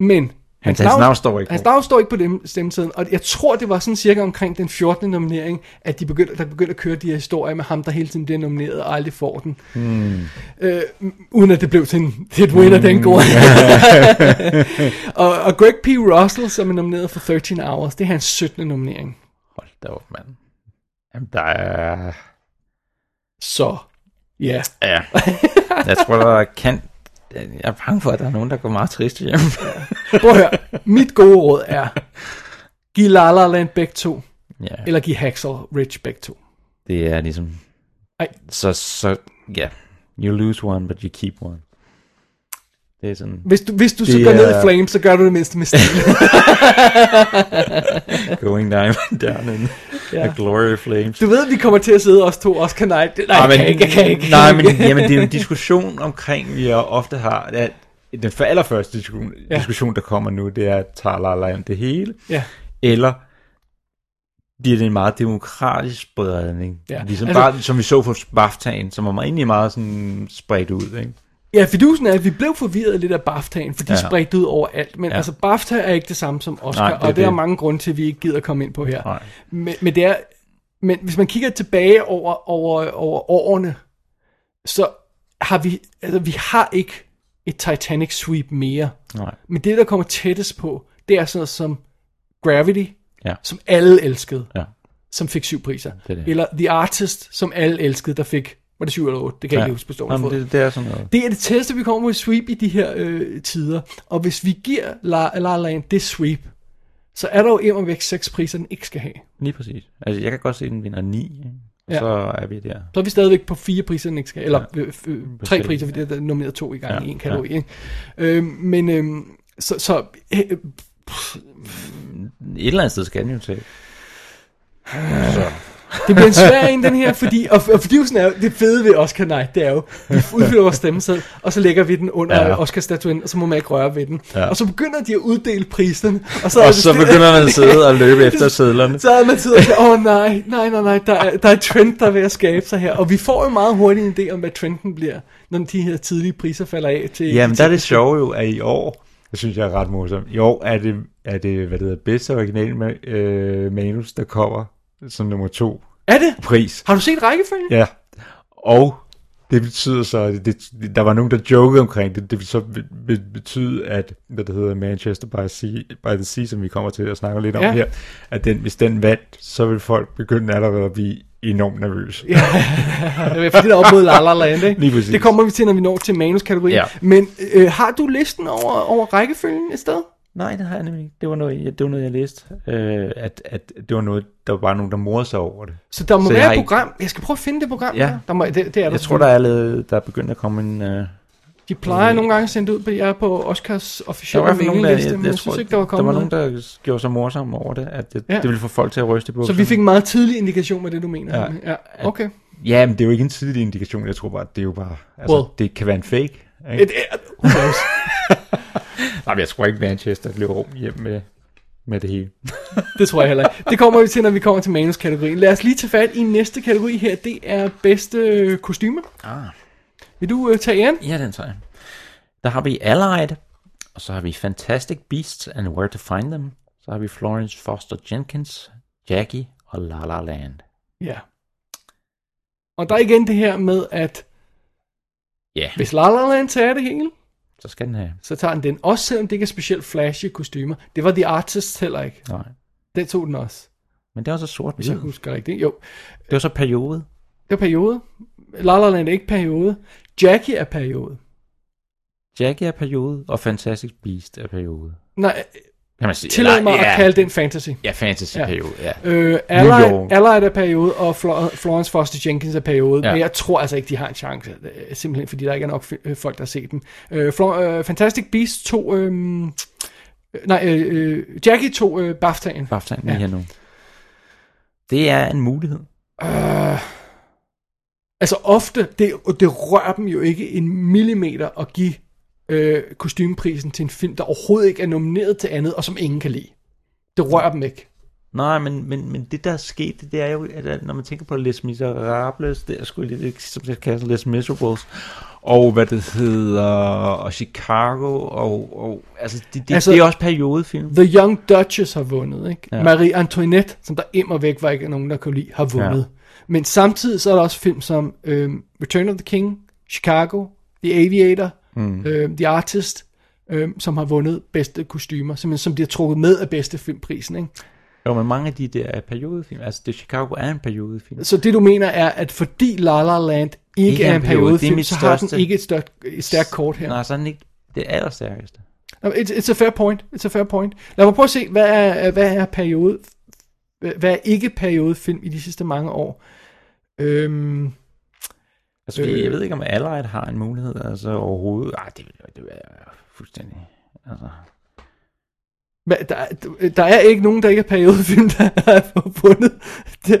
Men
Hans, hans navn står ikke
Hans
på.
navn står ikke på dem, stemmetiden, og jeg tror, det var sådan cirka omkring den 14. nominering, at de begyndte, der begyndte at køre de her historier med ham, der hele tiden bliver nomineret og aldrig får den. Hmm. Øh, uden at det blev til en hit winner,
Hmm.
den går. og, og Greg P. Russell, som er nomineret for 13 Hours, det er hans 17. nominering.
Hold da op, mand. Jamen, der er...
Så, ja. Yeah.
Ja. Jeg tror, der kan... Jeg er bange for, at der er nogen, der går meget triste hjem.
Prøv at høre, mit gode råd er, giv La La Land begge to,
ja,
eller giv Hacksaw Ridge begge to.
det er ligesom...
Ej.
Så, så, ja. You lose one, but you keep one. Det er sådan...
Hvis du, hvis du så
Det
går ned i
er-
Flames, så gør du det mindste med stil.
Going down, down in
Ja.
a glory flame.
Du ved, vi kommer til at sidde os to, også kan nej. Nej,
Ej,
jeg kan ikke, jeg kan ikke.
Ah, Nej, men jamen, det er jo en diskussion omkring, vi jo ofte har. Det er, den for allerførste diskussion,
Ja.
ja. diskussion, der kommer nu, det er, tager La La Land det hele?
Ja.
Eller bliver det en meget demokratisk spredning?
Ja,
Ligesom
altså-
altså, bare, som vi så på BAFTA'en, som var egentlig meget sådan spredt ud. Ikke?
Ja, fidusen er, at vi blev forvirret lidt af BAFTA'en, for de ja.
Ja.
spredte ud overalt. Men ja.
Ja.
altså, BAFTA er ikke det samme som Oscar,
Nej, det
og
er
det er der
det.
mange grunde til, at vi ikke gider komme ind på her.
Nej.
Men, men, det er, men hvis man kigger tilbage over, over, over årene, så har vi, altså, vi har ikke et Titanic sweep mere.
Nej.
Men det, der kommer tættest på, det er sådan noget som Gravity,
Ja.
som alle elskede,
Ja.
som fik syv priser.
er det.
Eller The Artist, som alle elskede, der fik, var det syv eller otte? Det kan jeg ikke huske på stående
Jamen,
fod.
det, det er sådan noget.
Det er det tætteste, vi kommer mod sweep i de her øh, tider. Og hvis vi giver La La Land det sweep, så er der jo imod væk seks priser, den ikke skal have.
Lige præcis. Altså, jeg kan godt se, at den vinder 9, ikke? og
Ja.
ja. så er vi der.
Så er vi stadigvæk på fire priser, den ikke skal have. Eller øh, øh, tre
Præcis.
priser, fordi der er nomineret to i gang i
Ja,
en kategori. Ja. Øh, men øh, så, så øh,
Et eller andet sted skal den jo til. Så.
Det bliver en svær en, den her, fordi, og, og forgivelsen er jo, det fede ved Oscar Night, det er jo, vi udfylder vores stemmeseddel, og så lægger vi den under ja.
Ja.
Oscar-statuen, og så må man ikke røre ved den. Ja.
Ja.
Og så begynder de at uddele prisen, og så, er
Og
det
så
stille-
begynder man at sidde og løbe efter sædlerne.
så er man sidder og siger, åh oh, nej, nej, nej, nej, der er, der er et trend, der er ved at skabe sig her. Og vi får jo meget hurtigt en idé om, hvad trenden bliver, når de her tidlige priser falder af til...
Jamen,
til
der er det sjove jo, at i år, det synes jeg er ret morsomt, i år er det, er det hvad det hedder, bedste original ma- øh, manus, der kommer som nummer to
Er det?
pris.
Har du set rækkefølgen?
Ja, og det betyder så, at det, der var nogen, der jokede omkring det, det vil så be- be- betyde, at hvad det hedder Manchester by, sea, by the Sea, som vi kommer til at snakke lidt om
Ja.
ja. her, at den, hvis den vandt, så vil folk begynde allerede at blive enormt nervøse. Ja.
Ja. Fordi der er op mod La La Land, ikke?
Lige præcis.
Det kommer vi til, når vi når til manuskategorien.
Ja.
Men øh, har du listen over, over rækkefølgen et sted?
Nej, det har jeg nemlig ikke. Det var noget, jeg, det var noget, jeg læste, øh, at, at det var noget, der var bare nogen, der morede sig over det.
Så der må
Så
så
jeg
være
har
et
ikke-
program. Jeg skal prøve at finde det program.
Ja.
der. Der må, det, det er der.
Jeg tror, der er, lavet, der er begyndt at komme en... Øh,
De plejer nogle gange at sende det ud, fordi jeg er på Oscars
der
officielle
var i hvert fald nogen, der, jeg,
mailingliste,
jeg,
men jeg
tror,
synes ikke, der var
der var
kommet
nogen,
noget.
der gjorde sig morsomme over det, at det,
Ja.
ja. det ville få folk til at ryste på.
Så vi fik en meget tidlig indikation med det, du mener.
Ja.
ja. okay.
Ja, men det er jo ikke en tidlig indikation. Jeg tror bare, det er jo bare... Altså,
Well.
Det kan være en fake. Ikke?
Et, et, who knows?
Nej, men jeg tror ikke, Manchester løber rum hjem med, med det hele.
det tror jeg heller ikke. Det kommer vi til, når vi kommer til manuskategorien. Lad os lige tage fat i næste kategori her. Det er bedste øh, kostyme. Ah. Vil du øh, tage æren?
Ja, den tager jeg. Der har vi Allied, og så har vi Fantastic Beasts and Where to Find Them. Så har vi Florence Foster Jenkins, Jackie og La La Land.
Ja. Og der er igen det her med, at
Ja, yeah,
hvis La La Land tager det hele,
så skal den have.
så tager den den. Også selvom det ikke er specielt flashy kostymer. Det var The Artist heller ikke.
Nej.
Den tog den også,
Men det er også sort
hvis jeg
hvid.
husker rigtigt. Jo,
Det var så periode.
det er periode. La La Land er ikke periode. Jackie er periode.
Jackie er periode, og Fantastic Beast er periode.
Nej,
Kan man sige.
tillad mig
ja,
at kalde den fantasy.
Ja, fantasy periode, ja.
Øh, Allied,
York.
Allied er periode, og Flo- Florence Foster Jenkins er periode. Ja.
Ja.
Men jeg tror altså ikke, de har en chance. øh, Simpelthen fordi der ikke er nok f- øh, folk, der har set dem. Øh, Flo- øh, Fantastic Beasts tog... Øh, nej, øh, øh, Jackie tog øh, BAFTA'en.
Baftan
Ja.
lige her nu. Det er en mulighed.
Altså ofte, det, og det rører dem jo ikke en millimeter at give øh, kostymeprisen til en film, der overhovedet ikke er nomineret til andet, og som ingen kan lide. Det rører dem ikke.
Nej, men, men, men det der er sket, det, det er jo, at at når man tænker på Les Miserables, det er sgu lidt, som jeg kalder Les Miserables, og hvad det hedder, og Chicago, og, og altså, det,
Altså-
det, altså, det er også periodefilm.
The Young Duchess har vundet, ikke? Ja.
Ja.
Marie Antoinette, som der immer væk var ikke nogen, der kunne lide, har vundet. Ja. Men samtidig så er der også film som øhm, Return of the King, Chicago, The Aviator, mm. øhm, The Artist, øhm, som har vundet bedste kostymer, simpelthen som bliver trukket med af bedste filmprisen, ikke?
Jo, men mange af de der er periodefilm. Altså, det Chicago er en periodefilm.
Så det du mener er, at fordi La La Land ikke, ikke er en
periode, det er
periodefilm,
mit
så har den
største-
ikke et, størst, et stærkt kort her.
Nej, så er den ikke det allerstærkeste.
No, it's, it's a fair point. It's a fair point. Lad mig prøve at se, hvad er, hvad er periode... Hvad er ikke periodefilm i de sidste mange år? Øhm,
Altså,
Øh.
øh. jeg ved ikke, om Allied har en mulighed, altså overhovedet. Ej, det vil det vil være fuldstændig... Altså,
hvad, der, er- der er ikke nogen, der ikke er periodefilm, der er forbundet. Det,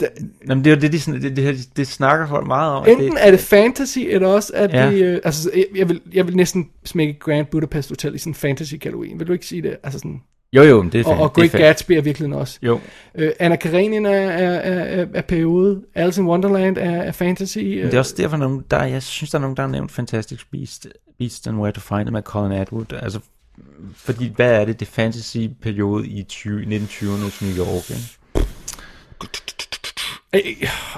det,
Jamen, det er jo det, de, sådan- det, det, det snakker folk meget om. at
enten er det fantasy, eller også er
Ja.
det... Øh, altså, jeg, jeg, vil, jeg vil næsten smække Grand Budapest Hotel i sådan en fantasy-kategorien. Vil du ikke sige det? Altså sådan,
Jo, jo, men det er
og,
fandme-
og
det er
Great
fandme-
Gatsby er virkelig også.
Jo,
Øh, Anna Karenina er, er, er, er, er periode. Alice in Wonderland er, er fantasy. Øh,
men det er også derfor, nogen, der, jeg synes, der er nogen, der har nævnt Fantastic Beasts, Beasts and Where to Find Them af Colin Atwood. Altså, fordi hvad er det, det fantasy-periode i 20, 1920'ernes New York, ikke?
Øh,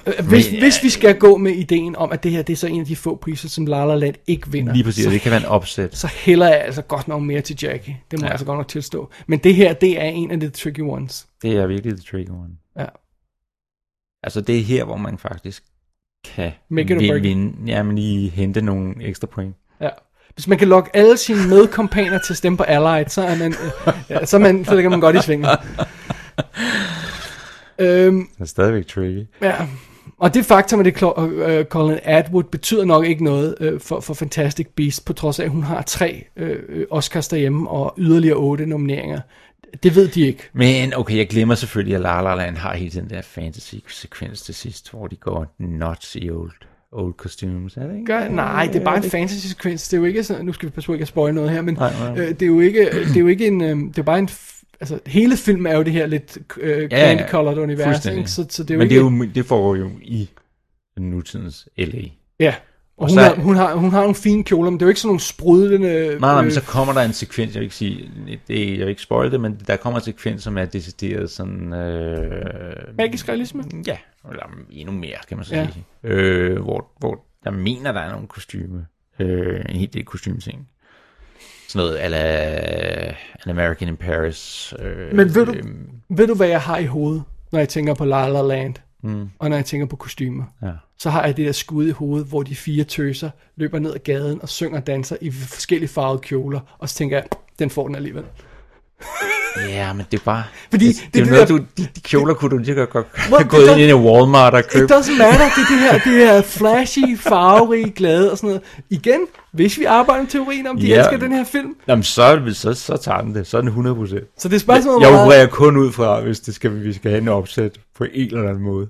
øh, Hvis,
Men,
hvis vi skal gå med ideen om, at det her det er så en af de få priser, som La La Land ikke vinder,
Lige præcis,
så,
og det kan være en opsæt.
så hælder jeg altså godt nok mere til Jackie. Det må ja. jeg altså godt nok tilstå. Men det her, det er en af de tricky ones.
Det er virkelig the tricky one.
Ja.
Altså, det er her, hvor man faktisk kan
Make it or
vin-
break it.
vinde, jamen lige hente nogle ekstra point.
Ja. Hvis man kan lokke alle sine medkompaner til at stemme på Allied, så er man, øh, ja, så er man, så ligger man godt i svingen. øhm,
Det er stadigvæk tricky.
Ja, og det faktum, at det er Clo- øh, Colin Atwood, betyder nok ikke noget øh, for, for Fantastic Beasts, på trods af, at hun har tre øh, øh, Oscars derhjemme og yderligere otte nomineringer. Det ved de ikke.
Men okay, jeg glemmer selvfølgelig, at La La Land har hele den der fantasy-sekvens til sidst, hvor de går nuts i old, old costumes, er det ikke?
Gør, nej, det er bare en fantasy-sekvens. Det er jo ikke sådan, nu skal vi passe på ikke at spoil noget her, men
Nej, nej.
Øh, det, er jo ikke, det er jo ikke en, øh, det er bare en, f- altså hele filmen er jo det her lidt øh,
Ja, ja,
candy-colored univers,
fuldstændig.
ikke? Så, så det er jo
Men
ikke...
det, er jo, det foregår jo i nutidens LA.
ja. Og
Og
hun,
så-
har, hun, har, hun har nogle fine kjoler, men det er jo ikke sådan nogle sprudlende...
Nej, nej, men
øh,
så kommer der en sekvens, jeg vil ikke sige, det, jeg vil ikke spoil det, men der kommer en sekvens, som er decideret sådan... Øh,
Magisk realisme?
Ja, eller endnu mere, kan man så
Ja.
ja. sige. Øh, hvor, hvor der mener, der er nogle kostyme. Øh, en hel del kostymeting. Sådan noget ala An American in Paris. Øh,
Men ved du-
øh,
Ved du, hvad jeg har i hovedet, når jeg tænker på La La Land, mm. og når jeg tænker på kostymer?
Ja.
Så har jeg det der skud i hovedet, hvor de fire tøser løber ned ad gaden og synger og danser i forskellige farvede kjoler, og så tænker jeg, den får den alligevel.
Ja, men det er bare...
Fordi
det, det,
det
er
er
jo noget,
det
du, de, de kjoler kunne du lige så godt godt
Well,
have gået
det er-
ind i Walmart og
It
købt.
doesn't matter, det er det her, det her flashy, farverige, glade og sådan noget. Igen, hvis vi arbejder med teorien om, de
Ja.
elsker den her film,
Jamen, så, er det- så, så tager den det. Så er den 100 procent.
så det er spørgsmålet, om,
Jeg
hvor meget-
opererer kun ud fra, hvis det skal, vi skal have en opsæt på en eller anden måde.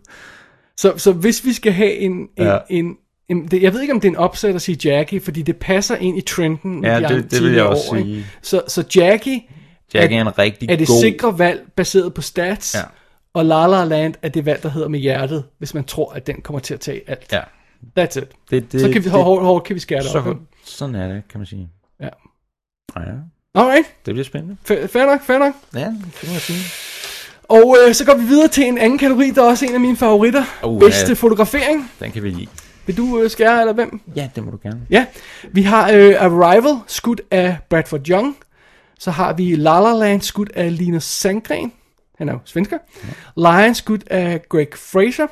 Så, så hvis vi skal have en... en, ja.
Ja.
en, en det, jeg ved ikke, om det er en opsæt at sige Jackie, fordi det passer ind i trenden. med
Ja,
de
det-
andre
det vil jeg
tidligere
også
år, ikke?
sige.
Så, så Jackie,
Jack er
Er-
en rigtig
er det
god...
sikre valg baseret på stats,
Ja.
og La La Land er det valg, der hedder med hjertet, hvis man tror, at den kommer til at tage alt.
Ja.
That's it.
Det, det,
så kan vi,
det,
hvor hårdt, hårdt kan vi skære det op.
så,
ikke?
sådan er det, kan man sige.
Ja.
Ja,
Alright,
det bliver spændende.
fair, fair nok, fair nok.
Ja, det må jeg sige.
Og øh, så går vi videre til en anden kategori, der er også en af mine favoritter.
Oh,
Bedste
ja.
fotografering.
Den kan vi lide.
Vil du øh, skære, eller hvem?
Ja, det må du gerne.
Ja, vi har øh, Arrival, skudt af Bradford Young. Så har vi La La Land, skudt af Linus Sandgren. Han er jo svensker. Lion, skudt af Greg Fraser.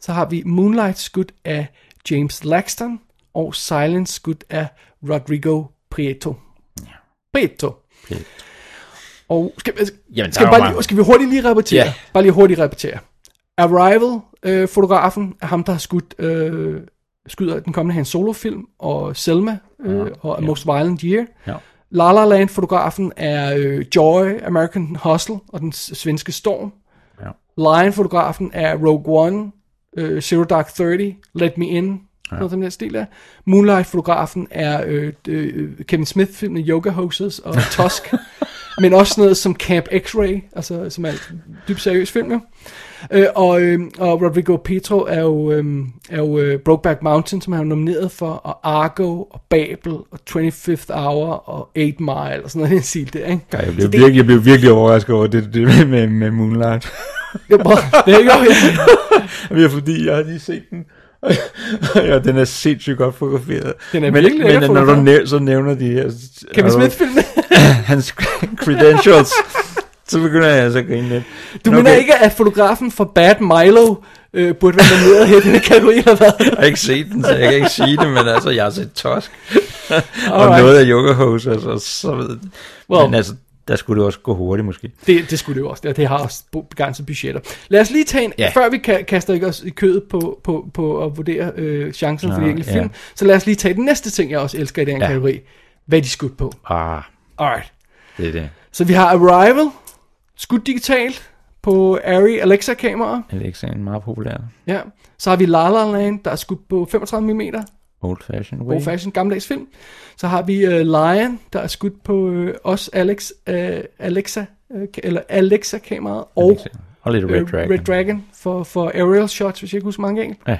Så har vi Moonlight, skudt af James Laxton. Og Silence, skudt af Rodrigo Prieto. Prieto. Og skal, Jamen,
Jamen,
skal,
der
vi
er jo
bare lige,
mange.
skal vi hurtigt lige repetere?
Ja.
Bare lige hurtigt repetere. Arrival-fotografen øh, er ham, der har skudt, øh, skyder den kommende hans solofilm, og Selma, øh, og A Most Violent Year.
Ja.
La La Land-fotografen er øh, Joy, American Hustle og den s- svenske Storm.
Ja.
Lion-fotografen er Rogue One, øh, Zero Dark Thirty, Let Me In, Ja. Noget af den her stil der. Moonlight-fotografen er øh, øh, Kevin Smith-filmen Yoga Hoses og Tusk. men også sådan noget som Camp X-Ray, altså, som er en dybt seriøs film, jo. Øh, og, øh, og Rodrigo Petro er jo, øh, er jo øh, Brokeback Mountain, som han er nomineret for, og Argo, og Babel, og 25th Hour, og 8 Mile, og sådan noget, den stil der, ikke?
Ej, jeg, blev virkelig, jeg blev virkelig overrasket over det, det med, med, med Moonlight.
Det er bare, det er ikke ja.
Men det er fordi, jeg har lige set den. ja, den er sindssygt godt fotograferet.
Den er
men,
virkelig
men
lækker
når du
fotograferet.
nævner, så nævner de her...
Kevin Smith-filmen.
hans credentials, så begynder jeg altså at grine lidt.
Du
Men
mener
okay,
ikke, at fotografen for Bad Milo øh, burde være nomineret her i denne kategori, eller hvad?
Jeg har ikke set den, så jeg kan ikke sige det, men altså, jeg har set Tosk. og
Alright.
noget af Yoga Hose, altså, så ved
Wow.
wow. Men altså, der skulle det også gå hurtigt, måske.
Det, det skulle det jo også, det, det har også bo- begrænsede budgetter. Lad os lige tage en, ja.
Ja.
før vi ka- kaster ikke os i kødet på, på, på at vurdere øh, chancen for de
Nå,
enkelte
ja.
film, så lad os lige tage den næste ting, jeg også elsker i den her
Ja.
kategori. Hvad er de skudt på?
Ah,
Alright.
det er det.
Så vi har Arrival, skudt digitalt på Arri Alexa-kameraer.
Alexa er en meget populær
Ja. Så har vi La La Land, der er skudt på 35 mm
old fashioned way.
old fashion gammeldags film. Så har vi uh, Lion, der er skudt på uh, os Alex, uh, Alexa, uh, eller Alexa-kameraet, og
Alexa. Og lidt Red
øh,
Dragon.
Red Dragon for, for aerial shots, hvis jeg ikke husker mange gange.
Ja.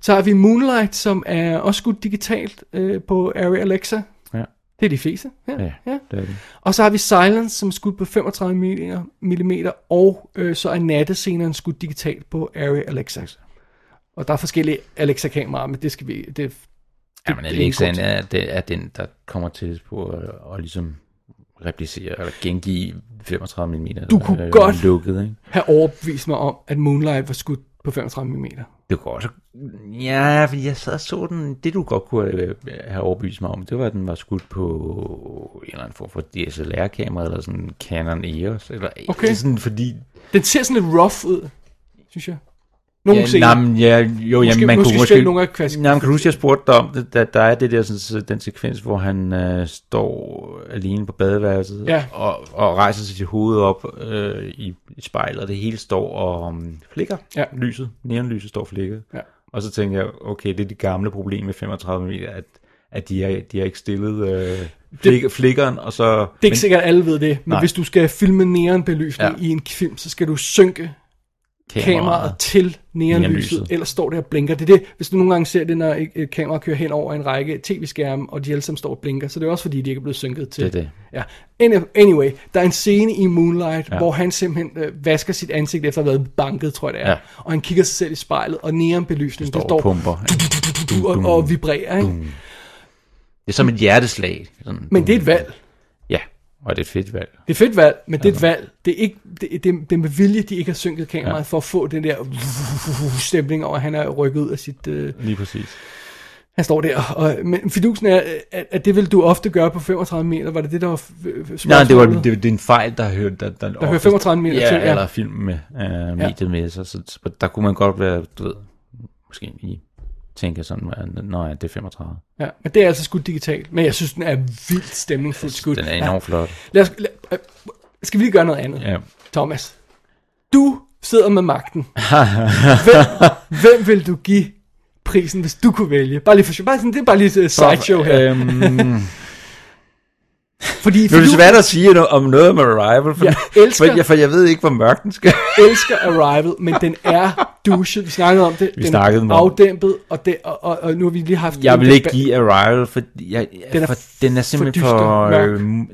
Så har vi Moonlight, som er også skudt digitalt øh, på Arri Alexa.
Ja.
Det er de fleste. Ja.
Ja,
ja.
det er det.
Og så har vi Silence, som er skudt på 35 mm, og øh, så er nattesceneren skudt digitalt på Arri Alexa. Og der er forskellige Alexa-kameraer, men det skal vi... Det, det,
Ja, men
det er ingen grund
Alexaen
til.
er, det er den, der kommer til på at, at ligesom replicere eller gengive 35 mm.
Du kunne godt-
Lukket, ikke?
have overbevist mig om, at Moonlight var skudt på 35 mm.
Det kunne også... Ja, fordi jeg sad og så den. Det, du godt kunne øh, have overbevist mig om, det var, at den var skudt på en eller anden form for DSLR-kamera, eller sådan en Canon EOS, eller
Okay.
det er sådan, fordi...
Den ser sådan lidt rough ud, synes jeg. Nogle
ja,
scener.
nej, men ja, jo,
Måske-
jamen, man
måske
kunne
specielt
måske...
nogle af klassiske-
nej, men kan du huske, jeg spurgte dig om det, der, der er det der, sådan, så den sekvens, hvor han øh, står alene på badeværelset,
Ja.
og, og rejser sit hoved op øh, i, i spejlet, og det hele står og um, flikker.
Ja.
Lyset, neonlyset står og flikker.
Ja.
Og så tænker jeg, okay, det er det gamle problem med 35 mm, at, at de, er, de har ikke stillet øh, flik, flikkeren, og så...
Det er ikke sikkert, at alle ved det, men Nej.
Nej.
hvis du skal filme neonbelysning ja.
Ja.
i en film, så skal du synke kameraet til neonlyset,
Neonlyset.
ellers står det og blinker. Det er det, hvis du nogle gange ser det, når et et kamera kører hen over en række tv-skærme, og de alle sammen står og blinker, så det er også fordi, de ikke er blevet synket til.
Det er det.
Ja. Any- Anyway, der er en scene i Moonlight, ja.
Ja.
hvor han simpelthen øh, vasker sit ansigt efter at have været banket, tror jeg det er, ja.
Ja.
og han kigger sig selv i spejlet, og neonbelysningen,
står og pumper.
du, og, og vibrerer, ikke?
Det er som et hjerteslag. Sådan,
Men det er et valg.
Ja, og det er et fedt valg.
Det er fedt valg, men det er et valg. Det er, ikke, det, det, det er med vilje, de ikke har synket kameraet ja. for at få den der stemning over, at han er rykket ud af sit... Øh,
Lige præcis.
han står der. Og, men fidusen er, øh, at, at det vil du ofte gøre på 35 meter. Var det det, der var f- øh,
Nej, det var
spørgsmålet?
det, det er en fejl, der hører der, der, der
hører 35 meter
ja,
til, ja.
eller film med øh, mediet med sig, så, så der kunne man godt være, du ved, måske lige tænke sådan, at nej, det er 35.
Ja, men det er altså skudt digitalt. Men jeg synes, den er vildt stemningsfuldt skudt.
Den er enormt flot.
Ja. Lad os, lad, øh, skal vi lige gøre noget andet?
Ja.
Thomas, du sidder med magten. hvem, hvem vil du give prisen, hvis du kunne vælge? Bare lige for sjov. Bare sådan, det er bare lige et sideshow her.
Øhm, nu
Fordi
er det
Fidusen-
svært at sige no- om noget om Arrival, for,
Jeg elsker-
for, jeg, for jeg ved ikke, hvor mørk den skal.
elsker Arrival, men den er douchet. Vi snakkede om det.
Vi
den
snakkede
er
om-
afdæmpet, og, det, og, og, og, nu har vi lige haft...
Jeg
en
vil ikke
debat-
give Arrival, for jeg,
Den
den,
er
er, for, den er simpelthen
for dyster,
for...
mørk.
øh, m-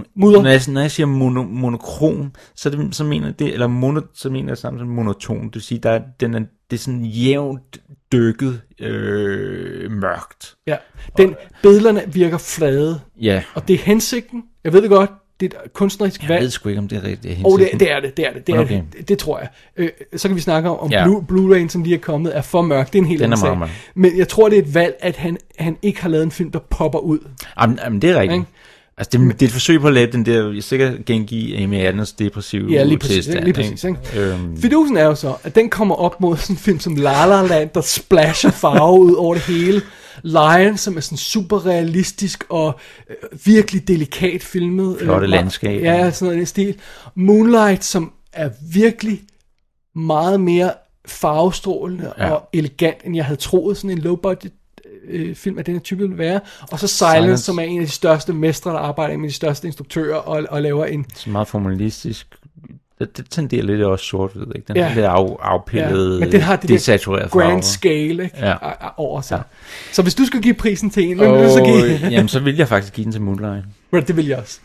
m-
Mudder.
Når jeg, når jeg siger mono, monokrom, så, er det, så mener jeg det, eller mono, så mener jeg samme som monoton. Det vil sige, der er, den er, det er sådan jævnt dykket øh, mørkt.
Ja. Den, billederne virker flade,
Ja,
og det er hensigten. Jeg ved det godt, det er et kunstnerisk
jeg ved
valg.
sgu ikke, om det er rigtigt.
Og det, det er det, det er det, det, er
Okay.
det, det, det tror jeg. Øh, så kan vi snakke om, om
Ja.
Blue, Blu-ray'en, som lige er kommet, er for mørk. Det er en helt
Den er
anden sag.
meget
Men jeg tror, det er et valg, at han, han ikke har lavet en film, der popper ud.
Jamen, jamen, det er rigtigt.
Ikke?
Altså, det, det er et forsøg på at lave den der, sikkert gengive Amy Adams depressive
Ja, lige præcis,
tilstand,
lige præcis, ikke?
Øhm,
Fidusen er jo så, at den kommer op mod sådan en film som La La Land, der splasher farve ud over det hele. Lion, som er sådan super realistisk og øh, virkelig delikat filmet. øh,
Flotte
meget-
landskaber.
Ja, sådan noget i den stil. Moonlight, som er virkelig meget mere farvestrålende ja. og elegant, end jeg havde troet, sådan en low-budget øh, film af den her type ville være. Og så Silence, Silence,
Silence.
som er en af de største mestre, der arbejder med de største instruktører og, og laver en
Så meget formalistisk. Det, det tenderer lidt også sort-hvid, ikke? Den
Ja.
ja. der af, afpillede,
men den har det
desaturerede
grand
farver.
scale ikke?
Ja.
A- a- over sig. Ja. Så hvis du skulle give prisen til en, hvem ville du så give?
Og, jamen, så vil jeg faktisk give den til Moonlight.
Men det vil jeg også.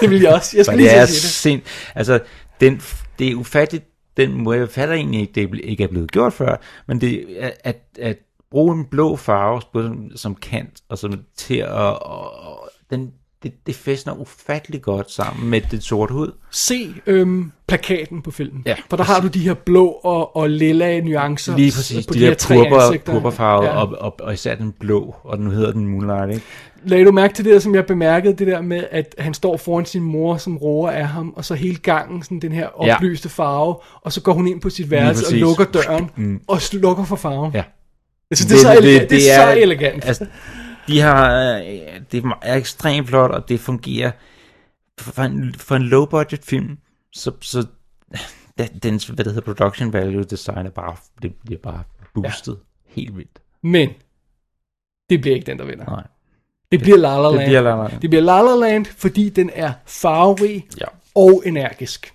Det vil jeg også. Jeg
For
skulle lige
det
til
er
at sige
sind... Altså, den, det er ufatteligt, den måde, jeg fatter egentlig ikke, det er ble- ikke er blevet gjort før, men det er- at, at bruge en blå farve både som, som kant og som til at... Og, og, den, det, det fæstner ufattelig godt sammen med det sorte hud.
det. Se øhm, plakaten på filmen.
Ja,
for der har du de her blå og, og lilla nuancer.
Lige præcis,
på
de,
de,
de der
her tre
purper,
ansigter.
purperfarvede, ja. og, og, og især den blå, og nu hedder den Moonlight, ikke?
Lagde du mærke til det, der, som jeg bemærkede, det der med, at han står foran sin mor, som roer af ham, og så hele gangen, sådan den her
Ja.
oplyste farve, og så går hun ind på sit værelse og
præcis.
lukker døren,
Mm.
og slukker for farven.
Ja.
Jeg synes, det, det, er, så elegant, det, det, er, så elegant.
Altså, de har, øh, det er ekstremt flot, og det fungerer for en, for en low-budget film, så, så den, dens, hvad det hedder, production value design er bare, det bliver bare boostet ja. helt vildt.
Men det bliver ikke den, der vinder.
Nej.
Det bliver La La Land.
Det bliver La La Land.
Det bliver La La Land, fordi den er farverig
Ja.
og energisk.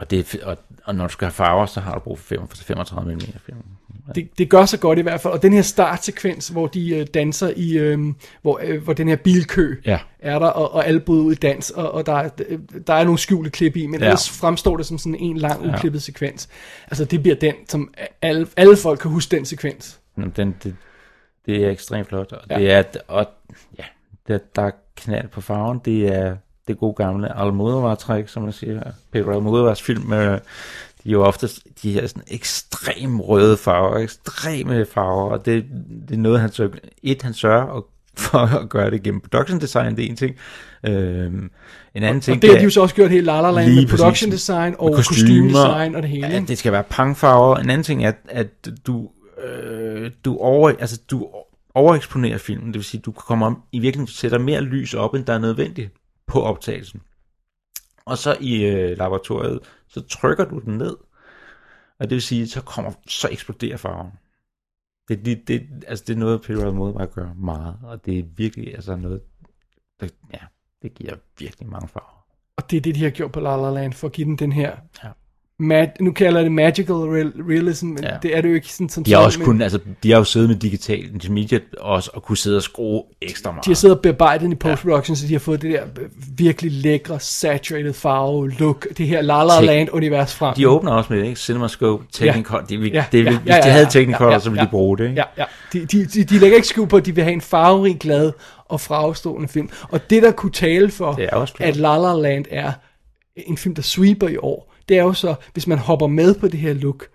Og, det er, fe- og, og når du skal have farver, så har du brug for 5 35 mm film.
Det, det gør sig godt i hvert fald. Og den her startsekvens, hvor de øh, danser i, øh, hvor, øh, hvor den her bilkø
Ja.
er der, og, og alle bryder ud i dans, og, og der, er- der er nogle skjulte klip i, men ja.
Ja.
ellers fremstår det som sådan en lang, uklippet ja. sekvens. Altså det bliver den, som alle, alle folk kan huske den sekvens.
Jamen, Den, det, det er ekstremt flot, og ja. det er, og, ja, det, der er knald på farven, det er det gode gamle Almodovar-træk, som man siger. Pedro Almodovars film, øh, de er jo oftest de her sådan ekstrem røde farver, ekstreme farver, og det, det er noget, han sørger, et, han sørger og, for at gøre det gennem production design, det er en ting. Øhm, en anden ting,
Og det har de jo så også gjort helt La La Land
Lige
med production
præcis.
design og
Med
kostume design og det hele.
Ja, det skal være pangfarver. En anden ting er, at du, øh, du, over, altså, du overeksponerer filmen. Det vil sige, du kommer om, i virkeligheden sætter mere lys op, end der er nødvendigt på optagelsen. Og så i øh, laboratoriet, så trykker du den ned. Og det vil sige, så kommer så eksploderer farven. Det, det, det, altså, det er noget, Peter Almodovar gør meget, og det er virkelig altså noget, det, ja, det giver virkelig mange farver.
Og det er det, de har gjort på La La Land, for at give den den her... Ja.
Ja.
Mad, nu kalder jeg det magical real, realism, men ja.
Ja.
det er det jo ikke sådan som
De har
sådan,
også
men
kun, altså, de har jo siddet med digital multimedia også, og kunne sidde og skrue ekstra meget.
De har siddet og bearbejdet den i post-production, ja. så de har fået det der øh, virkelig lækre, saturated farve, look, det her La La
Tek-
Land-univers frem.
de åbner også med det, ikke? CinemaScope, Technicolor. Ja. Det, vil,
Ja,
ja. det, vil,
ja,
Hvis
ja,
de
ja,
havde
ja,
Technicolor,
ja, ja,
så ville
ja.
de bruge det, ikke?
Ja, ja. De, de, de, de lægger ikke skjul på, at de vil have en farverig, glad og farvestående film. Og det, der kunne tale for,
Det er også klart.
at La La Land er en film, der sweeper i år, det er jo så, hvis man hopper med på det her look,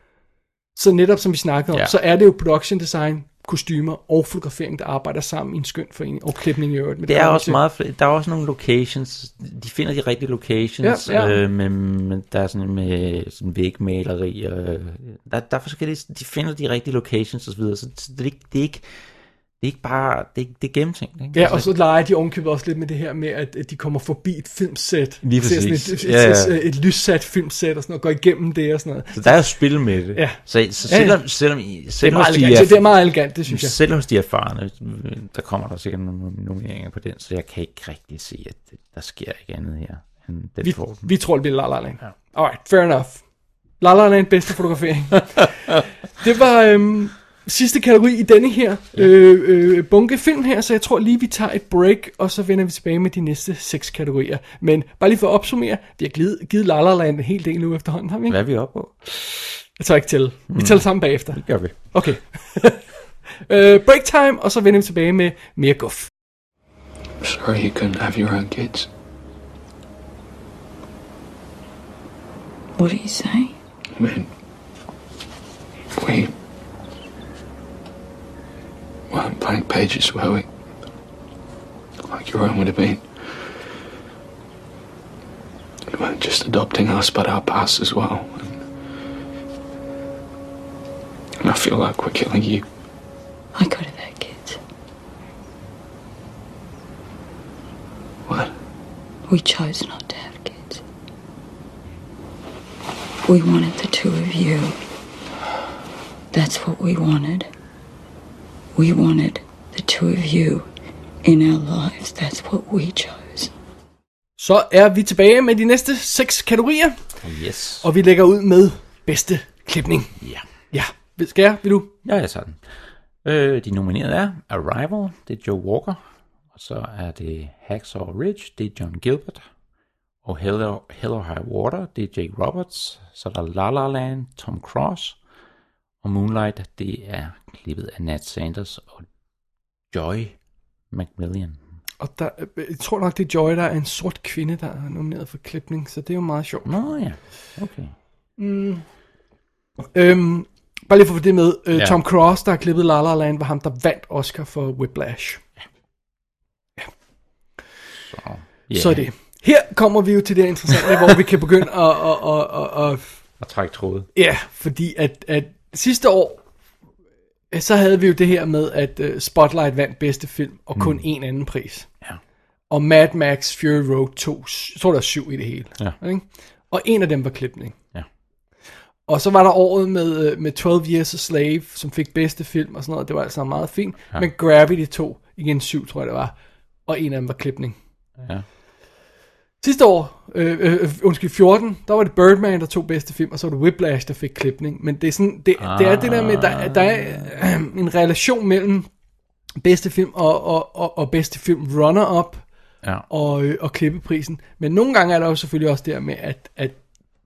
så netop som vi snakkede om, ja.
Ja.
så er det jo production design, kostymer og fotografering, der arbejder sammen i en skøn forening, og klipning i øvrigt. Men
Det er
kommer
også
til-
meget, fl- der er også nogle locations, de finder de rigtige locations,
Ja,
ja,
ja.
ja. Øh, med, med, der er sådan med sådan vægmaleri, og, øh, der, der er forskellige, de finder de rigtige locations osv., så, videre, så det, er ikke, det er ikke, det er ikke bare, det er, ikke- det er gennemtænkt, ikke? Altså,
Ja, og så leger de ovenkøbet også lidt med det her med, at at de kommer forbi et filmsæt.
Lige
Ser sådan
præcis.
Et, et,
Ja,
ja,
ja.
ja. et, et lyssat filmsæt og sådan noget, går igennem det og sådan noget.
så der er jo spil med det.
Ja.
Så, så
Ja, ja.
selvom, selvom, I-
Det er,
selvom
meget
de
elegant. det er meget elegant, det synes jeg.
Selv hos de erfarne, der kommer der sikkert nogle nomineringer på den, så jeg kan ikke rigtig se, at det- der sker ikke andet her, end den
Vi,
får den.
vi tror, det bliver La La Land. Ja. Alright, fair enough. La La Land, bedste fotografering. det var øhm, sidste kategori i denne her øh, øh, bunke film her, så jeg tror lige, vi tager et break, og så vender vi tilbage med de næste seks kategorier. Men bare lige for at opsummere, vi har givet, givet La La Land en hel del nu efterhånden, har vi ikke?
Hvad er vi oppe på?
Jeg tager ikke til. Vi tæller sammen bagefter.
Det gør vi.
Okay. øh, break time, og så vender vi tilbage med mere guf.
Sorry you couldn't have your own kids.
What did you say?
I mean, we weren't blank pages, were we? Like your own would have been. You weren't just adopting us, but our past as well. And, and I feel like we're killing you.
I could have had kids.
What?
We chose not to have kids. We wanted the two of you. That's what we wanted. We wanted the two of you in our lives. That's what we chose.
Så er vi tilbage med de næste seks kategorier,
Yes.
og vi lægger ud med bedste klipning.
Ja.
Ja, Vil- skal jeg? Vil du?
Ja, jeg tager den. Øh, de nominerede er Arrival, det er Joe Walker. Og så er det Hacksaw Ridge, det er John Gilbert. Og Hello, Hello High Water, det er Jake Roberts. Så er der La La Land, Tom Cross. Og Moonlight, det er klippet af Nat Sanders og Joy McMillian.
Og der, øh, jeg tror nok, det er Joy, der er en sort kvinde, der er nomineret for klipning, så det er jo meget sjovt.
Nå ja, okay.
Øhm, bare lige for at få det med. Øh,
Ja.
Tom Cross, der har klippet La La Land, var ham, der vandt Oscar for Whiplash.
Så,
Yeah. Så er det. Her kommer vi jo til det interessante, hvor vi kan begynde at... at, at, at, at
Og træk trådet.
ja, fordi at, at sidste år, øh, så havde vi jo det her med, at øh, Spotlight vandt bedste film, og kun en anden pris.
Mm. Ja.
Og Mad Max Fury Road 2, jeg tror der er syv i det hele.
Ja.
Ikke? Og en af dem var klipning.
Ja.
Og så var der året med, øh, med 12 Years a Slave, som fik bedste film og sådan noget. Det var altså meget fint. Ja. Men Gravity 2, igen syv, tror jeg det var. Og en af dem var klipning.
Ja.
Sidste år, øh, øh, undskyld, 14, der var det Birdman, der tog bedste film, og så var det Whiplash, der fik klipning. Men det er, sådan, det, ah. det, er det der med, der, er- der er øh, en relation mellem bedste film og, og, og, og bedste film runner-up
Ja.
og, øh, og klippeprisen. Men nogle gange er der jo selvfølgelig også det her med, at, at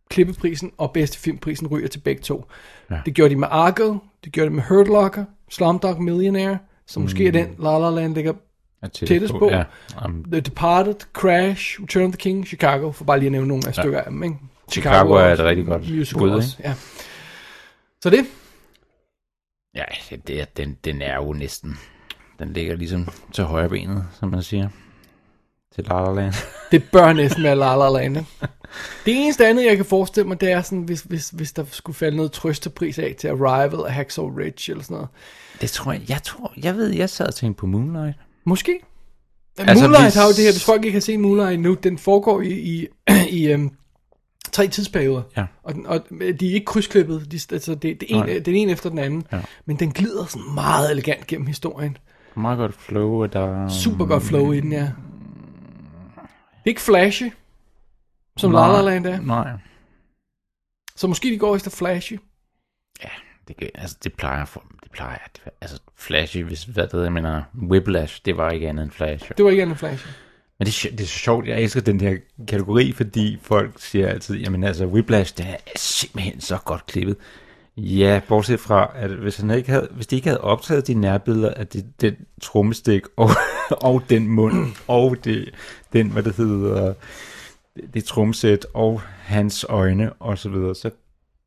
klippeprisen og bedste filmprisen ryger til begge to. Ja. Det gjorde de med Argo, det gjorde de med Hurt Locker, Slumdog Millionaire, som måske er den La La Land ligger
Og
Tættest på.
Ja. Um,
The Departed, Crash, Return of the King, Chicago, for bare lige at nævne nogle af ja. stykker af dem, ikke?
Chicago er et
også
rigtig godt
musical
bud,
også, ja. Så det,
Ja, det er, den, den er jo næsten. Den ligger ligesom til højre benet, som man siger. Til La La Land.
det bør næsten være La La Land. ikke? Det eneste andet, jeg kan forestille mig, det er sådan, hvis, hvis, hvis der skulle falde noget trøstepris af til Arrival og Hacksaw Ridge eller sådan noget.
Det tror jeg, jeg tror, jeg ved, jeg sad og tænkte på Moonlight.
Måske. Altså,
Altså,
Moonlight
hvis-
har jo det her, hvis folk ikke har set Moonlight nu, den foregår i, i, i øhm, tre tidsperioder.
Ja.
Og, den- og øh, de er ikke krydsklippet, de, altså det, det, ene,
Nej.
det er en efter den anden.
Ja.
Men den glider sådan meget elegant gennem historien.
Meget godt flow, og der...
Super godt flow i den, ja. Det er ikke flashy, som La La Land er.
Nej,
Så måske de går efter flashy.
det, kan- altså, det plejer for, det plejer, det, altså flashy, hvis, hvad det jeg mener, whiplash, det var ikke andet end flash.
Det var ikke andet flashy.
Men det, er sj- det er så sjovt, jeg elsker den her kategori, fordi folk siger altid, jamen altså, Whiplash, det er simpelthen så godt klippet. Ja, bortset fra, at hvis, han ikke havde, hvis de ikke havde optaget de nærbilleder af det, den trommestik og, og den mund, og det, den, hvad det hedder, det, det trommesæt og hans øjne og så videre, så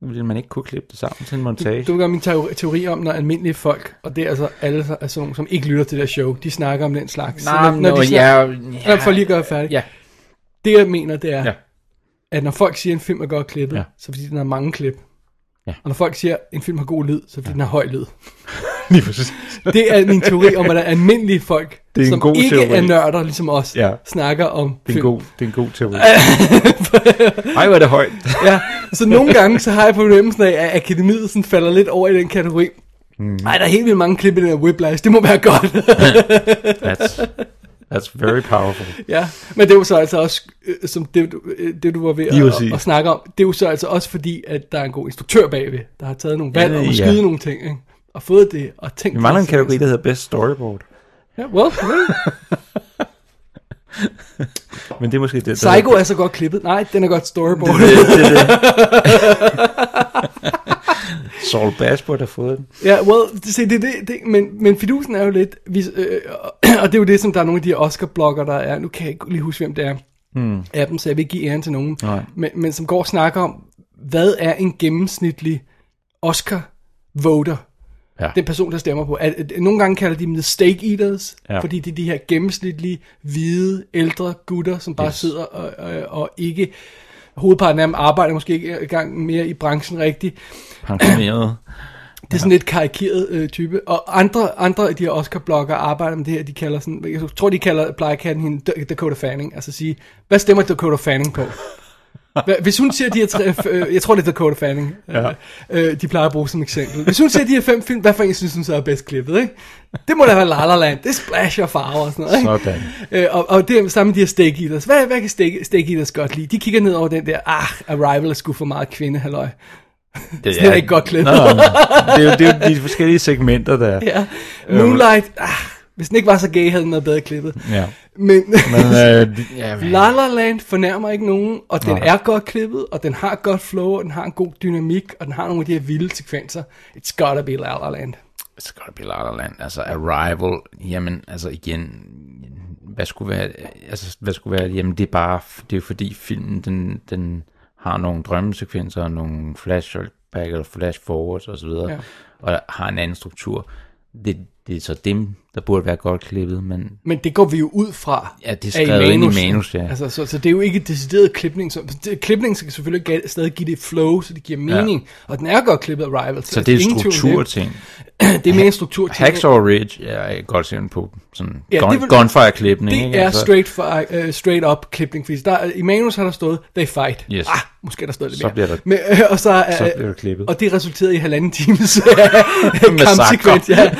ville man ikke kunne klippe det sammen til en montage.
Du ved godt min teori, teori om, når almindelige folk, og det er altså alle så- altså, nogen, som ikke lytter til det her show, de snakker om den slags. Så
Nej,
når, når de snakker,
ja,
Ja, for lige at gøre færdig.
Ja.
Det jeg mener, det er, ja.
Ja.
at når folk siger, at en film er godt klippet, ja.
Ja.
så er det, fordi den har mange klip.
Ja.
Og når folk siger, at en film har god lyd, så er det, fordi ja. den har høj lyd.
lige præcis.
Det er min teori om, at der er almindelige folk,
Det er en
som
god
ikke
teori.
er nørder, ligesom os,
Ja.
snakker om
Det er en
film.
god, det er en god teori. Ej, hvor er det højt.
Ja. Så nogle gange, så har jeg på fornemmelsen af, at akademiet sådan falder lidt over i den kategori.
Hmm.
Nej, mm. der er helt vildt mange klip i den her Whiplash. Det må være godt.
That's, that's very powerful.
ja. Men det er jo så altså også, øh, som det, du- øh, det du var ved
Lige
at,
præcis.
at, snakke om, det er jo så altså også fordi, at der er en god instruktør bagved, der har taget nogle valg
Ja,
om at
ja.
skyde nogle ting, ikke? og fået det, og tænkt...
Vi mangler en
sig.
kategori, der hedder Best Storyboard.
Ja, well, well.
Men det er måske det, der
Psycho er så godt klippet. Nej, den er godt storyboard.
Saul Bashford har fået den.
Ja, well, det, se, det, det, det, men, men fidusen er jo lidt, vi, øh, og det er jo det, som der er nogle af de her Oscar-blogger, der er, nu kan jeg ikke lige huske, hvem det er mm. af dem, så jeg vil ikke give æren til nogen,
Hmm. Nej.
men, men som går og snakker om, hvad er en gennemsnitlig Oscar-voter?
Ja.
Den person, der stemmer på. At, at, nogle gange kalder de dem the steak eaters,
Ja.
fordi det er de her gennemsnitlige, hvide, ældre gutter, som bare yes. sidder og, og, og ikke... Hovedparten af dem arbejder måske ikke engang mere i branchen rigtigt,
Pensioneret.
det er sådan lidt karikeret øh, type. Og andre, andre af de her Oscar-blogger arbejder med det her, de kalder sådan, jeg tror de kalder Plejekatten hende D- Dakota Fanning. Altså sige, hvad stemmer Dakota Fanning på? Hva- Hvis hun siger de her tre, øh, jeg tror det er Dakota Fanning, ja. øh, de plejer at bruge som eksempel. Hvis hun siger de her fem film, hvad for en synes hun så er bedst klippet, ikke? Det må da være La La Land, det splasher farver og sådan noget, ikke?
Sådan.
Øh, og, og det er samme med de her steak eaters. Hvad, hvad kan steak, steak eaters godt lide? De kigger ned over den der, ah, Arrival er sgu for meget kvinde, halløj.
Det
Slet ikke godt klædt.
Nå, nå, nå. Det, er jo, det er jo de forskellige segmenter, der er.
Ja. Moonlight, ah, hvis den ikke var så gay, havde den været bedre klippet.
Øhm. Ja.
Men,
Men, øh, de- ja,
La La Land fornærmer ikke nogen, og den er godt klippet, og den har godt flow, og den har en god dynamik, og den har nogle af de her vilde sekvenser. It's gotta be La La Land.
så godt blive La La Land. Altså Arrival, jamen altså igen, hvad skulle være, altså hvad skulle være, jamen det er bare, det er jo fordi filmen, den, den har nogle drømmesekvenser, og nogle flashback eller flash forwards og så videre,
Ja.
ja. og har en anden struktur. Det, det er så dem, der burde være godt klippet, men
Men det går vi jo ud fra.
Ja, det
er
er skrevet ind i manus, ja.
Altså, så, så det er jo ikke decideret klipning. Så, det, klipning skal selvfølgelig ga- stadig give det flow, så det giver mening. Ja. Og den er godt klippet af Rival. Altså,
så det er en
ingen tvivl om
strukturting.
Det, det er mere en struktur.
Hacksaw Ridge ja, jeg kan godt se den på sådan
Ja,
ja,
det
gun,
vil-
gunfire-klipning.
Det
ikke?
er
Altså,
straight, for, uh, straight up klipning, fordi der, i manus har der stået, they fight.
Yes.
Ah, måske er der stået lidt
Så
mere.
bliver der-
Men, øh, og så, øh,
Så bliver der klippet.
Og det resulterede i halvanden times
Massakre.
kampsekvens. ja.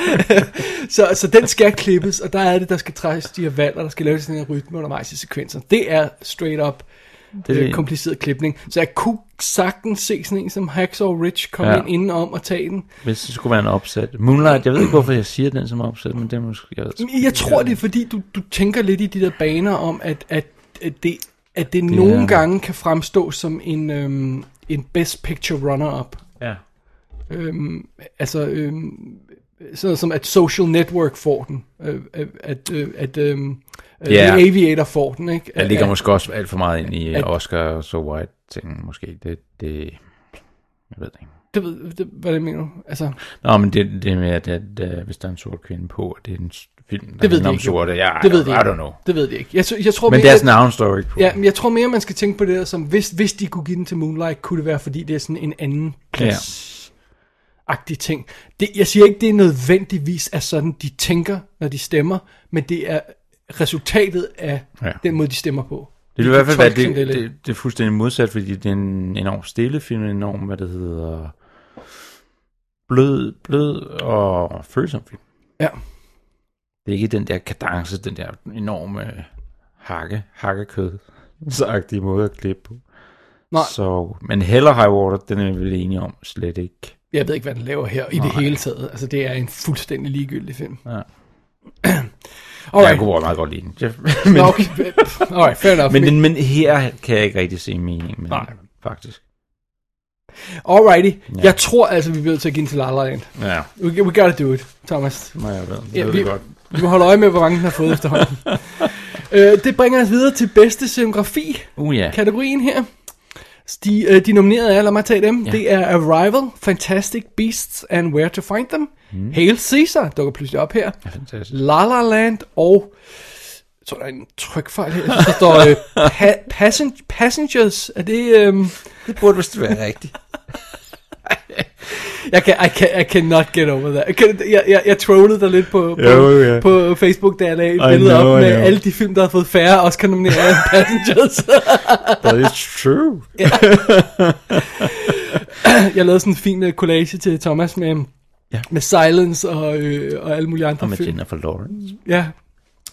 så, så den skal klippes, og der er det, der skal trækkes de her valg, og der skal laves sådan en rytme undervejs i sekvensen. Det er straight up det
Det-
er kompliceret klipning. Så jeg kunne sagtens se sådan en som Hacksaw Ridge komme
Ja.
ind indenom og tage den.
Hvis det skulle være en opsat. Moonlight, jeg ved ikke, hvorfor jeg siger den som opsat, men det er måske... Jeg,
Men Jeg tror, det er fordi, du, du tænker lidt i de der baner om, at, at, at det, at det nogle gange kan fremstå som en, øhm, en best picture runner-up.
Ja.
Øhm, altså, øhm, sådan noget som at Social Network får den. Øh, øh, at øh, at øhm, øh,
Ja.
The Aviator får den, ikke?
Jeg ligger
At-
måske også alt for meget ind i øh,
At-
Oscar og So White ting, måske. Det, det, jeg ved det ikke.
Det, ved- det, hvad det mener du? Altså,
Nå, men det, det med, at, at, at hvis der er en sort kvinde på, og det er en s- film, der
det ved
handler
de
om
ikke. jo.
sorte, ja,
det ved de
I
ikke.
don't know.
Det ved de ikke. Jeg, jeg tror,
Men
mere-
deres navn står jo ikke på.
Ja, men jeg tror mere, man skal tænke på det der, som hvis, hvis de kunne give den til Moonlight, kunne det være, fordi det er sådan en anden plads agtig ting. Det, jeg siger ikke, det er nødvendigvis er sådan, de tænker, når de stemmer, men det er resultatet af ja.
Ja.
den måde, de stemmer på.
Det vil i hvert fald være,
Tolke sådan
det,
lidt.
det, det er fuldstændig modsat, fordi det er en enorm stille film, en enorm, hvad det hedder, blød, blød og følsom film.
Ja.
Det er ikke den der kadence, den der enorme hakke, hakkekød, sagtige måde at klippe på.
Nej.
Så, men Heller High Water, den er vi vel enige om, slet ikke.
Jeg ved ikke, hvad den laver her i det hele taget. Altså, det er en fuldstændig ligegyldig film.
Ja. Jeg
Alright.
kunne også meget godt lide den. Jeg-
Nå, okay. Alright, fair enough.
men, men, men her kan jeg ikke rigtig se mening med
Nej.
den, faktisk.
Alrighty.
Ja.
Jeg tror altså, vi bliver nødt til at give den til La La Land.
Ja,
We, we gotta do it, Thomas.
må jeg ved.
Ja,
Jeg ved
vi-
det godt.
Vi må holde øje med, hvor mange den har fået efterhånden. øh, det bringer os videre til bedste scenografi-kategorien
Uh, ja.
her. De, øh, de nominerede er, lad mig tage dem, ja.
Ja.
det er Arrival, Fantastic Beasts and Where to Find Them, mm. Hail Caesar dukker pludselig op her,
Fantastisk.
La La Land og, jeg tror der er en trykfejl her, der står øh, pa- passen- Passengers, er det, øhm,
Det burde vist være rigtigt.
jeg kan, I, can, I cannot get over that. Jeg, kan- jeg, jeg, jeg trollede dig lidt på, på,
Jo, ja.
på Facebook, da jeg lagde et
I
billede
know,
op
I
med
know.
alle de film, der har fået færre Oscar-nomineringer end Passengers.
But it's true.
jeg lavede sådan en fin øh, collage til Thomas med, ja.
Ja.
med Silence og, øh, og alle mulige andre
Og med
film.
Jennifer Lawrence.
Ja.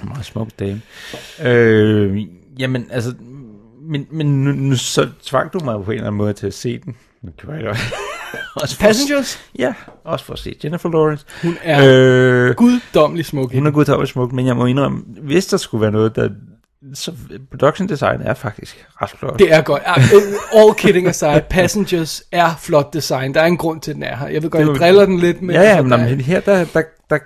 En meget smuk dame. Mm. Øh, jamen, altså... Men, men nu, nu, så tvang du mig på en eller anden måde til at se den. Nu kan jeg da også for,
Passengers,
Ja, også for at se Jennifer Lawrence.
hun er øh.
Øh,
guddommelig smuk.
hun er guddommelig smuk, men jeg må indrømme, hvis der skulle være noget, der... Så production design er faktisk ret flot.
Det er godt. Ah, øh, All kidding aside, Passengers er flot design. Der er en grund til, at den er her. Jeg ved godt,
Det
jeg
var-
driller den lidt. Men
ja, ja, men,
altså, der er-
jamen, her, der, der, der,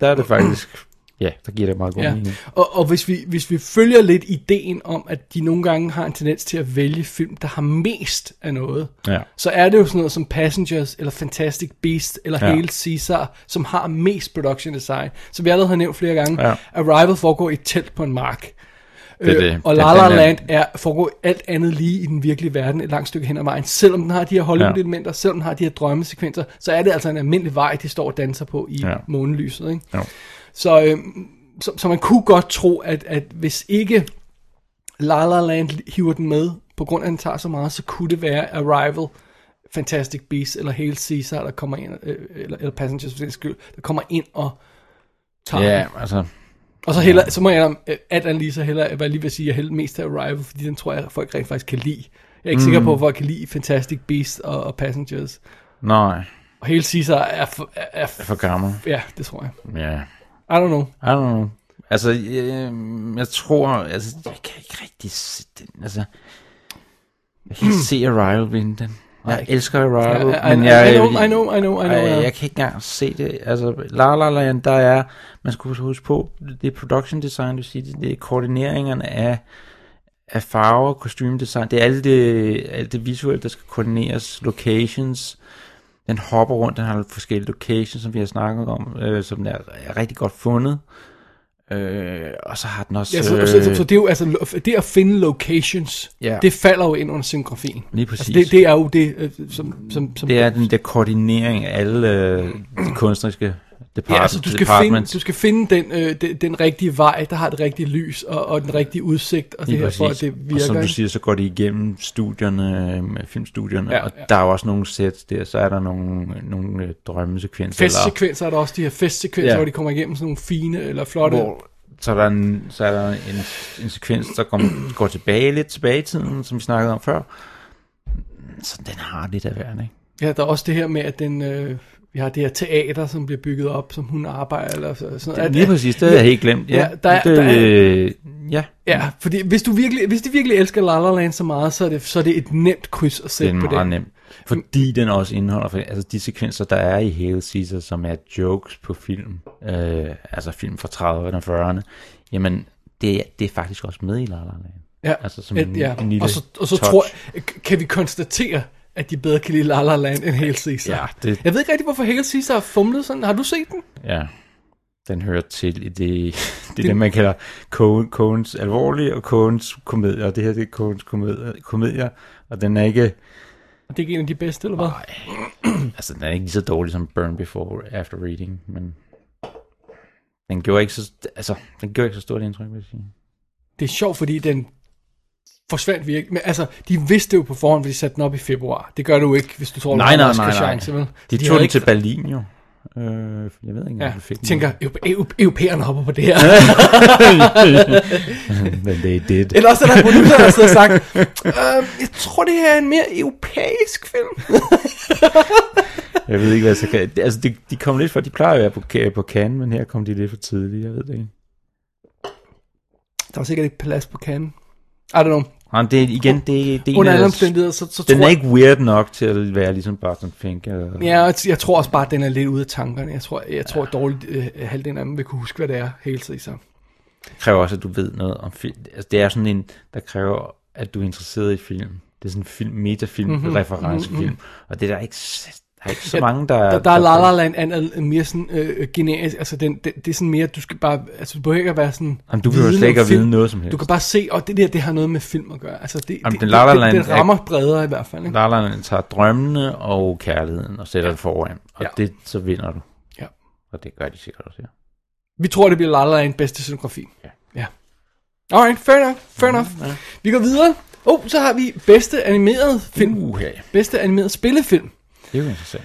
der er det faktisk... Ja, der giver det meget god
Ja.
mening.
Og, og hvis, vi, hvis vi følger lidt ideen om, at de nogle gange har en tendens til at vælge film, der har mest af noget,
Ja.
så er det jo sådan noget som Passengers, eller Fantastic Beast, eller ja.
Ja.
Hail Caesar, som har mest production design. Som vi allerede har nævnt flere gange,
Ja.
Arrival foregår i et telt på en mark.
Det er det.
Øh, og
Den-
La La
den er-
Land er, foregår alt andet lige i den virkelige verden et langt stykke hen ad vejen. Selvom den har de her Hollywood-elementer, selvom den har de her drømmesekvenser, så er det altså en almindelig vej, de står og danser på i ja.
Ja.
månelyset. Ikke?
Jo.
Så, øh, så, så man kunne godt tro, at, at hvis ikke La La Land hiver den med på grund af, at den tager så meget, så kunne det være Arrival, Fantastic Beasts eller Hail Caesar, der kommer ind, øh, eller, eller Passengers for den skyld, der kommer ind og tager den.
Ja, altså,
Og så, heller, så må jeg om, at Anna Lisa heller, hvad jeg lige vil sige, jeg hælder mest til Arrival, fordi den tror jeg, at folk rent faktisk kan lide. Jeg er ikke mm. sikker på, hvor jeg kan lide Fantastic Beasts og, og Passengers.
nej,
Og hele Caesar er, for, er, er for,
for gammel.
ja, det tror jeg.
Ja,
I don't know.
I don't know. Altså, øh, jeg tror, altså, jeg kan ikke rigtig se den, altså, jeg kan ikke se Arrival vinde den. Jeg elsker Arrival,
I, I, I,
men
I,
jeg,
know, I know, I know, I know.
Ej,
ja.
jeg kan ikke engang se det. Altså, La La Land, der er, man skal huske på, det er production design, du siger, det, det er koordineringerne af, af farver, kostymedesign, det er alt det, alt det visuelle, der skal koordineres, locations, den hopper rundt, den har forskellige locations, som vi har snakket om, øh, som er, er rigtig godt fundet. Øh, og så har den også... øh,
Ja, så, så, så, så det er jo altså, lo- det at finde locations,
Ja.
det falder jo ind under scenografien.
Lige
Altså,
præcis.
det, det er jo det, øh, som, som, som
det er den der koordinering af alle øh, de kunstneriske depart-
Ja, altså, du skal, finde,
departments.
du skal finde den, øh, den, den rigtige vej, der har det rigtige lys og, og den rigtige udsigt, og det
Lige
her, for at
præcis.
det virker.
Og som du
ikke?
siger, så går det igennem studierne, øhm, filmstudierne,
Ja,
ja, og
ja.
der er jo også nogle sæt der, så er der nogle, nogle øh, drømmesekvenser, eller,
Festsekvenser er der også de her festsekvenser,
Ja.
hvor de kommer igennem sådan nogle fine eller flotte.
hvor så er der en, så er der en, en sekvens, der går, går tilbage lidt tilbage i tiden, som vi snakkede om før. Så den har lidt af værd, ikke?
Ja, der er også det her med, at den, øh, vi har det her teater, som bliver bygget op, som hun arbejder. Eller så- sådan,
Lige præcis, det havde jeg helt glemt. Ja,
Ja, der er-
det,
der er-
øh, ja.
Ja, fordi hvis du virkelig, hvis de virkelig elsker La La Land så meget, så er det, så er det et nemt kryds at
Det er
sætte på
meget
det.
nemt. Fordi den også indeholder, for- altså de sekvenser, der er i Hail Caesar, som er jokes på film, øh, altså film fra 30'erne og 40'erne, jamen det, er- det er faktisk også med i La La Land.
Ja,
Altså som
et,
en-
ja.
en lille
og så, og så
touch.
tror jeg, kan vi konstatere, at de bedre kan lide La La Land end Hail Caesar.
Ja, det-
Jeg ved ikke rigtig, hvorfor Hail Caesar har fumlet sådan. Har du set den?
Ja, den hører til i det, det, er det man kalder Coen- Coens alvorlige og Coens komedier, og det her det er Coens komedier, komedier og den er ikke,
Er det ikke en af de bedste, eller hvad?
altså den er ikke lige så dårlig som Burn Before After Reading, men den gjorde ikke så, altså, den gjorde ikke så stort indtryk, vil jeg sige.
Det er sjovt, fordi den forsvandt virkelig. Men altså, de vidste jo på forhånd, at de satte den op i februar. Det gør du ikke, hvis du tror,
Nej,
du
nej,
har en
nej, nej.
Oscar-chance, vel?
De, de
havde
tog den
ikke-
til Berlin jo. Øh, jeg ved ikke,
Ja,
om de fik den.
tænker, "Europæ- eu- europæerne hopper på det her.
Men they did.
Eller også er der en producer, der sidder og sagt, øhm, jeg tror, det her er en mere europæisk film.
Jeg ved ikke, hvad jeg så kan. Altså, de, de kom lidt for, de plejer at være på, Ca- på Cannes, men her kom de lidt for tidligt, jeg ved det ikke.
Der var sikkert ikke plads på kanden. I don't know.
Nej, men det er igen, det, er- det er en
Under
af-
alle omstændigheder, så, så
Den
tror
er
jeg...
ikke weird nok til at være ligesom Barton Fink. Eller,
Ja, og jeg tror også bare, at den er lidt ude af tankerne. Jeg tror, jeg tror dårligt, øh, halvdelen af dem vil kunne huske, hvad det er hele tiden. Så.
Det kræver også, at du ved noget om film. Altså, det er sådan en, der kræver, at du er interesseret i film. Det er sådan en film, metafilm,
Mhm.
mm-hmm. referencefilm. Mm-hmm. Og det er der ikke, s- der er ikke så mange, der...
Der, der er La La Land an, an, mere sådan øh, generisk, altså den, den, det er sådan mere, du skal bare, altså du behøver ikke at være sådan
Jamen, du behøver
viden
slet ikke
om
at vide
film.
noget som helst.
Du kan bare se, og det der, det har noget med film at gøre. Altså det,
Jamen,
det,
den La La
det,
Land
det, det
er-
rammer bredere i hvert fald, ikke?
La La Land tager drømmene og kærligheden og sætter ja. det foran. Og
Ja.
ja. det, så vinder du.
Ja.
Og det gør de sikkert også, ja.
Vi tror, det bliver La La Land bedste scenografi.
Ja.
ja. Alright, fair enough, fair enough. Ja. Vi går videre. Oh, så har vi bedste animeret film.
Uh, ja, ja.
Bedste animeret spillefilm.
Det er jo interessant.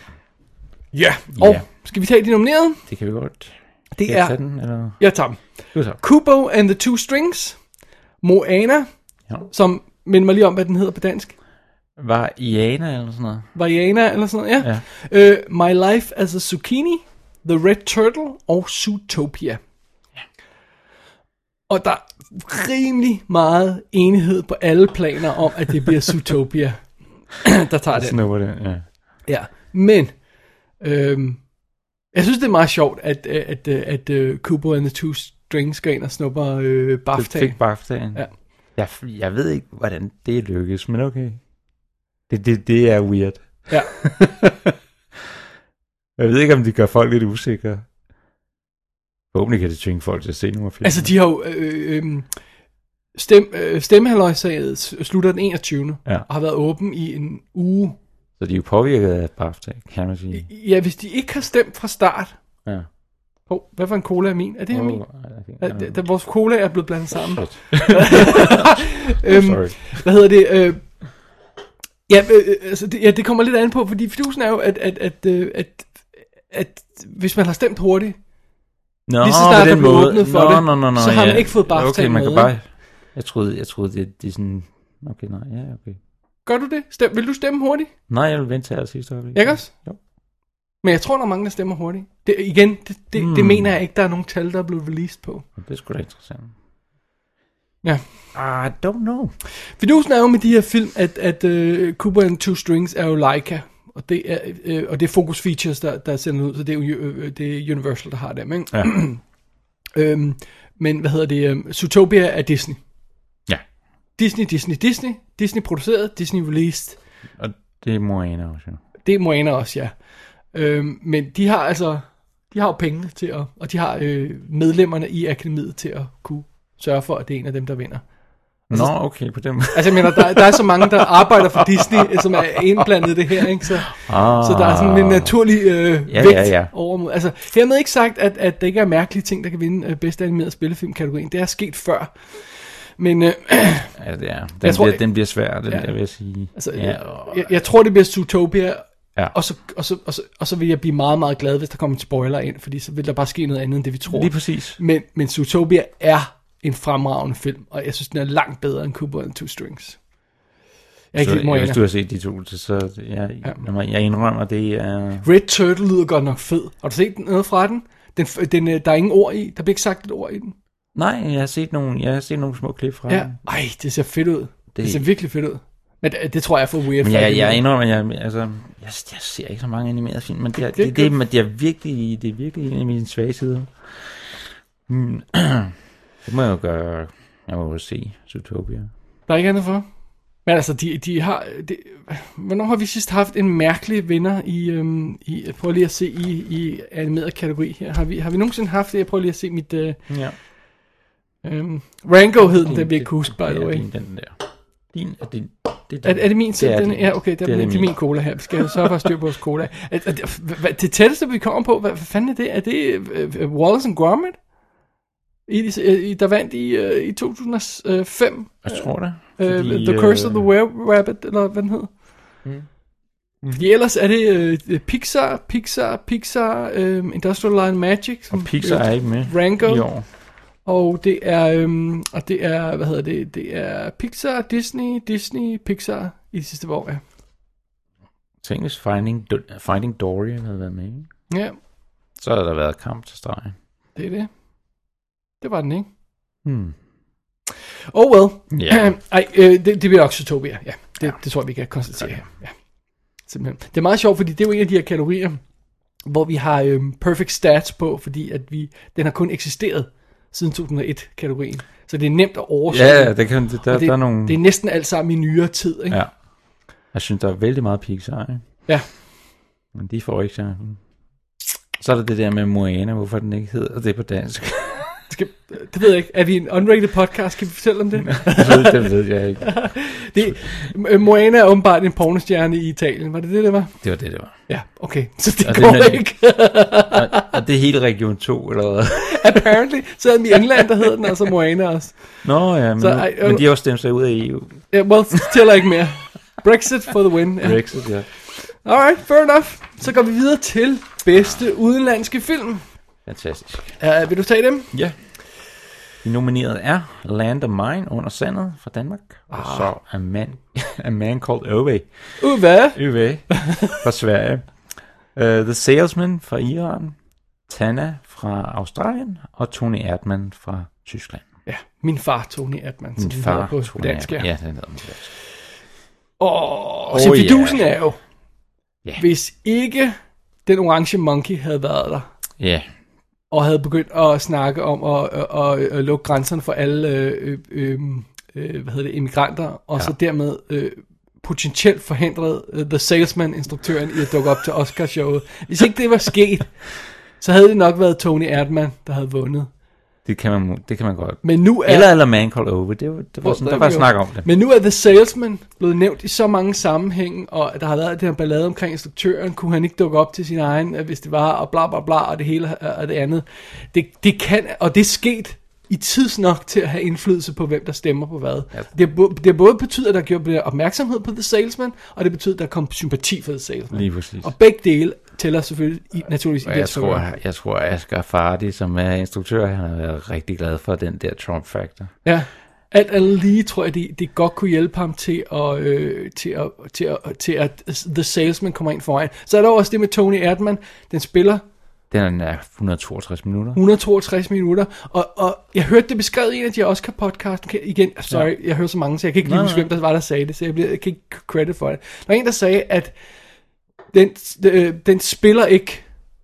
Ja. Og
Ja.
skal vi tage de nominerede?
Det kan vi godt.
Det
Skal jeg
er,
tage den, eller?
jeg tager dem.
Du tager.
Kubo and the Two Strings. Moana,
Ja.
som minder mig lige om, hvad den hedder på dansk.
Var Iana eller sådan noget?
Vajana eller sådan noget, ja. ja. Uh, My Life as a Zucchini, The Red Turtle og Zootopia. Ja. Og der er rimelig meget enighed på alle planer om, at det bliver Zootopia, der tager den.
Snupper det, ja.
Ja. Men, øhm, jeg synes, det er meget sjovt, at, at, at, at uh, Kubo and the Two Strings går ind og snupper øh,
Det
BAFTA.
fik Baftaen.
Ja.
Jeg, jeg ved ikke, hvordan det lykkedes, men okay. Det, det, det er weird.
Ja.
Jeg ved ikke, om det gør folk lidt usikre. Forhåbentlig kan det tvinge folk til at se nogle af filmene.
Altså, de har jo... Øh, øh, stem, øh, stemmehaløjsaget slutter den 21.
Ja.
Og har været åben i en uge.
Så de er jo påvirket af BAFTA, kan man sige.
Ja, hvis de ikke har stemt fra start,
Ja.
Hov, hvad for en cola er min? Er det her min?
Oh,
Ja,
I
d-
think,
d- vores cola er blevet blandet sammen.
Shit.
Øhm,
Sorry.
Hvad hedder det? Øh, ja, øh, øh, altså det, ja, det kommer lidt an på, fordi fidusen er jo, at, at, at, øh, at, at hvis man har stemt hurtigt,
Nå,
lige så
på
snart der
den
blev
måde.
åbnet for
nå,
det,
nå, nå, nå,
så har
ja.
man ikke fået BAFTA
Okay, man kan
med.
bare... Jeg troede, jeg troede det, det er sådan... Okay, nej, ja, okay.
gør du det? Stem, vil du stemme hurtigt?
Nej, jeg vil vente til sidste øjeblik.
Ikke også?
Jo.
Men jeg tror, der er mange, der stemmer hurtigt. Det, igen, det, det, mm. det
Hmm.
mener jeg ikke, der er nogen tal, der er blevet released på.
Det er sgu da interessant.
Ja. Ah,
I don't know.
Fidusen er jo med de her film, at, at uh, Cooper and Two Strings er jo Leica, og det er, øh, og det er Focus Features, der, der sender ud, så det er, jo, øh, det er Universal, der har dem, ikke?
Ja.
Øhm, men hvad hedder det? Øhm, Zootopia er Disney.
ja.
Disney, Disney, Disney. Disney produceret, Disney released.
Og det er Moana også, jo.
Det er Moana også, ja. Øhm, men de har altså, de har jo pengene til at, og de har øh, medlemmerne i akademiet til at kunne sørge for, at det er en af dem, der vinder.
Nå, okay, på den måde.
Altså jeg mener, der, der er så mange, der arbejder for Disney, øh, som er indblandet i det her, ikke? Så,
Ah.
så der er sådan en naturlig øh,
Ja,
vægt
ja, ja.
over mod. Altså hermed ikke sagt, at, at der ikke er mærkelige ting, der kan vinde øh, bedste animeret spillefilm-kategorien. Det er sket før. Men øh,
Ja, det er. Den,
Jeg tror,
tror, bliver,
det-
den bliver svær, den
Ja.
ja. der, vil jeg sige.
Altså,
ja,
ja, jeg, jeg tror, det bliver Zootopia,
Ja.
og, så, og, så, og, så, og så vil jeg blive meget, meget glad, hvis der kommer en spoiler ind, fordi så vil der bare ske noget andet, end det vi tror.
Lige præcis.
Men, men Zootopia er en fremragende film, og jeg synes, den er langt bedre end Cooper and Two Strings. Jeg er ikke helt
Så,
Moana.
hvis du har set de to, så, så jeg, ja. jeg indrømmer, det er...
Red Turtle lyder godt nok fed. Har du set den- noget fra den? den, f- den øh, der er ingen ord i. Der bliver ikke sagt et ord i den.
Nej, jeg har set nogle, jeg har set nogle små klip fra
Ja.
den.
Ej, det ser fedt ud. Det, det ser virkelig fedt ud. Men det, det tror jeg er for weird.
Men
for
jeg,
anime.
jeg indrømmer, jeg, altså, jeg, jeg ser ikke så mange animerede film, men det
Det
er,
er
det, det, det, det er virkelig, det er virkelig en af mine svage sider. Hmm. Det må jeg jo gøre. Jeg må jo se Zootopia.
Der er ikke andet for. Men altså, de, de har... De, hvornår har vi sidst haft en mærkelig vinder i... Øhm, i prøv lige at se i, i animeret kategori her. Har vi, har vi nogensinde haft det? Jeg prøver lige at se mit... Øh,
Ja.
øhm, Rango hed den, den vi ikke kunne huske, by the
det er
way.
Din, den der. Din, er det, det
Er, er det min
Det er
selv? Den,
din.
ja, okay, der, det, er
det
min, det er
min.
min cola her. Vi skal sørge for at styre på vores cola. Er, er, det- hva- det tætteste, vi kommer på, hvad, hvad fanden er det? Er det øh, Wallace and Gromit? I, i, der vandt i, øh, i 2005
Jeg tror det.
Øh, the Curse of the Were Rabbit, eller hvad den hed. Mm.
Mm-hmm.
Fordi ellers er det øh, Pixar, Pixar, Pixar, øh, Industrial Light and Magic.
Og
som- øh,
Pixar er ikke med
Rango.
i år.
Og det er, øh, og det er, hvad hedder det, det er Pixar, Disney, Disney, Pixar i de sidste par år, ja.
Tænk hvis Finding, Do- Finding Dory havde været med. ikke?
Ja,
Så havde der været kamp til stregen.
det er det. Det var den, ikke?
Hmm.
Oh well.
Ja.
Ej, øh, det, det bliver også Zootopia, ja. Det, ja. det tror jeg, vi kan konstatere her. Ja. Simpelthen. Det er meget sjovt, fordi det er jo en af de her kategorier, hvor vi har øhm, perfect stats på, fordi at vi, den har kun eksisteret siden 2001-kategorien. Så det er nemt at oversætte.
Ja, det kan, det, der,
det,
det, der er nogle...
det er næsten alt sammen i nyere tid, ikke?
Ja. Jeg synes, der er vældig meget Pixar, ikke?
Ja.
Men de får ikke chancen. Så er der det der med Moana, hvorfor den ikke hedder det på dansk.
Skal, det ved jeg ikke. Er vi en unrated podcast? Kan vi fortælle om det?
det ved jeg ikke.
det øh, Moana er åbenbart en pornostjerne i Italien. Var det det, det var?
Det var det, det var.
Ja, okay. Så det
Og det er
går
den-
ikke.
Og det er hele Region 2, eller hvad?
Apparently. Så havde vi i England, der hed den altså Moana også.
Nå ja, men,
Så,
så,
ej, øh,
men de har også stemt sig ud af E EU.
Ja, yeah, well, det tæller ikke mere. Brexit for the win. Ja.
Brexit, ja.
Alright, fair enough. Så går vi videre til bedste udenlandske film.
Fantastisk.
Uh, vil du tage dem?
Ja. De nominerede er Land of Mine under sandet fra Danmark. Ah. Og så A Man, A Man Called Ove.
Uva,
Uwe fra Sverige. Uh, The Salesman fra Iran. Tana fra Australien. Og Tony Erdmann fra Tyskland.
min far Tony Erdmann, som
Min
den
far,
hedder på
Tony
dansk.
Erdmann.
Ja.
Ja, den hedder min dansk.
Og oh,
Oh,
Sefidusen
ja.
er jo,
Ja.
hvis ikke den orange monkey havde været der,
Ja,
og havde begyndt at snakke om at, at, at, at lukke grænserne for alle øh, øh, øh, hvad hedder det, immigranter, og ja. så dermed øh, potentielt forhindret øh, The Salesman-instruktøren i at dukke op til Oscarshowet. Hvis ikke det var sket, så havde det nok været Tony Erdmann, der havde vundet.
Det kan man, det kan man godt.
Men nu er,
Eller eller Man Call Over, det, var- det var sådan, der var snak om det.
Men nu er The Salesman blevet nævnt i så mange sammenhænge, og der har været den her ballade omkring instruktøren, kunne han ikke dukke op til sin egen, øh, hvis det var, og bla bla bla, og det hele øh, og det andet. Det, det kan, og det er sket i tids nok til at have indflydelse på, hvem der stemmer på hvad. Ja. Det, har bo- det har både betydet, at der gjorde blev opmærksomhed på The Salesman, og det betyder, at der kom sympati for The Salesman.
Lige præcis.
Og begge dele tæller selvfølgelig i, naturligvis i
Og
det her
jeg tror,
story.
jeg tror, at Asger Fardi, som er instruktør, han har været rigtig glad for den der Trump-factor.
Ja. Alt andet lige tror jeg, det, det godt kunne hjælpe ham til at, øh, til, at, til, at, til at The Salesman kommer ind foran. Så er der også det med Tony Erdmann. Den spiller
Den er 162 minutter.
162 minutter, og, og jeg hørte det beskrevet i en af de Oscar-podcasten Kan- igen. Sorry, ja. jeg hører så mange, så jeg kan ikke lige huske, hvem der var, der sagde det, så jeg, bliver, jeg kan ikke credit for det. Der var en, der sagde, at den, øh, den spiller ikke,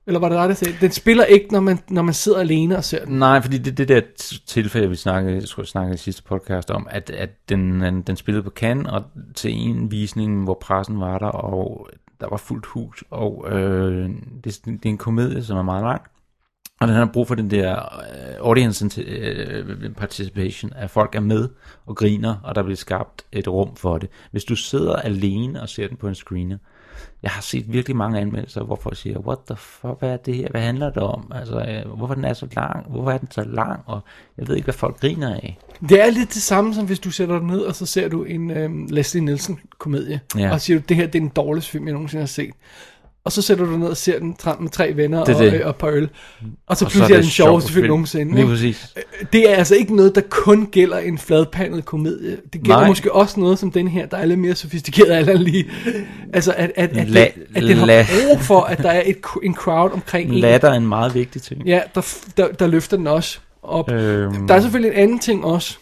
eller var det der, der sagde, den spiller ikke, når man, når man sidder alene og ser den.
Nej, fordi det, det der t- tilfælde, vi snakkede, jeg tror, jeg snakkede i sidste podcast om, at, at den, den, den spillede på Cannes, og til en visning, hvor pressen var der, og der var fuldt hus, og øh, det, det er en komedie, som er meget lang, og den har brug for den der øh, audience inti- øh, participation, at folk er med og griner, og der bliver skabt et rum for det. Hvis du sidder alene og ser den på en screener, jeg har set virkelig mange anmeldelser, hvor folk siger, what the fuck, hvad er det her, hvad handler det om, altså, øh, hvorfor den er så lang, hvorfor er den så lang, og jeg ved ikke, hvad folk griner af.
Det er lidt det samme, som hvis du sætter dig ned, og så ser du en øhm, Leslie Nielsen-komedie,
Ja.
ja. og siger du, det her det er den dårligste film, jeg nogensinde har set. Og så sætter du dig ned og ser den tra- med tre venner
Det er
og,
det.
øh, og et par øl. Og så
Og
pludselig er, den sjoveste film nogensinde.
Lige
ikke?
præcis.
Det er altså ikke noget, der kun gælder en fladpandet komedie. Det gælder
Nej.
Nej. måske også noget som den her, der er lidt mere sofistikeret alt andet lige. Altså, at, at, at,
La-
at, at den
la-
har brug for, at der er et, en crowd omkring en,
Latter er en meget vigtig ting.
Ja, der, f- der, der løfter den også op.
Øhm.
Øhm. Der er selvfølgelig en anden ting også,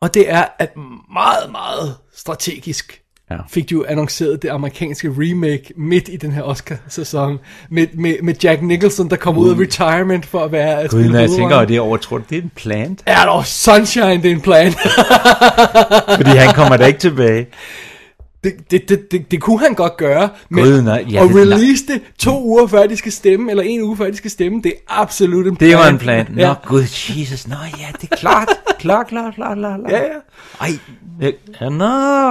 og det er, at meget, meget strategisk
Ja.
ja. fik de jo annonceret det amerikanske remake midt i den her Oscar-sæson, med, med, med Jack Nicholson, der kom ud af retirement for at være... at
Gud,
spille
når jeg
hovedrollen.
tænker over det over, tror du, det er en plant?
Er der sunshine, det er en plan?
Fordi han kommer da ikke tilbage.
Det, det, det, det, det kunne han godt gøre, men
Gud, nej, ja,
at
det- nej.
release det to uger før de skal stemme, eller en uge før de skal stemme, det er absolut en plan.
Det var en plan. Nå,
Ja.
gud, Jesus, nå ja, det er klart. Klart, klart, klart, klart, klart.
Ja, ja.
Ej, øh, ja, nå,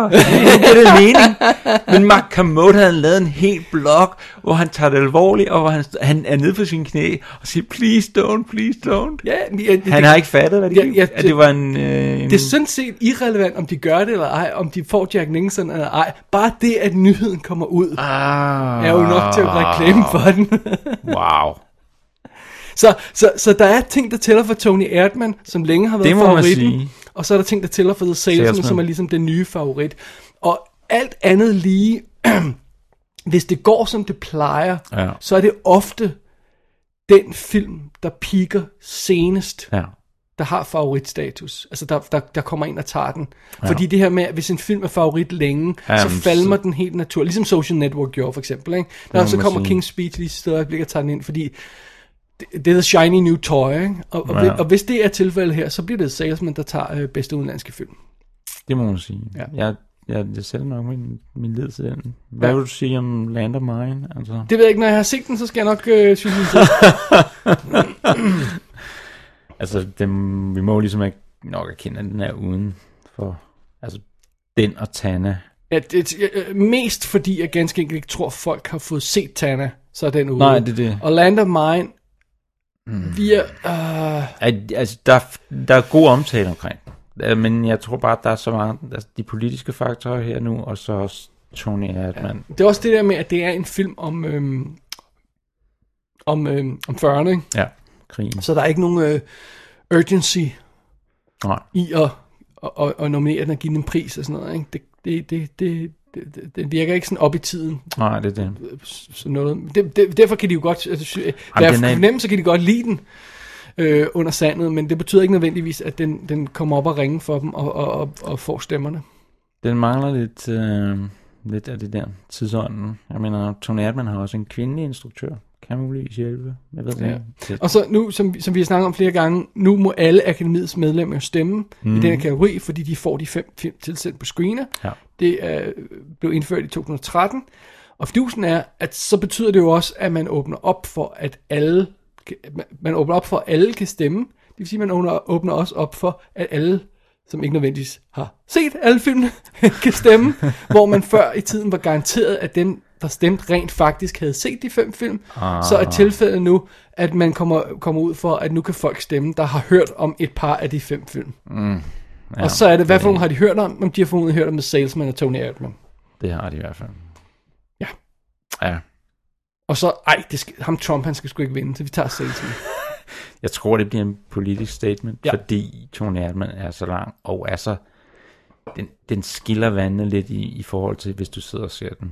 det er det mening. Men Mark Kermode havde lavet en hel blog, hvor han tager det alvorligt, og hvor han, han er nede på sine knæ og siger, please don't, please don't.
ja men jeg-
Han
det-
har ikke fattet, hvad det
Ja,
gik.
ja,
at det
det-
var en... Øh, en
Det er sådan set irrelevant, om de gør det eller ej, om de får Jack Nicholson eller ej. Bare det, at nyheden kommer ud,
ah,
er jo nok til at reklame for den.
Wow.
så, så, så der er ting, der tæller for Tony Erdmann, som længe har været
Det må man
favoritten.
sige.
Og så er der ting, der tæller for The Salesman,
Salesman.
Salesman. som er ligesom den nye favorit. Og alt andet lige, hvis det går som det plejer,
Ja.
så er det ofte den film, der piker senest
Ja.
der har favoritstatus. Altså, der, der, der kommer en og tager den. Ja. Fordi det her med, at hvis en film er favorit længe, ja, så
Jamen,
falmer
så-
den helt naturligt. Ligesom Social Network gjorde, for eksempel. Ikke?
må
Når så
man
kommer
sige.
King's Speech lige sidste øjeblik og tager den ind, fordi det, det er the shiny new toy. Ikke? Og, og,
Ja.
ja. og hvis det er tilfældet her, så bliver det Salesman, der tager øh, bedste udenlandske film.
Det må man sige. Ja.
Ja.
Jeg, jeg, jeg sætter nok min, min led til den. Hvad ja. vil du sige om Land of Mine? Altså,
Det ved jeg ikke, når jeg har set den, så skal jeg nok øh, synes, at det
altså dem, vi må jo ligesom ikke nok erkende, at den er uden for... Altså, den og Tana.
ja, det, øh, mest fordi jeg ganske enkelt ikke tror, folk har fået set Tana, så er den ude.
Nej, det er det.
Og Land of Mine, mm. via... Øh,
At, altså, der, er- der er god omtale omkring den. Øh, men jeg tror bare, at der er så mange... Altså, de politiske faktorer her nu, og så også Tony Erdmann.
Det er også det der med, at det er en film om, øhm, om, øhm, om 40'erne, ikke?
Ja. ja. Krigen.
så der er ikke nogen øh, urgency
Nej.
i at, at, at, at nominere den og give den en pris og sådan noget. Ikke? Det, det, det, det, det, det- den virker ikke sådan op i tiden.
Nej, det er det.
Sådan noget. Det, det, derfor kan de jo godt, altså, sy- hvad
den
jeg
er-
fornemmer, så kan de godt lide den øh, under sandet, men det betyder ikke nødvendigvis, at den, den kommer op og ringer for dem og, og, og, og får stemmerne.
Den mangler lidt, øh, lidt af det der tidsånden. Jeg mener, Tony Erdmann har også en kvindelig instruktør. Kan muligvis hjælpe. Jeg ved det
Ja.
ikke. Det-
Og så nu, som, som vi har snakket om flere gange, nu må alle akademiets medlemmer jo stemme mm. i den her kategori, fordi de får de fem film tilsendt på screener.
Ja.
Det øh, blev indført i 2013. Og fidusen er, at så betyder det jo også, at man åbner op for, at alle, kan- man åbner op for, at alle kan stemme. Det vil sige, at man åbner, åbner også op for, at alle, som ikke nødvendigvis har set alle filmene, kan stemme. hvor man før i tiden var garanteret, at den, der stemte, rent faktisk havde set de fem film. Ah. Så er tilfældet nu, at man kommer, kommer ud for, at nu kan folk stemme, der har hørt om et par af de fem film. Mm, Ja, og så er det, hvad for nogle har de hørt om? Om de har formodentlig hørt om The Salesman og Tony Erdmann.
Det har de i hvert fald.
Ja.
Ja.
Og så, ej, det skal, ham Trump, han skal sgu ikke vinde, så vi tager Salesman.
Jeg tror, det bliver en politisk statement,
Ja.
ja. fordi Tony Erdmann er så lang, og er så... Den, den skiller vandene lidt i, i forhold til, hvis du sidder og ser den.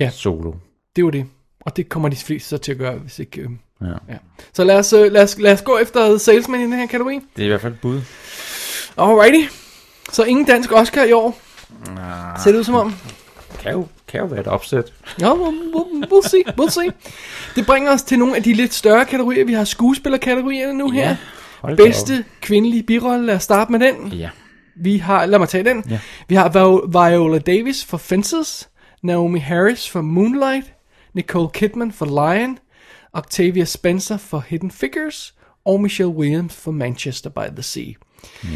Ja.
Solo.
Det er jo det. Og det kommer de fleste så til at gøre, hvis ikke... Øh,
Ja.
ja. Så lad os, øh, lad, os, lad os gå efter Salesman i den her kategori.
Det er i hvert fald et bud.
Alrighty. Så ingen dansk Oscar i år. Ser det ud som om?
Kan jo, kan jo være et opsæt.
Ja, we'll, we'll- we'll see, we'll see. Det bringer os til nogle af de lidt større kategorier. Vi har skuespillerkategorierne nu her.
Hold da
Bedste kvindelige birolle, lad os starte med den.
op. Ja.
Vi har, lad mig tage den.
Ja.
Vi har Vi- Viola Davis for Fences, Naomi Harris for Moonlight, Nicole Kidman for Lion, Octavia Spencer for Hidden Figures, og Michelle Williams for Manchester by the Sea. Ja.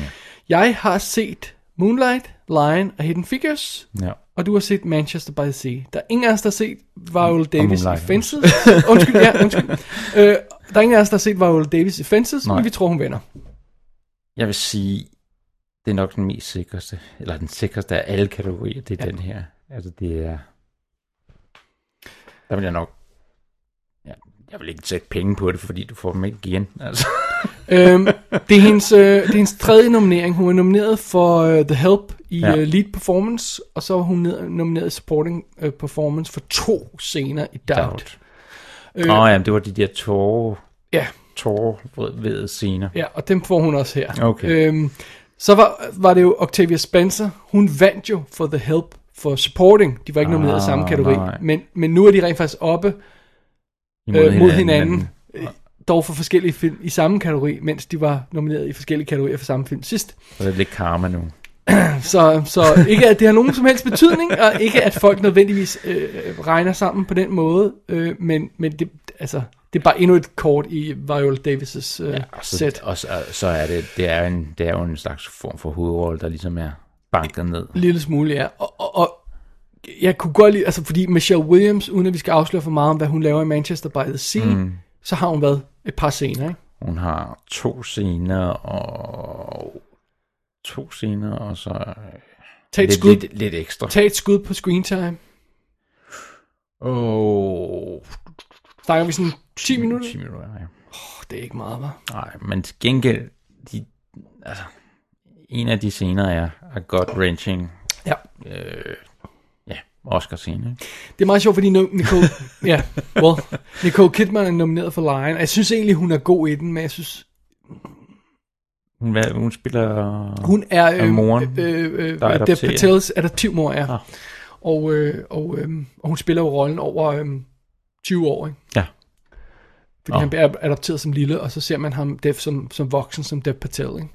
Jeg har set Moonlight, Lion og Hidden Figures,
ja.
og du har set Manchester by the Sea. Der er ingen af os, der har set Viola Davis i
Moonlight.
Fences. Undskyld, ja, undskyld. Øh, der er ingen af os, der har set Viola Davis i Fences,
Nej.
men vi tror, hun vinder.
Jeg vil sige, det er nok den mest sikreste, eller den sikreste af alle kategorier, det er ja. den her. Altså det er... Der vil jeg nok... Ja, jeg vil ikke sætte penge på det, fordi du får dem ikke igen. Altså.
øhm, det, er hendes, øh, det er hendes tredje nominering. Hun er nomineret for øh, The Help i ja.
Ja.
øh, Lead Performance, og så var hun ned- nomineret i Supporting øh, Performance for to scener i Doubt. Doubt.
Doubt. Øh. Nå ja, men det var de der tårer,
Ja,
tårervede scener.
ja, og dem får hun også her.
Okay.
Øhm, så var, var det jo Octavia Spencer. Hun vandt jo for The Help for Supporting. De var ikke nomineret i samme
Ah,
kategori.
nej.
Men, men nu er de rent faktisk oppe
Imod
øh, mod hinanden. Øh, Dog for forskellige film i samme kategori, mens de var nomineret i forskellige kategorier for samme film sidst.
Og det er lidt karma nu.
Så, så ikke at det har nogen som helst betydning, og ikke at folk nødvendigvis øh, regner sammen på den måde, øh, men, men det, altså, det er bare endnu et kort i Viola Davis' øh, ja,
Så,
sæt.
og så, og så er det, det er, en, det er jo en slags form for hovedrolle, der ligesom er banket ned.
En lille smule, ja. Og, og, og jeg kunne godt lide, altså fordi Michelle Williams, uden at vi skal afsløre for meget om, hvad hun laver i Manchester by the Sea, mm. så har hun været et par scener, ikke?
Hun har to scener og to scener og så øh,
Tag et,
lidt,
skud,
lidt, lidt ekstra.
tag et skud på screen time.
Åh,
Snakker vi sådan 10 minutter?
10 minutter, ja.
Oh, det er ikke meget, var.
Nej, men til gengæld, de, altså, en af de scener er, er godt wrenching.
Ja.
Øh, ja, Oscar-scene. ikke?
Det er meget sjovt, fordi nu- Nicole, ja, well, Nicole Kidman er nomineret for Lion. og Jeg synes egentlig, hun er god i den, men jeg synes,
Hun, hvad, hun spiller...
hun er
Og moren,
øh, øh,
der
Dev
adopterer.
Patels adoptivmor, ja.
Ah.
Og, øh, og, øh, og hun spiller jo rollen over øh, 20 år, ikke?
Ja.
Fordi
Ah.
han bliver adopteret som lille, og så ser man ham Dev som, som voksen, som Dev Patel, ikke?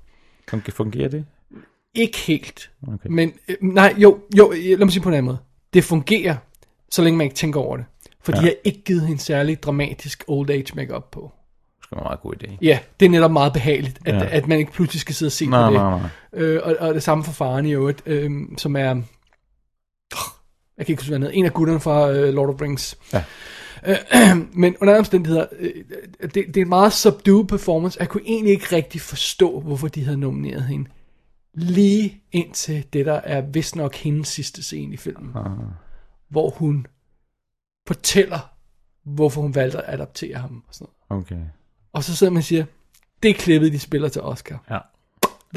Fun- Fungerer det?
Ikke helt.
Okay.
Men øh, nej, jo, jo, øh, lad mig sige på en anden måde. Det fungerer, så længe man ikke tænker over det. For ja. de
Ja.
har ikke givet hende særlig dramatisk old age makeup på.
Det er en meget god idé.
Ja, det er netop meget behageligt, at, ja.
Ja.
at man ikke pludselig skal sidde og se
Nej,
på det.
nej, nej.
Øh, og, og det samme for faren i øvrigt, øh, som er... Oh, jeg kan ikke huske, hvad han hedder. En af gutterne fra øh, Lord of the Rings.
Ja.
Øh, men under alle omstændigheder, øh, det, det er en meget subdued performance. Jeg kunne egentlig ikke rigtig forstå, hvorfor de havde nomineret hende. Lige indtil det, der er vist nok hendes sidste scene i filmen. Ah. Hvor hun fortæller, hvorfor hun valgte at adoptere ham. Og sådan noget.
Okay.
Og så sidder man og siger, det er klippet, de spiller til Oscar.
Ja.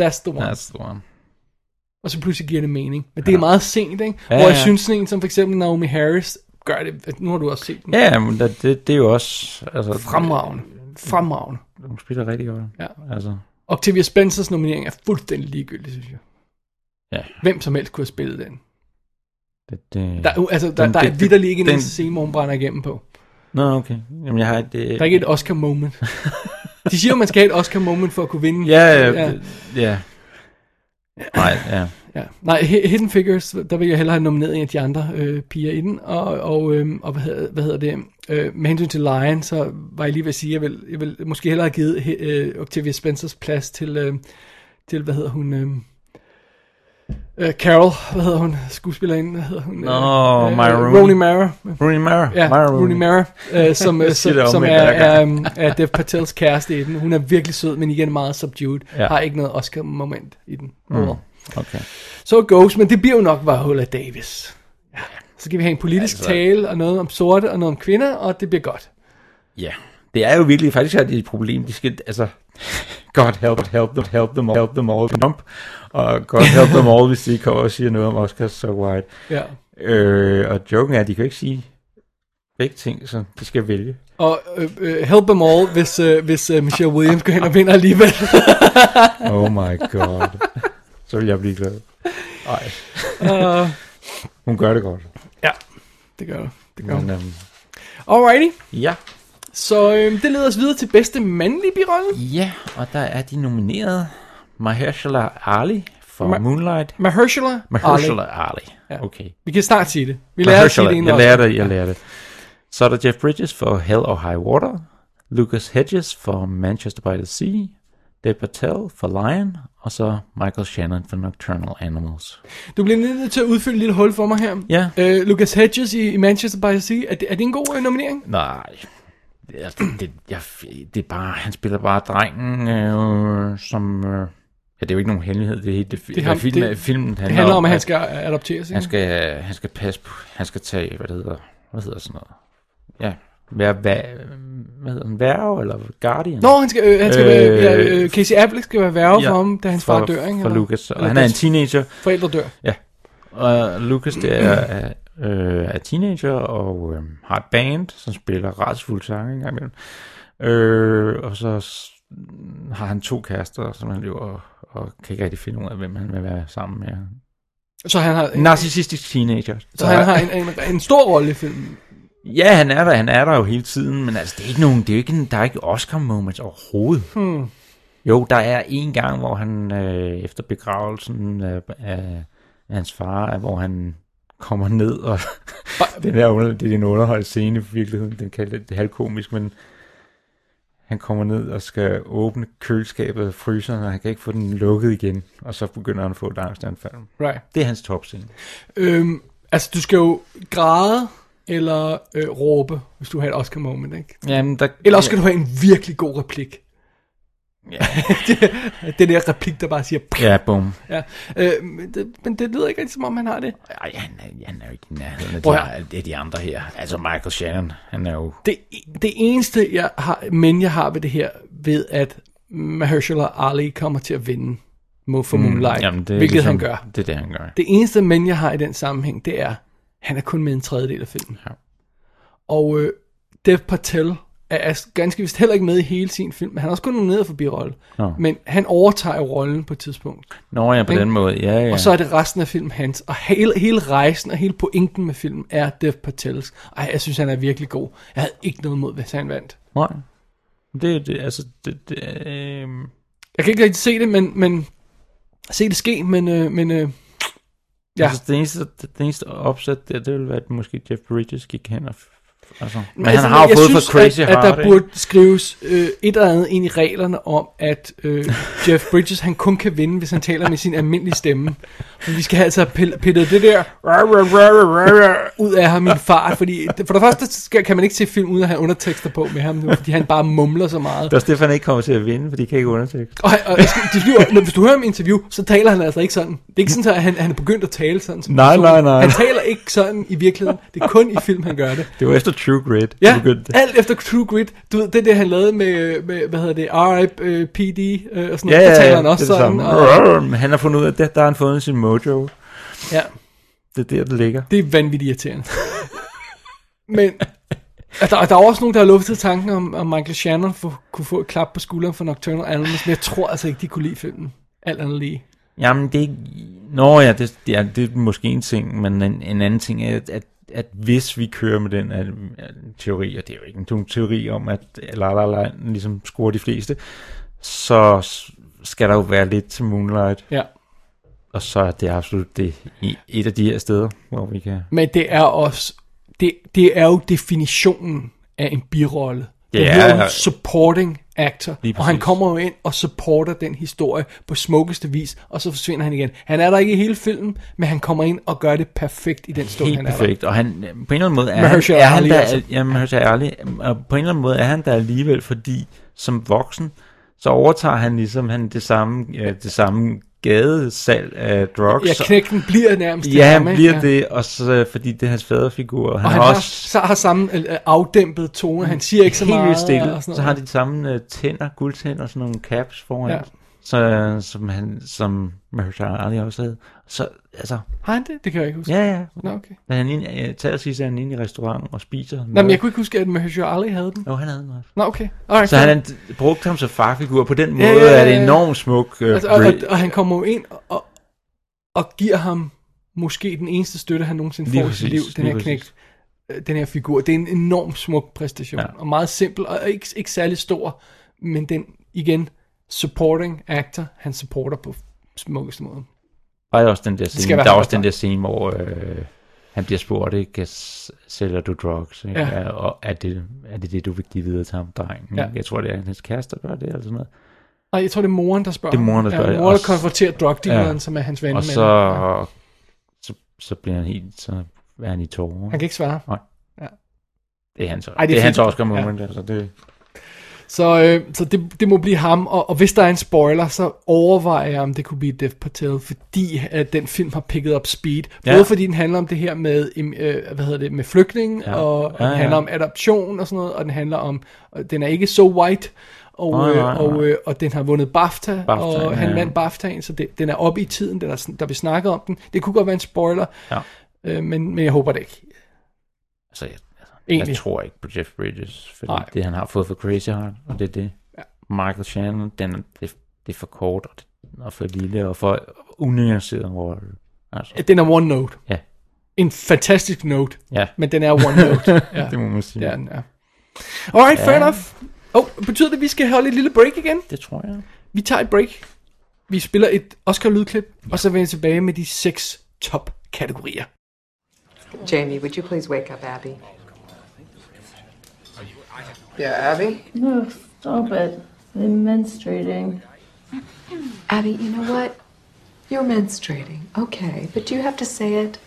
That's the one.
That's the one.
Og så pludselig giver det mening. Men det er meget sent, ikke? Ja,
Ja,
Hvor jeg
ja.
synes sådan en som for eksempel Naomi Harris gør det. Nu har du også set den.
Ja, men det, det, det er jo også... Altså,
Fremragende. Fremragende.
Hun spiller rigtig godt.
Ja.
Altså,
Octavia Spencers nominering er fuldstændig ligegyldig, synes jeg.
ja.
Hvem som helst kunne have spillet den.
Det, det...
Der, er jo- altså, der,
Den-
der er
det-
vidderlig ikke en
den-
eneste scene, hvor hun brænder igennem på.
Nå, okay. Jamen, jeg har et... Øh...
Der er ikke et Oscar-moment. De siger jo, man skal have et Oscar-moment for at kunne vinde.
Ja, ja, ja. Nej, ja.
Ja. Nej, Hi- Hidden Figures, der vil jeg hellere have nomineret en af de andre øh, piger inden, og, og, øh, og hvad, hedder, hvad hedder det, øh, med hensyn til Lion, så var jeg lige ved at sige, jeg vil, jeg vil måske hellere have givet he- øh, Octavia Spencers plads til, øh, til hvad hedder hun, øh, øh, Carol, hvad hedder hun, skuespillerinden, hvad hedder hun? øh,
Nå, Maya Rooney.
Rooney Mara.
Rooney Mara.
Ja,
Mara
Rooney Mara, øh, som, øh,
Jeg siger
som,
det
som er,
omvendt hver
er,
gang.
um, er Dev Patels kæreste i den. Hun er virkelig sød, men igen meget subdued. Ja.
Ja.
Har ikke noget Oscar-moment i den. Mm.
Okay.
Så it goes, men det bliver jo nok Viola Davis. Ja. Så skal vi have en politisk altså. tale, og noget om sorte, og noget om kvinder, og det bliver godt.
Ja. Det er jo virkelig, faktisk er det et problem. De skal, altså, God help, help them, help them, all, help them all, Trump. Og God help them all, hvis de ikke kommer og siger noget om Oscar so white.
Ja.
Øh, og joken er, at de kan jo ikke sige begge ting, så de skal vælge.
Og øh, øh, help them all, hvis, øh, hvis øh, Michelle Williams går hen og vinder alligevel.
Oh my god. så vil jeg blive glad. Nej,
uh,
hun gør det godt.
ja, det gør det. det gør.
Men,
det.
øhm,
Alrighty,
ja.
så øh, det leder os videre til bedste mandlige birolle.
Ja, og der er de nomineret Mahershala Ali for
Ma-
Moonlight.
Mahershala.
Mahershala
Ali.
Ali.
Ja.
Okay.
Vi kan snart sige det. Vi lærer at sige
Mahershala.
det inden
Jeg
også.
lærer det, jeg lærer det. Så er der Jeff Bridges for Hell or High Water. Lucas Hedges for Manchester by the Sea. Dave Patel for Lion. Og så Michael Shannon for Nocturnal Animals.
Du bliver lige nødt til at udfylde et lille hul for mig her.
Ja.
Øh, Lucas Hedges i, i Manchester by the Sea, er det, er det en god øh, nominering?
Nej. Det, er- det, jeg, det er bare, han spiller bare drengen, øh, som... Øh, ja, det er jo ikke nogen hemmelighed, det er helt det, det,
ham-
filmen,
det-
filmen handler,
Det handler om, at han skal øh, adopteres, ikke?
Han skal, han skal passe på, han skal tage, hvad det hedder, hvad hedder sådan noget? Ja, være, hvad, hvad hedder den, værve eller guardian?
Nå, han skal, øh, han skal øh, være,
Øh,
ja, øh, Casey Affleck skal være værge ja, for ham, da hans
for,
far dør, ikke?
For
Eller-
Lucas, og
eller
han er en
deres
teenager,
Forældre dør.
og Lucas der er, øh, er teenager og øh, har et band, som spiller retsfulde sange engang imellem. Øh, og så s- har han to kærester, som han lever og, og kan ikke rigtig finde ud af, hvem han vil være sammen med.
Så han har, en,
Narcissistisk teenager.
Øh. så han har en, en, en stor rolle i filmen.
Ja, han er der, han er der jo hele tiden, men altså, det er ikke nogen, det er jo ikke, en- der er ikke Oscar-moments overhovedet. Hmm. Jo, der er en gang, hvor han øh, efter begravelsen øh, af, af, af hans far, hvor han kommer ned, og den her under, det er en underholdt scene i virkeligheden, den kan det er halvkomisk, men han kommer ned og skal åbne køleskabet af fryseren, og han kan ikke få den lukket igen, og så begynder han at få et angstanfald.
Right.
Det er hans topscene.
Øhm, altså, du skal jo græde eller øh, råbe, hvis du har et Oscar-moment, ikke?
Jamen, der,
Eller også skal du have en virkelig god replik.
Ja.
Den der replik, der bare siger... "Pah!"
Ja, bum.
Ja. Øh, men, det, men det lyder ikke rigtig, som om han har det.
Ej, han er, han er jo ikke i nærheden af
Prøv
de,
at
af- af de andre her. Altså Michael Shannon, han er jo...
det, det eneste, jeg har, men jeg har ved det her, ved at Mahershala Ali kommer til at vinde Mo- for Moonlight, mm,
er
hvilket ligesom... han gør.
Det er det, han gør.
Det eneste, men jeg har i den sammenhæng, det er, han er kun med en tredjedel af filmen.
Ja.
Og øh, Dev Patel er, er ganske vist heller ikke med i hele sin film, men han er også kun nomineret for birolle.
Nå.
Men han overtager jo rollen på et tidspunkt.
Nå ja, på
Ikke?
den måde. Ja, ja.
Og så er det resten af filmen hans. Og hele, hele rejsen og hele pointen med filmen er Dev Patels. Ej, jeg synes, han er virkelig god. Jeg havde ikke noget mod, hvis han vandt.
Nej. Det, det, altså, det, det, øh...
Jeg kan ikke rigtig se det, men, men se det ske, men, øh, men øh,
ja.
Ja.
altså, det eneste, det, det eneste opsæt der, det ville være, at måske Jeff Bridges gik hen og... f- Altså. Men
altså,
han har jo
jeg
fået
synes,
for Crazy
at,
Heart,
at der burde skrives øh, et eller andet ind i reglerne om, at øh, Jeff Bridges han kun kan vinde, hvis han taler med sin almindelige stemme. Men vi skal have altså pille- pillet det der ud af ham i en fart, fordi for det første skal, kan man ikke se film uden at have undertekster på med ham nu, fordi han bare mumler så meget.
Det er også derfor, han ikke kommer til at vinde, for de kan ikke undersøge.
Og, og jeg skal- det bliver, når, hvis du hører om interview, så taler han altså ikke sådan. Det er ikke sådan, at han, han er begyndt at tale sådan. Som
Nej,
person.
nej, nej.
Han taler ikke sådan i virkeligheden. Det er kun i film, han gør det.
Det var efter True Grit.
Ja,
det begyndte.
alt efter True Grit. Du ved, det der, han lavede med, med hvad hedder det, R.I.P.D. Øh, og sådan
Ja,
noget.
ja,
der
ja,
taler
det
han
er
også
det
sådan.
samme.
Og,
Men Han har fundet ud af, at det, der har han fundet sin mojo.
ja,
Det er der, det ligger.
det er vanvittigt irriterende. Men og der, og der er også nogen, der har luftet tanken om, om Michael Shannon for, kunne få et klap på skulderen for Nocturnal Animals, men jeg tror altså ikke, de kunne lide filmen. Alt andet lige.
Jamen, det er ikke... Nå ja, det, det, er, det er måske en ting, men en, en anden ting er, at, at, at hvis vi kører med den at, at teori, og det er jo ikke en teori om, at La La Land ligesom scorer de fleste, så s- skal der jo være lidt til Moonlight.
Ja.
Og så er det absolut det i et af de her steder, hvor vi kan...
Men det er også, det, det er jo definitionen af en birolle. Det
Ja.
er jo en supporting actor,
Lige
og han
præcis.
kommer jo ind og supporter den historie på smukkeste vis, og så forsvinder han igen. Han er der ikke i hele filmen, men han kommer ind og gør det perfekt i den stund,
Helt
han er
perfekt, og han, øh, på en eller anden måde er
Mahershala
han, er
Ali
han der,
altså.
ja, Mahershala Ali, og på en eller anden måde er han der alligevel, fordi som voksen, så overtager han ligesom han det samme, øh, det samme gadesalg af drugs.
der. Ja, knægten bliver nærmest det
ja,
samme,
han
ikke?
bliver det, og så, fordi det er hans faderfigur, og han,
Og han
har
har,
også
så har samme øh, afdæmpet tone, han siger ikke så
helt
meget.
vildt stille,
og sådan
så har
noget.
de samme øh, tænder, guldtænder og sådan nogle caps foran,
Ja.
ja. så, som, han, som Mahershala Ali også havde. Så, altså,
har han det? Det kan jeg ikke huske.
ja, ja.
Nå, okay.
Da han ind, øh, tager sidst, er han inde i restauranten og spiser.
Nå, men
mad.
jeg kunne ikke huske, at Mahershala Ali havde den.
Jo, han havde den også.
Nå, okay. Alright,
Så
fair.
han er- brugte ham som farfigur. På den måde
Ja,
ja,
ja, ja,
er det
ja.
enormt smuk. Øh,
Altså, og,
re-
og, og han kommer jo ind og, og giver ham måske den eneste støtte, han nogensinde
Lige
får i sit liv,
præcis,
den
lige
her knægt,
præcis.
øh, den her figur. Det er en enormt smuk præstation,
Ja.
og meget simpel, og ikke, ikke særlig stor, men den, igen, supporting actor, han supporter på smukkeste måde.
og der er også den der
skal
scene,
være
der er
ham,
også
der
den der scene, hvor øh, han bliver spurgt, ikke, "S- sælger du drugs? Ikke?
Ja.
Ja. Og er det, er det det, du vil give videre til ham, drengen?
Ja.
Ja. Jeg tror, det er hans kæreste, der gør det, eller sådan noget.
Nej, jeg tror, det er moren, der spørger.
Det er moren, der spørger,
Ja,
ja.
moren, der
Og s-
konfronterer drugdealeren, ja.
Ja.
som er hans
Men,
ven.
og
men-
så,
ja.
så, så bliver han helt, så er han i tårer.
Han kan ikke svare.
Det er hans, Ej,
Ej, det
det er
er
det er hans
fint.
Oscar
Ja.
moment, ja. altså det...
Så, øh, så det, det må blive ham, og, og hvis der er en spoiler, så overvejer jeg, om det kunne blive Dev Patel, fordi at den film har picket up speed. Både
Ja.
fordi den handler om det her med, im- øh, hvad hedder det, med flygtning, ja.
Ja.
og, og den
Ja, ja.
handler om adoption og sådan noget, og den handler om, og den er ikke så white, og,
Nej, nej,
øh, og,
nej.
øh, og den har vundet BAFTA,
BAFTA,
og
ja,
han
ja.
vandt BAFTA'en, så det, den er oppe i tiden, den er, sådan- der vi snakker om den. Det kunne godt være en spoiler,
Ja.
øh, men, men jeg håber det ikke.
Altså, jeg, altså,
Egentlig.
jeg tror ikke på Jeff Bridges, fordi
Nej.
Nej. det han har fået for Crazy Heart, og det er det.
Ja.
Michael Shannon, den, er- det, det er for kort, og, det, og for lille, og for unuanceret rolle. Altså,
Den er one note.
Ja.
En fantastisk note,
ja,
men den er one note. ja.
det må man sige.
Det er den, ja. Alright, fair
Ja.
enough. Oh, betyder det, at vi skal holde et lille break igen?
Det tror jeg.
Vi tager et break. Vi spiller et Oscar-lydklip, og så vender jeg tilbage med de seks top-kategorier.
Jamie, would you please wake up Abby? Yeah, Abby?
No, stop it. They're menstruating.
Abby, you know what? You're menstruating. Okay, but do you have to say it?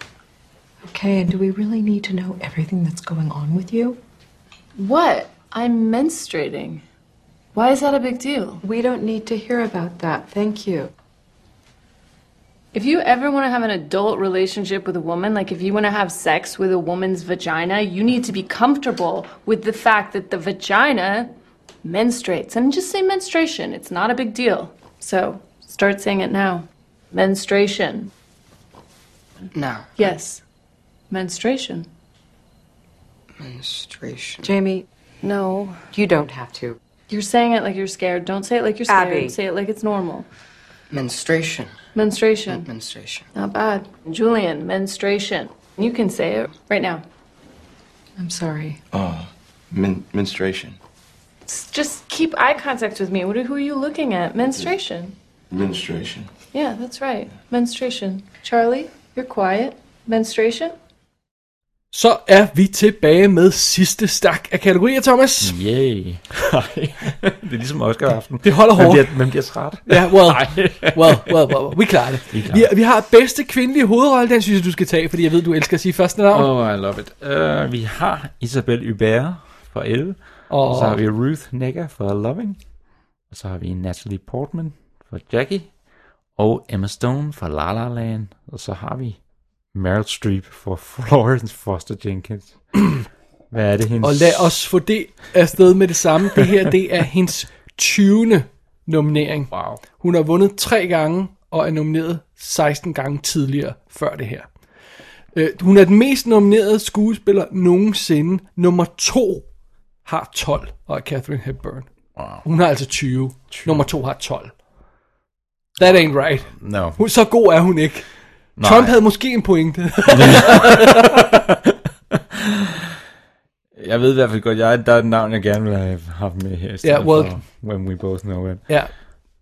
Okay, and do we really need to know everything that's going on with you?
What? I'm menstruating. Why is that a big deal?
We don't need to hear about that. Thank you.
If you ever want to have an adult relationship with a woman, like if you want to have sex with a woman's vagina, you need to be comfortable with the fact that the vagina menstruates. And just say menstruation, it's not a big deal. So start saying it now. Menstruation.
No.
Yes. Menstruation.
Menstruation. Jamie,
No.
you don't have to.
You're saying it like you're scared. Don't say it like you're scared.
Abby.
Say it like it's normal.
Menstruation.
Menstruation.
Menstruation.
Not bad. Julian, menstruation. You can say it right now.
I'm sorry.
Min- menstruation.
S- Just keep eye contact with me. What are, who are you looking at? Menstruation.
Menstruation.
Yeah, that's right. Menstruation. Charlie, you're quiet. Menstruation?
Så er vi tilbage med sidste stak af kategorier,
Mm.
Thomas.
Yay. det er ligesom Oscar-aften.
Det holder
Man
hårdt.
bliver, man bliver træt.
Ja, well, well, well, well, well, vi klarer det. Vi,
klarer
vi,
det.
vi har bedste kvindelige hovedrolle, den synes jeg, du skal tage, fordi jeg ved, du elsker at sige første navn.
Oh, I love it. Uh, vi har Isabel Hubert fra Elle.
Og-
Og så har vi Ruth Negga fra Loving. Og så har vi Natalie Portman fra Jackie. Og Emma Stone fra La La Land. Og så har vi Meryl Streep fra Florence Foster Jenkins. Hvad er det hendes?
Og lad os få det afsted med det samme. Det her, det er hendes 20. nominering.
Wow.
Hun har vundet tre gange og er nomineret 16 gange tidligere før det her. Øh, hun er den mest nominerede skuespiller nogensinde. Nummer to har 12 og er Catherine Hepburn. Wow. Hun har altså 20. 20. Nummer to har 12. That ain't right.
No.
Hun, så god er hun ikke. Nej. Trump havde måske en pointe.
Jeg ved i hvert fald godt, jeg, der er et navn, jeg gerne vil have haft med her. i stedet
Ja, well-
for When We Both Know It.
ja,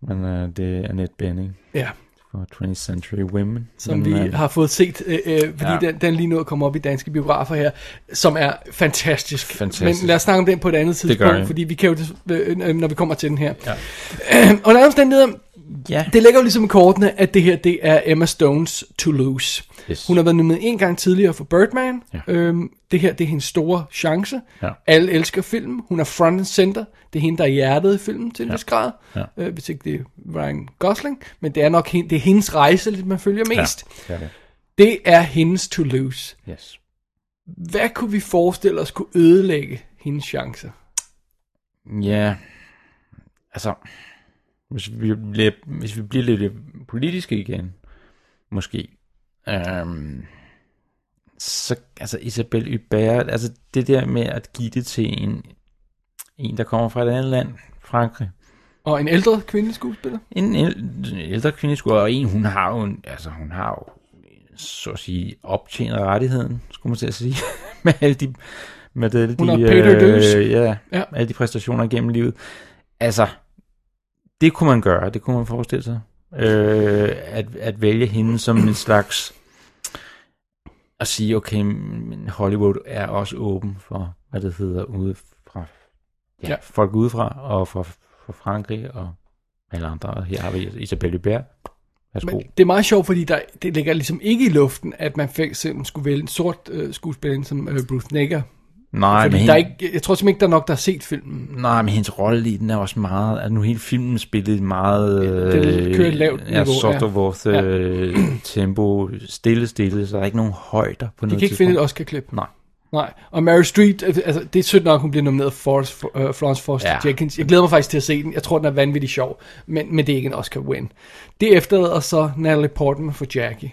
Men uh, det er Annette Bening.
ja.
for 20th Century Women.
som
Men,
Men, vi
øh,
har fået set, øh, øh, fordi
ja.
ja. den, den lige nu at komme op i danske biografer her, som er fantastisk.
Fantastisk.
Men lad os snakke om den på et andet
Det gør vi.
tidspunkt, fordi vi kan jo, des- øh, øh, når vi kommer til den her. Ja. Under alle omstændigheder,
ja.
det ligger jo ligesom i kortene, at det her, det er Emma Stones Toulouse.
Yes.
Hun har været nomineret en gang tidligere for Birdman.
Ja.
Øhm, det her, det er hendes store chance.
Ja.
Alle elsker filmen. Hun er front and center. Det er hende, der er hjertet i filmen til en
Ja.
vis grad.
Ja.
Øh, hvis ikke det er Ryan Gosling. Men det er nok hende, det er hendes rejse, lidt man følger mest.
Ja, det er
Det er hendes Toulouse.
Yes.
Hvad kunne vi forestille os kunne ødelægge hendes chancer?
Ja, altså, hvis vi bliver, hvis vi bliver lidt politiske igen, måske, øhm, så, altså Isabel Hubert, altså det der med at give det til en, en der kommer fra et andet land, Frankrig,
Og en ældre kvindeskuespiller?
en, en, en ældre kvinde skulle, og en, hun har jo, en, altså hun har jo, så at sige, optjent rettigheden, skulle man til at sige, med alle de, med alle
Hun
de, øh,
har paid her dues.
ja,
Ja.
ja, alle de præstationer gennem livet. Altså, det kunne man gøre, det kunne man forestille sig, øh, at, at vælge hende som en slags, at sige, okay, men Hollywood er også åben for, hvad det hedder, ude fra, ja,
Ja.
ja. folk udefra, og fra, fra Frankrig, og alle andre. Og Her har vi Isabelle Hubert. Værsgo.
Men det er meget sjovt, fordi der, det ligger ligesom ikke i luften, at man for eksempel skulle vælge en sort øh, skuespiller som øh, Bruce Negger.
Nej,
fordi
men
der er
hende-
ikke, jeg tror simpelthen ikke, der er nok, der har set filmen.
Nej, men hendes rolle i den er også meget... Altså nu hele filmen spillet meget... øh,
den kører et lavt
ja,
niveau,
sort
ja.
of worth, øh, tempo, stille, stille, så der er ikke nogen højder på
De
noget
kan ikke finde et Oscar-klip.
Nej.
Nej, og Mary Street, øh, altså det er sødt nok, hun bliver nomineret for Forrest- for øh, Florence Foster ja.
Ja.
Jenkins. Jeg glæder mig faktisk til at se den. Jeg tror, den er vanvittig sjov, men, men det er ikke en Oscar-win. Det efterlader så Natalie Portman for Jackie.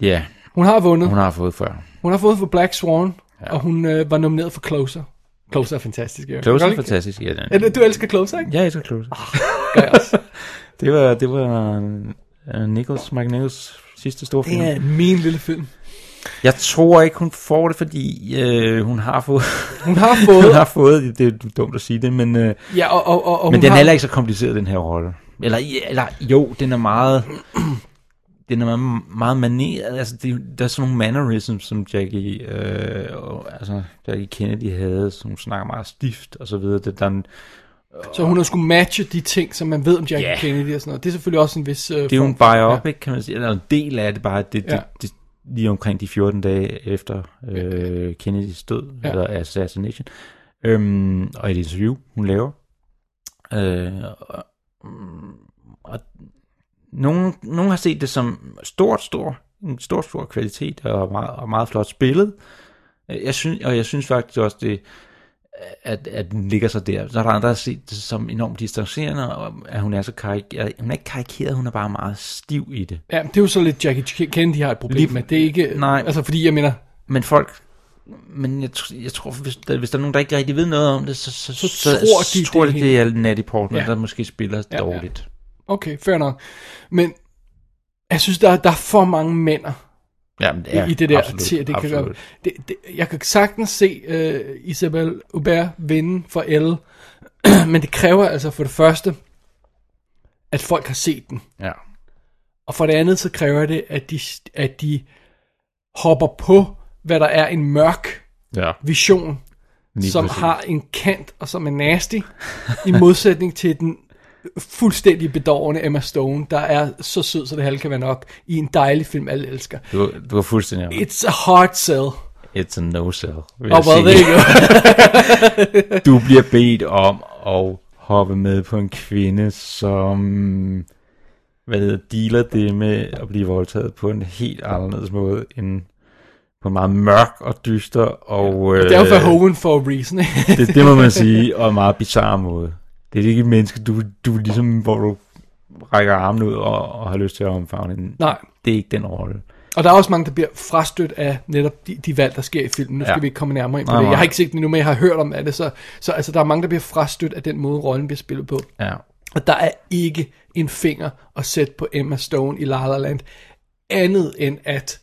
Ja,
Hun har vundet.
hun har fået før.
Hun har fået for Black Swan, ja. og hun øh, var nomineret for Closer. Closer er fantastisk. Ja.
Closer
Kan
er
du ikke-
fantastisk, ja.
Er
Den.
det- Du elsker Closer, ikke?
Ja, jeg elsker Closer.
Gør jeg også.
Det var, det var øh, Nichols, Mike Nichols sidste store film.
Det er min lille film.
Jeg tror ikke, hun får det, fordi øh, hun har fået...
Hun har fået-
hun har fået... Det er dumt at sige det, men... Øh,
Ja, og- og- og- og hun
men den er
har-
heller ikke så kompliceret, den her rolle. Eller, ja, eller jo, den er meget... den er meget, meget maneret. Altså, det, der er sådan nogle mannerisms, som Jackie, øh, og, altså, Jackie Kennedy havde, som hun snakker meget stift og så videre. Det, der er en,
Så hun har skulle matche de ting, som man ved om Jackie
Ja.
yeah. Kennedy og sådan noget. Det er selvfølgelig også en vis... Øh,
det er jo en biopic, ja. kan man sige, eller en del af det bare, det,
Ja.
det, det, lige omkring de 14 dage efter øh, Kennedys død,
Ja.
ja. eller assassination, øhm, og et interview, hun laver. Øh, og, og nogen, nogen har set det som stort, stor, en stor, stor kvalitet og meget, og meget flot spillet. Øh, Jeg synes, og jeg synes faktisk også, det, at, at den ligger så der. Så er der andre, der har set det som enormt distancerende, og at hun er så karikeret. Hun er ikke karikeret, hun er bare meget stiv i det.
Ja, det er jo så lidt Jackie Ch- Kennedy har et problem Lige, med. Det er ikke...
Nej.
Altså, fordi jeg mener...
Men folk... Men jeg, tr- jeg tror, hvis der, hvis der er nogen, der ikke rigtig ved noget om det, så, så,
Så tror de,
tror
det er
det, det er Natty Portman,
Ja.
ja. der måske spiller
Ja,
ja,
ja.
dårligt.
Okay, fair nok. Men jeg synes, der, er- der er for mange mænd
Ja, men det er
i det der,
absolut,
til at det kan gøre...
absolut.
Det, det, jeg kan sagtens se øh, Isabel Aubert vinde for Elle, men det kræver altså for det første, at folk har set den.
Ja.
Og for det andet, så kræver det, at de, at de hopper på, hvad der er en mørk
Ja.
vision, Lige
Lige
som
præcis.
har en kant og som er nasty, i modsætning til den fuldstændig bedårende Emma Stone, der er så sød, så det halve kan være nok, i en dejlig film, alle elsker.
Du, du var fuldstændig ret.
It's a hard sell.
It's a no-sell. vil
Oh,
jeg
well,
sige.
there you go.
du bliver bedt om at hoppe med på en kvinde, som hvad hedder, dealer det med at blive voldtaget på en helt anderledes måde end på en meget mørk og dyster og...
Det er jo
Øh.
for Hoven for a reason. ikke?
det, det må man sige, og en meget bizarre måde. Det er ikke et menneske, du, du ligesom, hvor du rækker armen ud og, og har lyst til at omfavne den.
Nej.
Det er ikke den rolle.
Og der er også mange, der bliver frastødt af netop de, de valg, der sker i filmen. Nu skal
Ja.
vi ikke komme nærmere ind på
Nej,
det. Jeg
nej.
har ikke set den endnu, men jeg har hørt om af det. Så, så altså, der er mange, der bliver frastødt af den måde, rollen bliver spillet på.
Ja.
Og der er ikke en finger at sætte på Emma Stone i La La Land, andet end at,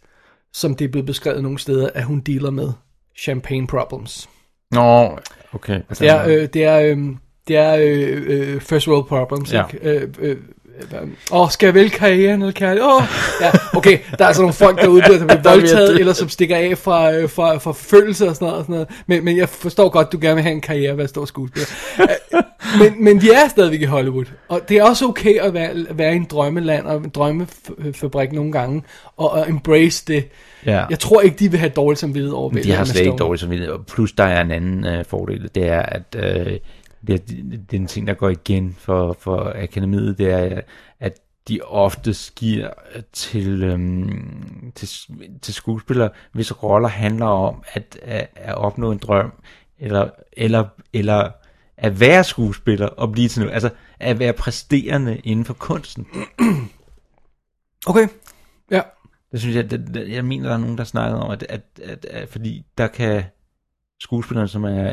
som det er blevet beskrevet nogle steder, at hun dealer med champagne problems.
Nå, okay.
øhm, Det er, øh, det er, øh, det er øh, øh, first world problems,
Ja.
ikke? Øh, øh, Åh, oh, skal jeg vælge karrieren eller kærlighed? Åh, oh. ja, okay, der er altså nogle folk derude, der bliver
Der er mere
voldtaget,
det.
eller som stikker af fra, øh, fra, fra følelser og sådan noget, og sådan noget. Men, men jeg forstår godt, du gerne vil have en karriere ved at stå skuespiller. Øh, men, men vi er stadigvæk i Hollywood, og det er også okay at være, være i en drømmeland og en drømmefabrik nogle gange, og, og embrace det.
Ja.
Jeg tror ikke, de vil have dårligt samvittighed over
Men de
Emma
har slet ikke
Stone.
dårlig samvittighed. Og Plus der er en anden øh, fordel, det er, at øh, det, er, det er en ting, der går igen for, for akademiet, det er, at de ofte giver til, øhm, til, til skuespillere, hvis roller handler om at, at, at opnå en drøm, eller, eller, eller at være skuespiller og blive til noget, altså at være præsterende inden for kunsten.
Okay, ja.
Det synes jeg, det, det, jeg mener, der er nogen, der snakker om, at, at, at, at fordi der kan skuespillerne, som, er,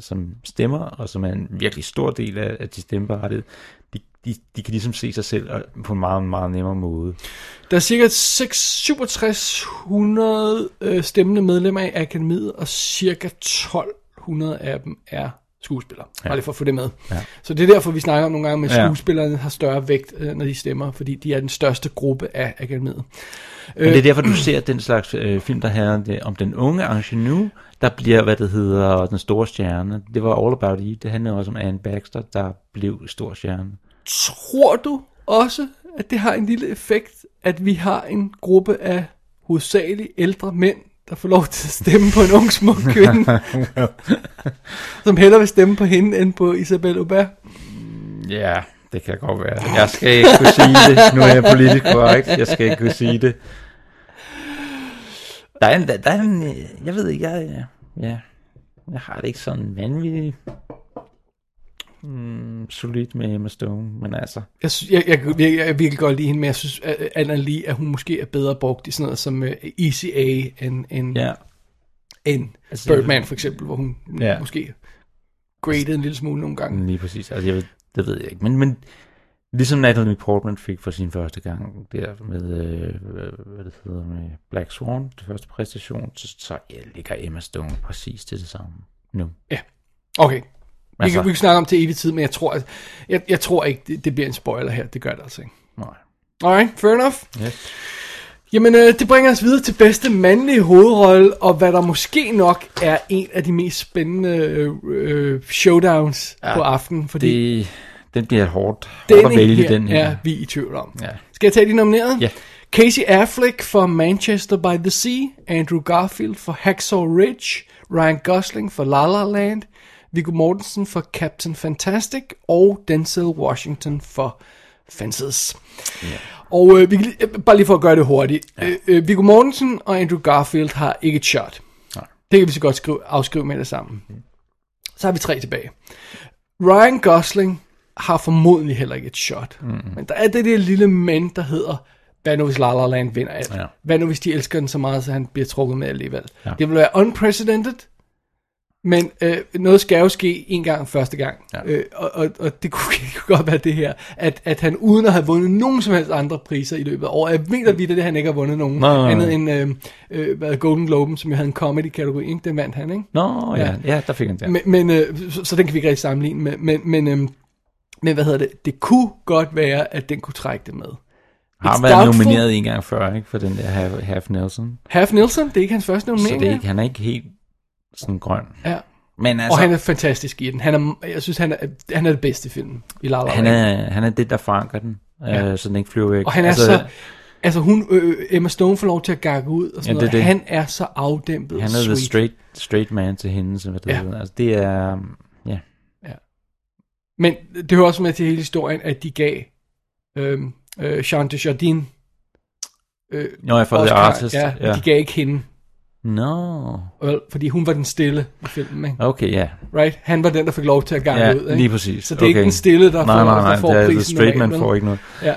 som stemmer, og som er en virkelig stor del af, af de stemmeberettigede, de, de, de kan ligesom se sig selv og- på en meget, meget nemmere måde.
Der er cirka 6700 øh, stemmende medlemmer i akademiet, og cirka 1200 af dem er skuespillere. Ja.
Ja.
Bare lige for at få det med.
Ja.
Så det er derfor, vi snakker om nogle gange, at
Ja.
skuespillerne har større vægt, øh, når de stemmer, fordi de er den største gruppe af akademiet.
Men det er derfor, du ser den slags øh, film, der handler om det- om den unge ingenue, der bliver, hvad det hedder, den store stjerne. Det var All About Eve. Det handler også om Anne Baxter, der blev stor stjerne.
Tror du også, at det har en lille effekt, at vi har en gruppe af hovedsageligt ældre mænd, der får lov til at stemme på en ung smuk kvinde, som hellere vil stemme på hende end på Isabel Aubert?
Ja, det kan godt være. Jeg skal ikke kunne sige det. Nu er jeg politisk korrekt. Jeg skal ikke kunne sige det. Der er en, der, der er en øh, jeg ved ikke, jeg, øh, ja, jeg har det ikke sådan vanvittigt mm, solidt med Emma Stone, men altså,
Jeg, sy- jeg, jeg, jeg, jeg, jeg virkelig godt lide hende, men jeg synes, at at Anna Lee, at hun måske er bedre brugt i sådan noget som uh, Easy A end, end,
Ja.
end
Altså,
Birdman for eksempel, hvor hun ja.
Ja.
måske graded en lille smule nogle gange.
lige præcis, altså jeg ved, det ved jeg ikke, men, men ligesom Natalie Portman fik for sin første gang der med, øh, hvad det hedder, med Black Swan, det første præstation, så, så ja, ligger Emma Stone præcis til det samme nu.
Ja, okay. Vi
Altså-
kan, vi kan snakke om til evig tid, men jeg tror, at, jeg, jeg tror ikke, det, det bliver en spoiler her. Det gør det altså ikke.
Nej.
Alright, fair enough.
Yes.
Jamen, øh, det bringer os videre til bedste mandlige hovedrolle, og hvad der måske nok er en af de mest spændende øh, øh, showdowns ja, på aftenen, fordi
det, den bliver hårdt, hårdt at vælge,
her
den her.
er vi i tvivl om.
Ja.
Skal jeg tage de nominerede?
Ja.
Casey Affleck for Manchester by the Sea, Andrew Garfield for Hacksaw Ridge, Ryan Gosling for La La Land, Viggo Mortensen for Captain Fantastic og Denzel Washington for Fences. Og øh, vi kan, lige- øh, bare lige for at gøre det hurtigt. Ja. Øh, øh, Viggo Mortensen og Andrew Garfield har ikke et shot.
Nej.
Det kan vi så godt skrive, afskrive med det sammen. Så har vi tre tilbage. Ryan Gosling har formodentlig heller ikke et shot. Mm. Men der er det der lille men, der hedder, hvad nu hvis La La Land vinder alt?
Ja.
Hvad nu hvis de elsker den så meget, så han bliver trukket med alligevel? Ja. Det vil være unprecedented, men øh, noget skal jo ske en gang første gang. Ja. Øh, og, og, og det kunne, det kunne godt være det her, at, at han uden at have vundet nogen som helst andre priser i løbet af året, jeg mener vidt, at det han ikke har vundet nogen,
Nej, nej,
andet
nej.
end øh, øh, hvad, Golden Globen, som jo havde en comedy-kategori, ikke? den vandt han, ikke?
Nå, ja. ja, der fik han det.
Men, men øh, så, så den kan vi ikke rigtig sammenligne med. Men, men, øh, men hvad hedder det? Det kunne godt være, at den kunne trække det med.
Har
It's
været
doubtful.
nomineret en gang før, ikke, for den der Half, Half Nelson.
Half Nielsen, det er ikke hans første
Så
nominering.
det er ikke, han er ikke helt sådan grøn.
Ja.
Men
Altså, og
altså,
han er fantastisk i den. Han er, jeg synes, han er, han er det bedste film i La La
han
Land.
er, han er det, der forankrer den,
Ja.
ja. øh, så den ikke flyver væk.
Og han er altså, så... Altså hun, øh, Emma Stone får lov til at gakke ud og sådan
Ja,
ja,
det er
noget.
det.
Han er så afdæmpet
han er the
sweet.
straight, straight man til hende, så hvad det
Ja.
ja. hedder. Altså, det er, um, ja.
Men det hører også med til hele historien, at de gav øh, øh, Jean de Jardin øh,
Nå, jeg får det
Oscar.
artist.
Ja, ja.
Ja.
de gav ikke hende.
Nå,
Vel, fordi hun var den stille i filmen, ikke?
okay, ja.
Right? Han var den, der fik lov til at gange
Ja,
ud, ikke?
lige præcis.
Så det er okay. ikke
Okay.
den stille, der får,
Nej, nej, nej,
der får
det er the
prisen.
straight man
normalt,
får
vel?
ikke noget.
Ja.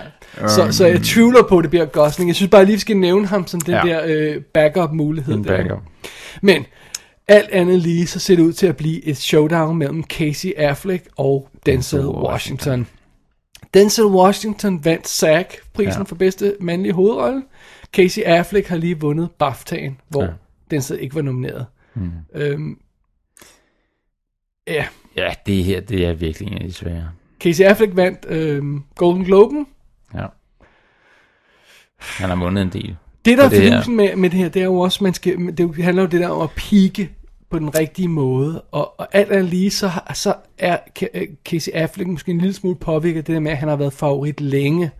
Så, så jeg tvivler på, at det bliver Gosling. Jeg synes bare, at jeg lige skal nævne ham som den
Ja.
der øh, backup-mulighed.
En
der, ikke?
backup.
Men alt andet lige, så ser det ud til at blive et showdown mellem Casey Affleck og Denzel Washington. Denzel Washington vandt SAG-prisen ja.
Ja.
for bedste mandlige hovedrolle. Casey Affleck har lige vundet BAFTA'en, hvor ja.
Ja.
Denzel ikke var nomineret.
Mm.
Øhm, ja,
Ja, det her, det er virkelig en af de svære.
Casey Affleck vandt øhm, Golden Globen,
Ja. Han har vundet en del.
Det, der er
på her.
fidusen med, med det her, det er jo også, man skal, det er jo- handler jo det der om at pike på den rigtige måde, og, og alt andet lige, så, har- så er Ca- øh, Casey Affleck måske en lille smule påvirket af det der med, at han har været favorit længe,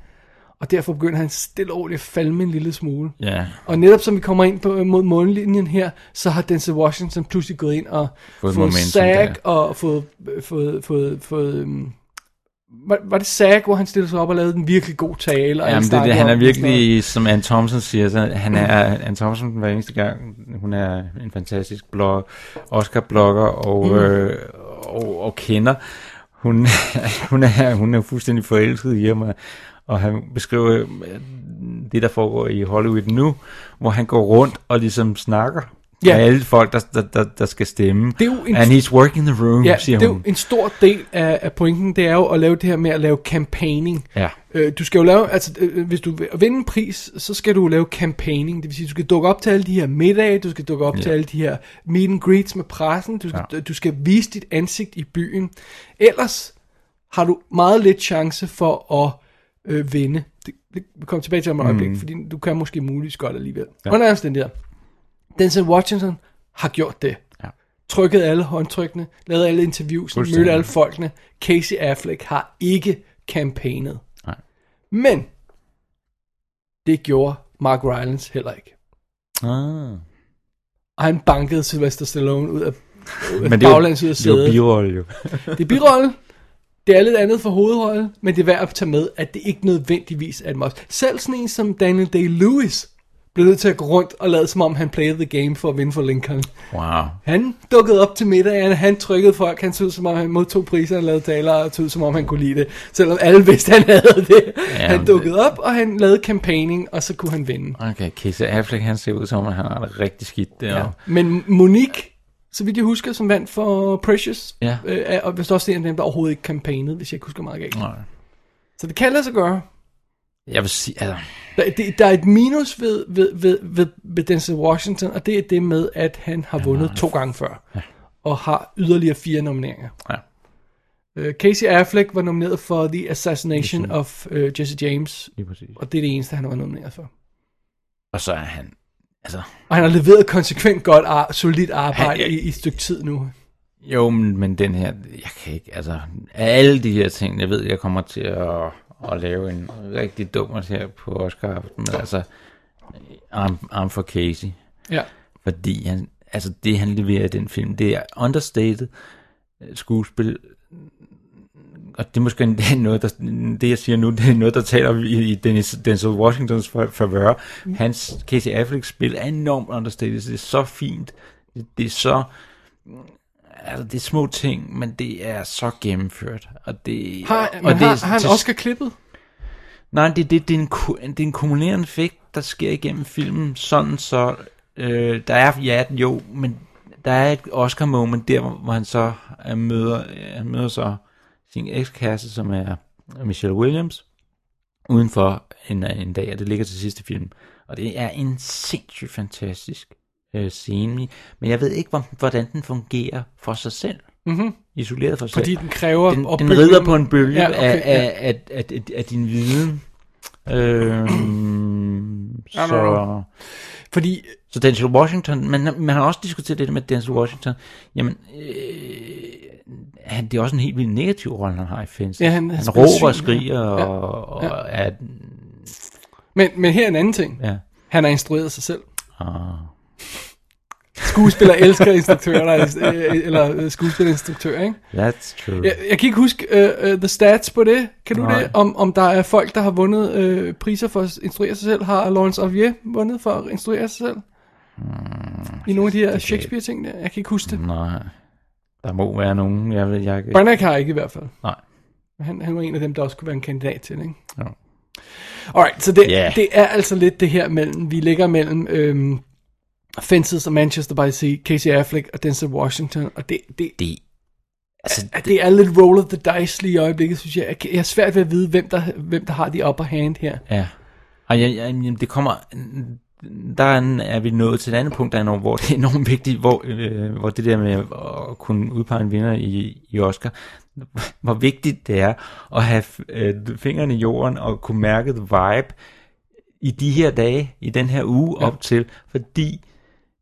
og derfor begynder han stille og roligt at falme en lille smule.
Ja.
Og netop som vi kommer ind på, mod mållinjen her, så har Denzel Washington pludselig gået ind og
Fået
fået,
momentum
sag og fået, fået, fået, fået, øhm, var, var det sag, hvor han stillede sig op og lavede en virkelig god tale? og alle
Jamen, det, er det,
snakkede
han er
om og sådan noget?
virkelig, som Ann Thompson siger, så han er, Ann Thompson hver eneste gang, hun er en fantastisk blog, Oscar-blogger og,
Mm.
mm. øh, og, og kender. Hun, hun, er, hun er fuldstændig forelsket i ham, og- og han beskriver øh, det, der foregår i Hollywood nu, hvor han går rundt og ligesom snakker
Ja.
yeah. med alle folk, der, der, der, der skal stemme.
Det er jo en-
And he's working the room,
Ja,
siger
det er
hun.
jo en stor del af, af pointen, det er jo at lave det her med at lave campaigning.
Ja.
Øh, du skal jo lave, altså øh, hvis du vil vinde en pris, så skal du lave campaigning, det vil sige, du skal dukke op til alle de her middage, du skal dukke op
Ja.
ja. til alle de her meet and greets med pressen, du skal, ja. du skal vise dit ansigt i byen. Ellers har du meget lidt chance for at øh, vinde. Det, det vi kommer tilbage til om et
Mm.
øjeblik, fordi du kan måske muligvis godt alligevel.
Ja.
Ja. Under omstændigheder. Denzel Washington har gjort det.
Ja.
Trykkede alle håndtrykkene, lavede alle interviews,
Fuldstændig.
mødte alle folkene. Casey Affleck har ikke campaignet.
Nej.
Men det gjorde Mark Rylance heller ikke.
Ah.
Og han bankede Sylvester Stallone ud af
Men det er jo,
baglands ud af
det er jo
sædet.
birolle, jo.
Det er birolle. Det er lidt andet for hovedrollen, men det er værd at tage med, at det ikke nødvendigvis er et must. Selv sådan en som Daniel Day-Lewis blev nødt til at gå rundt og lade som om, han played the game for at vinde for Lincoln.
Wow.
Han dukkede op til middagen, han trykkede folk, han så ud som om, han modtog priser, han lavede taler, og så ud som om, han kunne lide det. Selvom alle vidste, han havde det.
Ja,
Ja, han
men
dukkede op, og han lavede campaigning, og så kunne han vinde.
Okay, Casey Affleck, han ser ud som, at han har det rigtig skidt
Ja.
derovre.
Men Monique, så vidt jeg husker, som vandt for Precious,
Ja.
øh, er- og hvis også en af dem, der overhovedet ikke campaignede, hvis jeg ikke husker meget galt.
Nej.
Så det kan lade sig gøre.
Jeg vil sige, altså,
Der, det, der er et minus ved, ved, ved, ved, ved Denzel Washington, og det er det med, at han har vundet to gange før, ja. og har yderligere fire nomineringer.
Ja.
Øh, Casey Affleck var nomineret for The Assassination
Præcis.
of øh, Jesse James,
Lige præcis.
og det er det eneste, han var nomineret for.
og så er han, altså,
Og han har leveret konsekvent godt, ar- solidt arbejde
Han-
i, i et stykke tid nu.
jo, men, men den her, jeg kan ikke, altså, alle de her ting, jeg ved, jeg kommer til at, at lave en rigtig dummert her på Oscar aften, men altså, I'm, I'm for Casey.
Ja.
Fordi han, altså det, han leverer i den film, det er understated øh, skuespil, og det er måske endda noget, der, det jeg siger nu, det er noget, der taler i, i Dennis, Denzel Washingtons fa- favør.
Mm.
Hans Casey Afflecks spil er enormt understated, så det er så fint, det, det er så, altså det er små ting, men det er så gennemført. Og det,
Har,
og
men
det er
har, har han
til-
Oscar-klippet?
Nej, det, det, det, er en, ku- det er en kumulerende effekt, der sker igennem filmen, sådan så, øh, der er, ja, jo, men der er et Oscar-moment der, hvor hvor han så øh, møder, øh, han møder så sin ekskasse, som er Michelle Williams, udenfor en, en dag, og det ligger til sidste film. Og det er en sindssygt fantastisk øh, scene, men jeg ved ikke, hvor- hvordan den fungerer for sig selv
Mhm.
isoleret for sig.
Fordi den kræver
Den,
opbygning.
den rider på en bølge
Ja,
ja,
okay,
okay, af,
ja.
af, af, af, af, af din viden. Øhm,
Ja, no,
så,
no. Fordi...
så Denzel Washington, men, men han har også diskuteret det der med Denzel Washington. Jamen, øh, han, det er også en helt vildt negativ rolle, han har i Fences.
Ja, han er
han
spillet
råber og
syg, ja.
skriger,
Ja,
og,
ja.
og er...
Men, men her er en anden ting.
Ja.
Han har instrueret sig selv.
Ah.
Skuespiller elsker instruktører, der er, øh, eller øh, skuespillerinstruktører, ikke?
That's true.
Jeg, jeg kan ikke huske uh, uh, the stats på det. Kan du
Øh. Nej.
det? Om, om der er folk, der har vundet uh, priser for at instruere sig selv. Har Laurence Olivier vundet for at instruere sig selv? I nogle af de her Shakespeare-ting der? Jeg kan ikke huske det.
Nej, der må være nogen, jeg ved, jeg...
Branagh har ikke i hvert fald.
Nej.
Han, han var en af dem, der også kunne være en kandidat til, ikke?
Ja.
Alright, så det,
Ja.
yeah. det er altså lidt det her mellem, vi ligger mellem øhm, Fences og Manchester by Sea, Casey Affleck og Denzel Washington, og det, det,
det, altså,
det, det er lidt roll of the dice lige i øjeblikket, synes jeg. Jeg, jeg har svært ved at vide, hvem der, hvem der har de upper hand her.
Ja. Og jeg, jeg, jamen, det kommer... der er en- er vi nået til et andet punkt, der er enormt, hvor det er enormt vigtigt, hvor, øh, hvor det der med at kunne udpege en vinder i, i Oscar, hvor vigtigt det er at have øh, fingrene i jorden og kunne mærke the vibe i de her dage, i den her uge ja. op til, fordi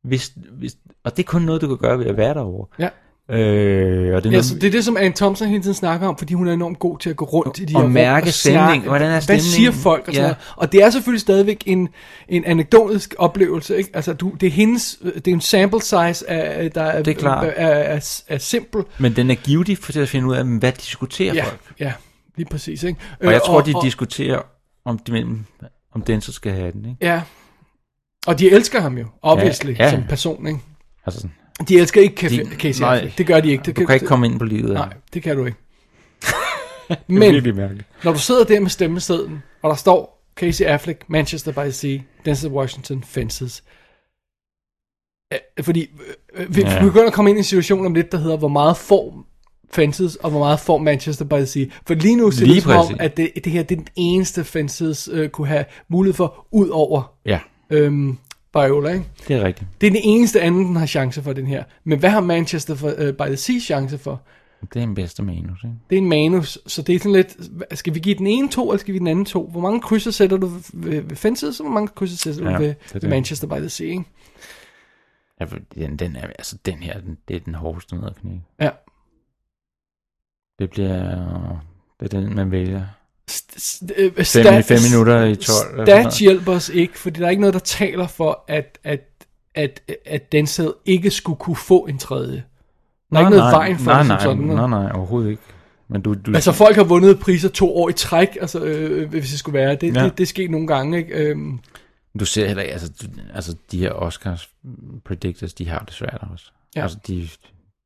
hvis, hvis, og det er kun noget, du kan gøre ved at være derovre.
Ja.
Øh, og det er
Ja,
noget,
så altså, det er det, som Anne Thompson hele tiden snakker om, fordi hun er enormt god til at gå rundt i de
Og
her rum snakke.
mærke stemningen. Hvordan er
Hvad siger
stemningen?
folk og sådan
Ja.
noget. Og det er selvfølgelig stadigvæk en, en anekdotisk oplevelse. Ikke? Altså, du, det er hendes, det er en sample size, af, der er,
Det er klart.
Er, er, er, er simpel.
men den er givetig for til at finde ud af, hvad diskuterer
ja,
folk.
ja, lige præcis. Ikke?
Og jeg
Øh,
tror, de diskuterer, om, de, mellem- om den så skal have den. Ikke?
Ja. Og de elsker ham jo, obviously, ja,
ja.
ja. som person, ikke?
Altså sådan,
De elsker ikke Casey,
De-
Casey
nej.
Affleck. Det gør de ikke. Det
Du kan ikke komme ind på livet af
Nej,
ham.
det kan du ikke.
det er virkelig
Men
mærkeligt.
når du sidder der med stemmesedlen, og der står Casey Affleck, Manchester by the Sea, Denzel Washington, Fences. Øh, Fordi øh, vi
Ja.
ja. begynder at komme ind i en situation om lidt, der hedder, hvor meget får Fences, og hvor meget får Manchester by the Sea. For lige nu ser
Lige
det ud som om,
præcis.
at det, det her det er den eneste Fences øh, kunne have mulighed for, ud over
Ja,
øhm, Viola, ikke?
det er rigtigt.
Det er den eneste anden, den har chance for, den her. Men hvad har Manchester for, uh, by the Sea chance for?
Det er en bedste manus, ikke?
Det er en manus, så det er sådan lidt, hva- skal vi give den ene to, eller skal vi give den anden to? Hvor mange krydser sætter du ved- ved, ved Fences, og hvor mange krydser sætter du
Ja,
ja, ved,
det er
ved
det.
Manchester by the Sea, ikke?
Ja, for den, den, er, altså, den her, den, det er den hårdeste ned at knække.
Ja.
Det bliver... Det er den, man vælger.
Øh,
Fem, fem minutter i 12. eller sådan
Stats
noget.
hjælper os ikke, fordi der er ikke noget, der taler for, at, at, at, at Denzel ikke skulle kunne få en tredje. Der er ikke noget vejen for
nej,
det som
nej,
sådan.
Nej, nej, overhovedet ikke. Men du, du,
Altså folk har vundet priser to år i træk, altså, øh, hvis det skulle være. Det,
Ja.
ja. det, det sker nogle gange, ikke? Øhm,
Du ser heller ikke, altså, du, altså de her Oscars predictors, de har det svært også.
Ja.
Altså de,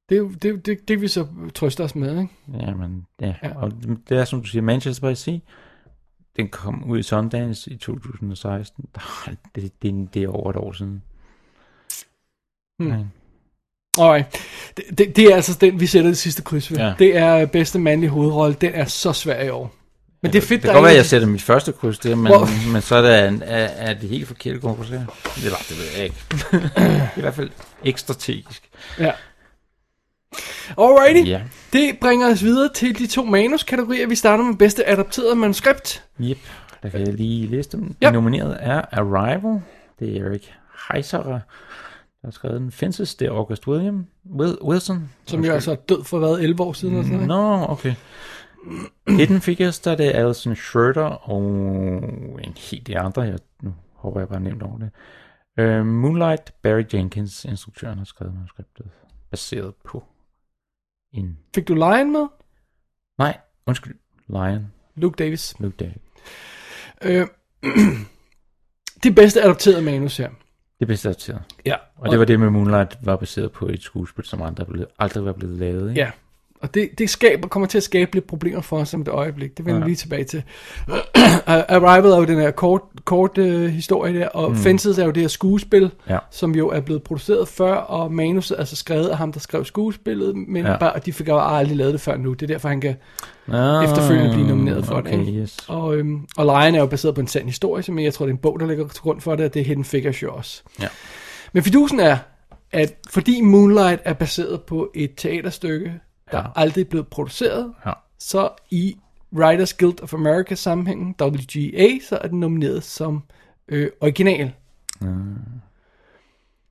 det, er jo- det, er jo- det, det vi så trøster os med, ikke?
ja, men, ja. ja.
Ja.
Og det er, som du siger, Manchester by the Sea, den kom ud i Sundance i 2016. Der- Det, det, det er over et år siden.
Hmm.
Nej.
Alright. Det, det, det er altså den, vi sætter det sidste kryds ved.
Ja.
Ja. Det er øh, bedste mandlige hovedrolle. Den er så svær i år. Men det er fedt,
Det kan godt være,
en-
at jeg sætter mit første kryds der, men,
Hvor-
men så er det, en- er, er det helt forkert at gå Eller det ved jeg ikke. I hvert fald ikke strategisk.
Ja. Alrighty.
Ja.
Det bringer os videre til de to manuskategorier. Vi starter med bedste adapteret manuskript.
Yep, der kan jeg lige liste dem.
Ja.
De nominerede er Arrival, det er Erik Heiserer, der har skrevet den. Fences, det er August William, Wil- Wilson.
Som jo altså er død for hvad, 11 år siden? Mm, eller sådan noget,
Nå, okay. Hidden Figures, der er det Alison Schroeder og en helt de andre. Jeg, nu håber jeg bare nemt over det. Uh, Moonlight, Barry Jenkins, instruktøren, har skrevet manuskriptet, baseret på en...
ikke? Fik du Lion med?
Nej, undskyld, Lion,
Luke Davis.
Luke David.
Øh, det bedste adapteret manus her.
Det er bedst adapteret.
Ja.
Og det var det med Moonlight, var baseret på et skuespil, som andre blev, aldrig var blevet lavet. Ikke?
Ja, og det, det skaber, kommer til at skabe lidt problemer for os om et øjeblik. Det vender vi
Ja.
lige tilbage til. Arrival er jo den her kort, kort øh, historie der, og
Mm.
mm. Fences er jo det her skuespil,
Ja.
som jo er blevet produceret før, og manuset er så skrevet af ham, der skrev skuespillet, men
Ja.
ja. bare, de fik jo aldrig lavet det før nu. Det er derfor, han kan
Ah,
efterfølgende blive nomineret for
okay,
det. ikke?
yes.
Og, øhm, og Lion er jo baseret på en sand historie, som jeg tror, det er en bog, der ligger til grund for det, og det er Hidden Figures jo også.
Ja.
Men fidusen er, at fordi Moonlight er baseret på et teaterstykke, der
Ja.
ja. aldrig er blevet produceret,
Ja.
så i Writers Guild of America sammenhængen, WGA, så er den nomineret som øh, original.
Mm.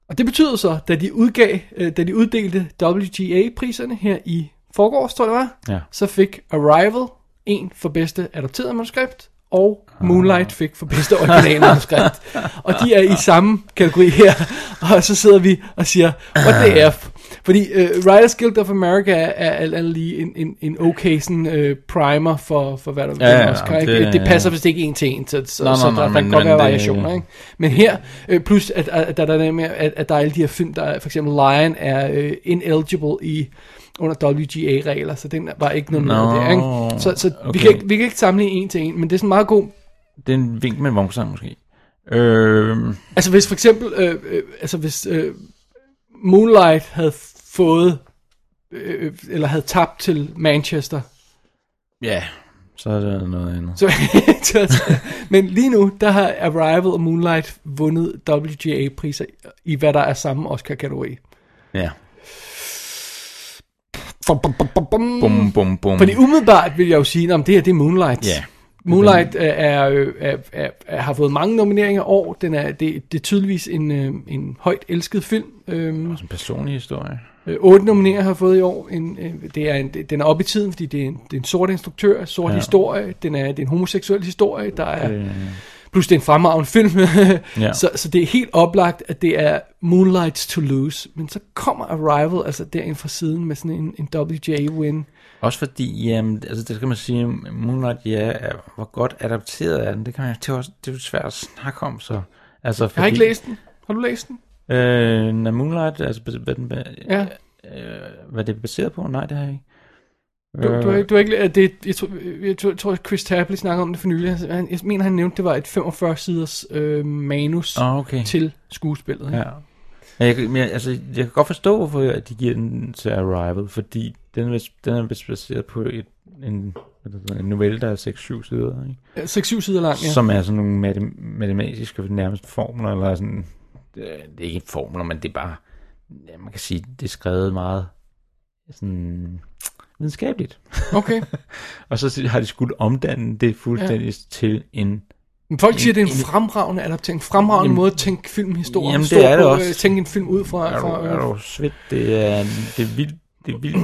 Og det betyder så, da de, udgav, øh, da de uddelte WGA-priserne her i forgårs, tror jeg det var,
Ja.
så fik Arrival en for bedste adopteret manuskript, og
Ah.
Moonlight fik for bedste original manuskript. og de er i samme kategori her, og så sidder vi og siger, what the F? Fordi uh, Writers Guild of America er er alt andet lige en, en, en okay sådan, uh, primer for, for hvad der
Ja, ja,
ja, Oscar.
det-
Det, ikke? det passer vist ikke en til en, så, så,
Nå, nå,
så der,
nå,
der
men-
kan godt
men øh,
være
det-
variationer. Ikke? Men her, øh, plus at, at, at, der er det med, at, at der er alle de her film, der er- for eksempel Lion er øh, ineligible i under WGA-regler, så den var ikke noget
Nå,
der, ikke? Så, så vi,
okay.
kan ikke, vi kan ikke sammenligne en til en, men det er sådan meget god...
Det er en vink med en vognsang måske. Øh,
Altså hvis for eksempel, øh, øh, altså hvis øh, Moonlight havde øh, fået, øh, eller havde tabt til Manchester,
ja, Så er det noget andet.
Så, så- men lige nu, der har Arrival og Moonlight vundet WGA-priser i hvad der er samme Oscar-kategori.
Ja.
Bum, bum, bum, bum, bum.
Bum, bum, bum.
Fordi umiddelbart vil jeg jo sige, at det her det er Moonlight.
Mm. Ja.
Moonlight øh, er, øh, er, er, er, har fået mange nomineringer i år. Den er, det, det er tydeligvis en, øh, en højt elsket film. Øhm,
Også en personlig historie.
øh, otte nomineringer har fået i år. En, øh, det er en, det- den er op i tiden, fordi det er en, det er en sort instruktør, sort
Ja.
ja. historie. Den er, det er en homoseksuel historie. Der er,
Øh.
Plus det er en fremragende film.
Ja.
ja. så, så det er helt oplagt, at det er Moonlights to Lose. Men så kommer Arrival altså derind fra siden med sådan en, en WJ-win.
Også fordi, jamen, altså det skal man sige, Moonlight, ja, er, hvor godt adapteret er den, det kan man det er, også, det er jo svært at snakke om, så. Altså, fordi,
Jeg har ikke læst den. Har du læst den?
Øh, når Moonlight, altså, bas- hvad, den, hvad,
Ja.
øh, hvad det er baseret på? Nej, det har jeg ikke.
Du, du,
Øh.
har, ikke- du har ikke, læ- det, er- jeg, tror, øh, jeg, tror, jeg tror, Chris Tapley snakkede om det for nylig. Altså, Han- Han, jeg mener, han nævnte, det var et 45-siders øh, manus
Ah, okay.
til skuespillet. ikke?
Ja. Men jeg, kan- men jeg, altså, jeg kan godt forstå, hvorfor at de giver den til Arrival, fordi den er, vist- den er vist baseret på et, en, hvad hedder det, en novelle, der er 6-7 sider, ikke?
Ja, 6-7 sider lang, ja.
Som er sådan nogle matem- matematiske nærmest formler, eller sådan, det er det er ikke formler, men det er bare, ja, man kan sige, det er skrevet meget sådan videnskabeligt.
Okay.
og så si- har de skulle omdanne det fuldstændig ja. til en
Men folk siger, det er en fremragende adaptering, en fremragende
Jamen-
måde at tænke filmhistorien.
Jamen, det
stå
er det
på,
også.
øh, Tænke en film ud fra.
er
fra
du, er du svedt? Det er, det er vildt, det er vildt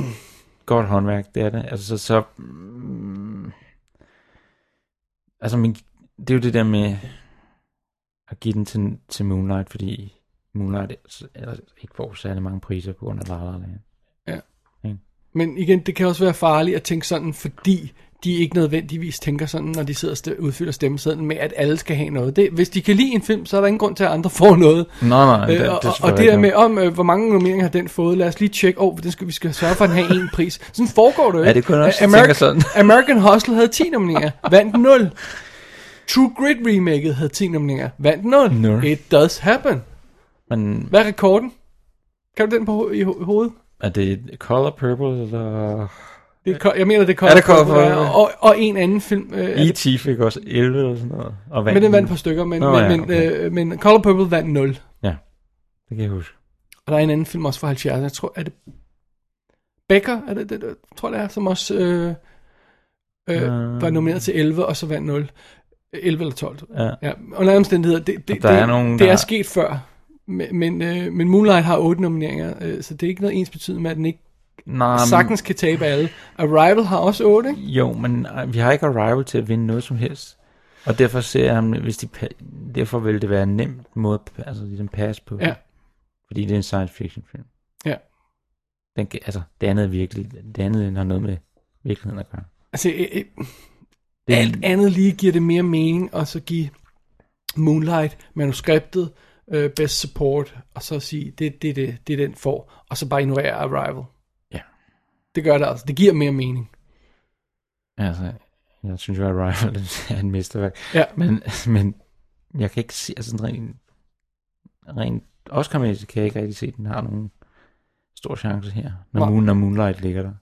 godt håndværk, det er det. Altså, så, så mm, altså, men det er jo det der med at give den til, til Moonlight, fordi Moonlight ellers- ellers ikke får særlig mange priser på grund af La La Land.
Ja.
Ikke?
Men igen, det kan også være farligt at tænke sådan, fordi de ikke nødvendigvis tænker sådan, når de sidder og st- udfylder stemmesedlen med, at alle skal have noget. Det, hvis de kan lide en film, så er der ingen grund til, at andre får noget.
Nej, nej, det- det er
Øh, og, og, og
selvfølgelig
det der med,
rigtigt.
om øh, hvor mange nomineringer har den fået, lad os lige tjekke, åh, oh, den skal, vi skal sørge for, at den har en pris. Sådan foregår det jo
Ja,
ikke.
det kunne jeg også
American-
tænke sådan.
American Hustle havde 10 nomineringer, vandt 0. True Grit remaket havde 10 nomineringer, vandt 0.
Nul.
It does happen.
Men
Hvad er rekorden? Kan du den på ho- i, ho- i hovedet?
er det Color Purple, eller...
Det er, ko- jeg mener, det er
Er det Color
Purple, der
Purple?
er, og, og en anden film. Øh, er det-
E.T. E fik også 11 eller sådan noget. Og
men den vandt et par stykker, men,
Nå,
men,
ja,
men,
okay.
øh, men Color Purple vandt 0.
ja, det kan jeg huske.
Og der er en anden film også fra 70'erne, jeg tror, er det Becker, er det, det, det tror jeg det er, som også øh, øh,
Ah.
var nomineret til 11, og så vandt 0. 11 eller 12.
Ja.
ja under alle omstændigheder, det, det,
Og der
det,
er nogen,
det
der-
er sket før. Men, men, øh, men Moonlight har 8 nomineringer, øh, så det er ikke noget ens betydende med, at den ikke
Nej, men-
sagtens kan tabe alle. Arrival har også 8, ikke?
Jo, men øh, vi har ikke Arrival til at vinde noget som helst. Og derfor ser jeg, at hvis de, pa- derfor vil det være en nem måde at pa- altså, ligesom passe på.
Ja.
Fordi det er en science fiction film.
Ja.
Den, kan- altså, det andet er virkelig, det andet har noget med virkeligheden at gøre.
Altså, øh, øh,
Det er-
alt andet lige giver det mere mening at så give Moonlight manuskriptet øh, best support, og så sige, det det, er det, det er den får, og så bare ignorere Arrival.
Ja.
Det gør det altså. Det giver mere mening.
Altså, jeg synes jo, at Arrival er en mesterværk.
Ja.
Men, men jeg kan ikke se, altså sådan rent, rent Oscar-mæssigt kan jeg ikke rigtig se, at den har nogen stor chance her, når,
Nej.
moon, når Moonlight ligger der.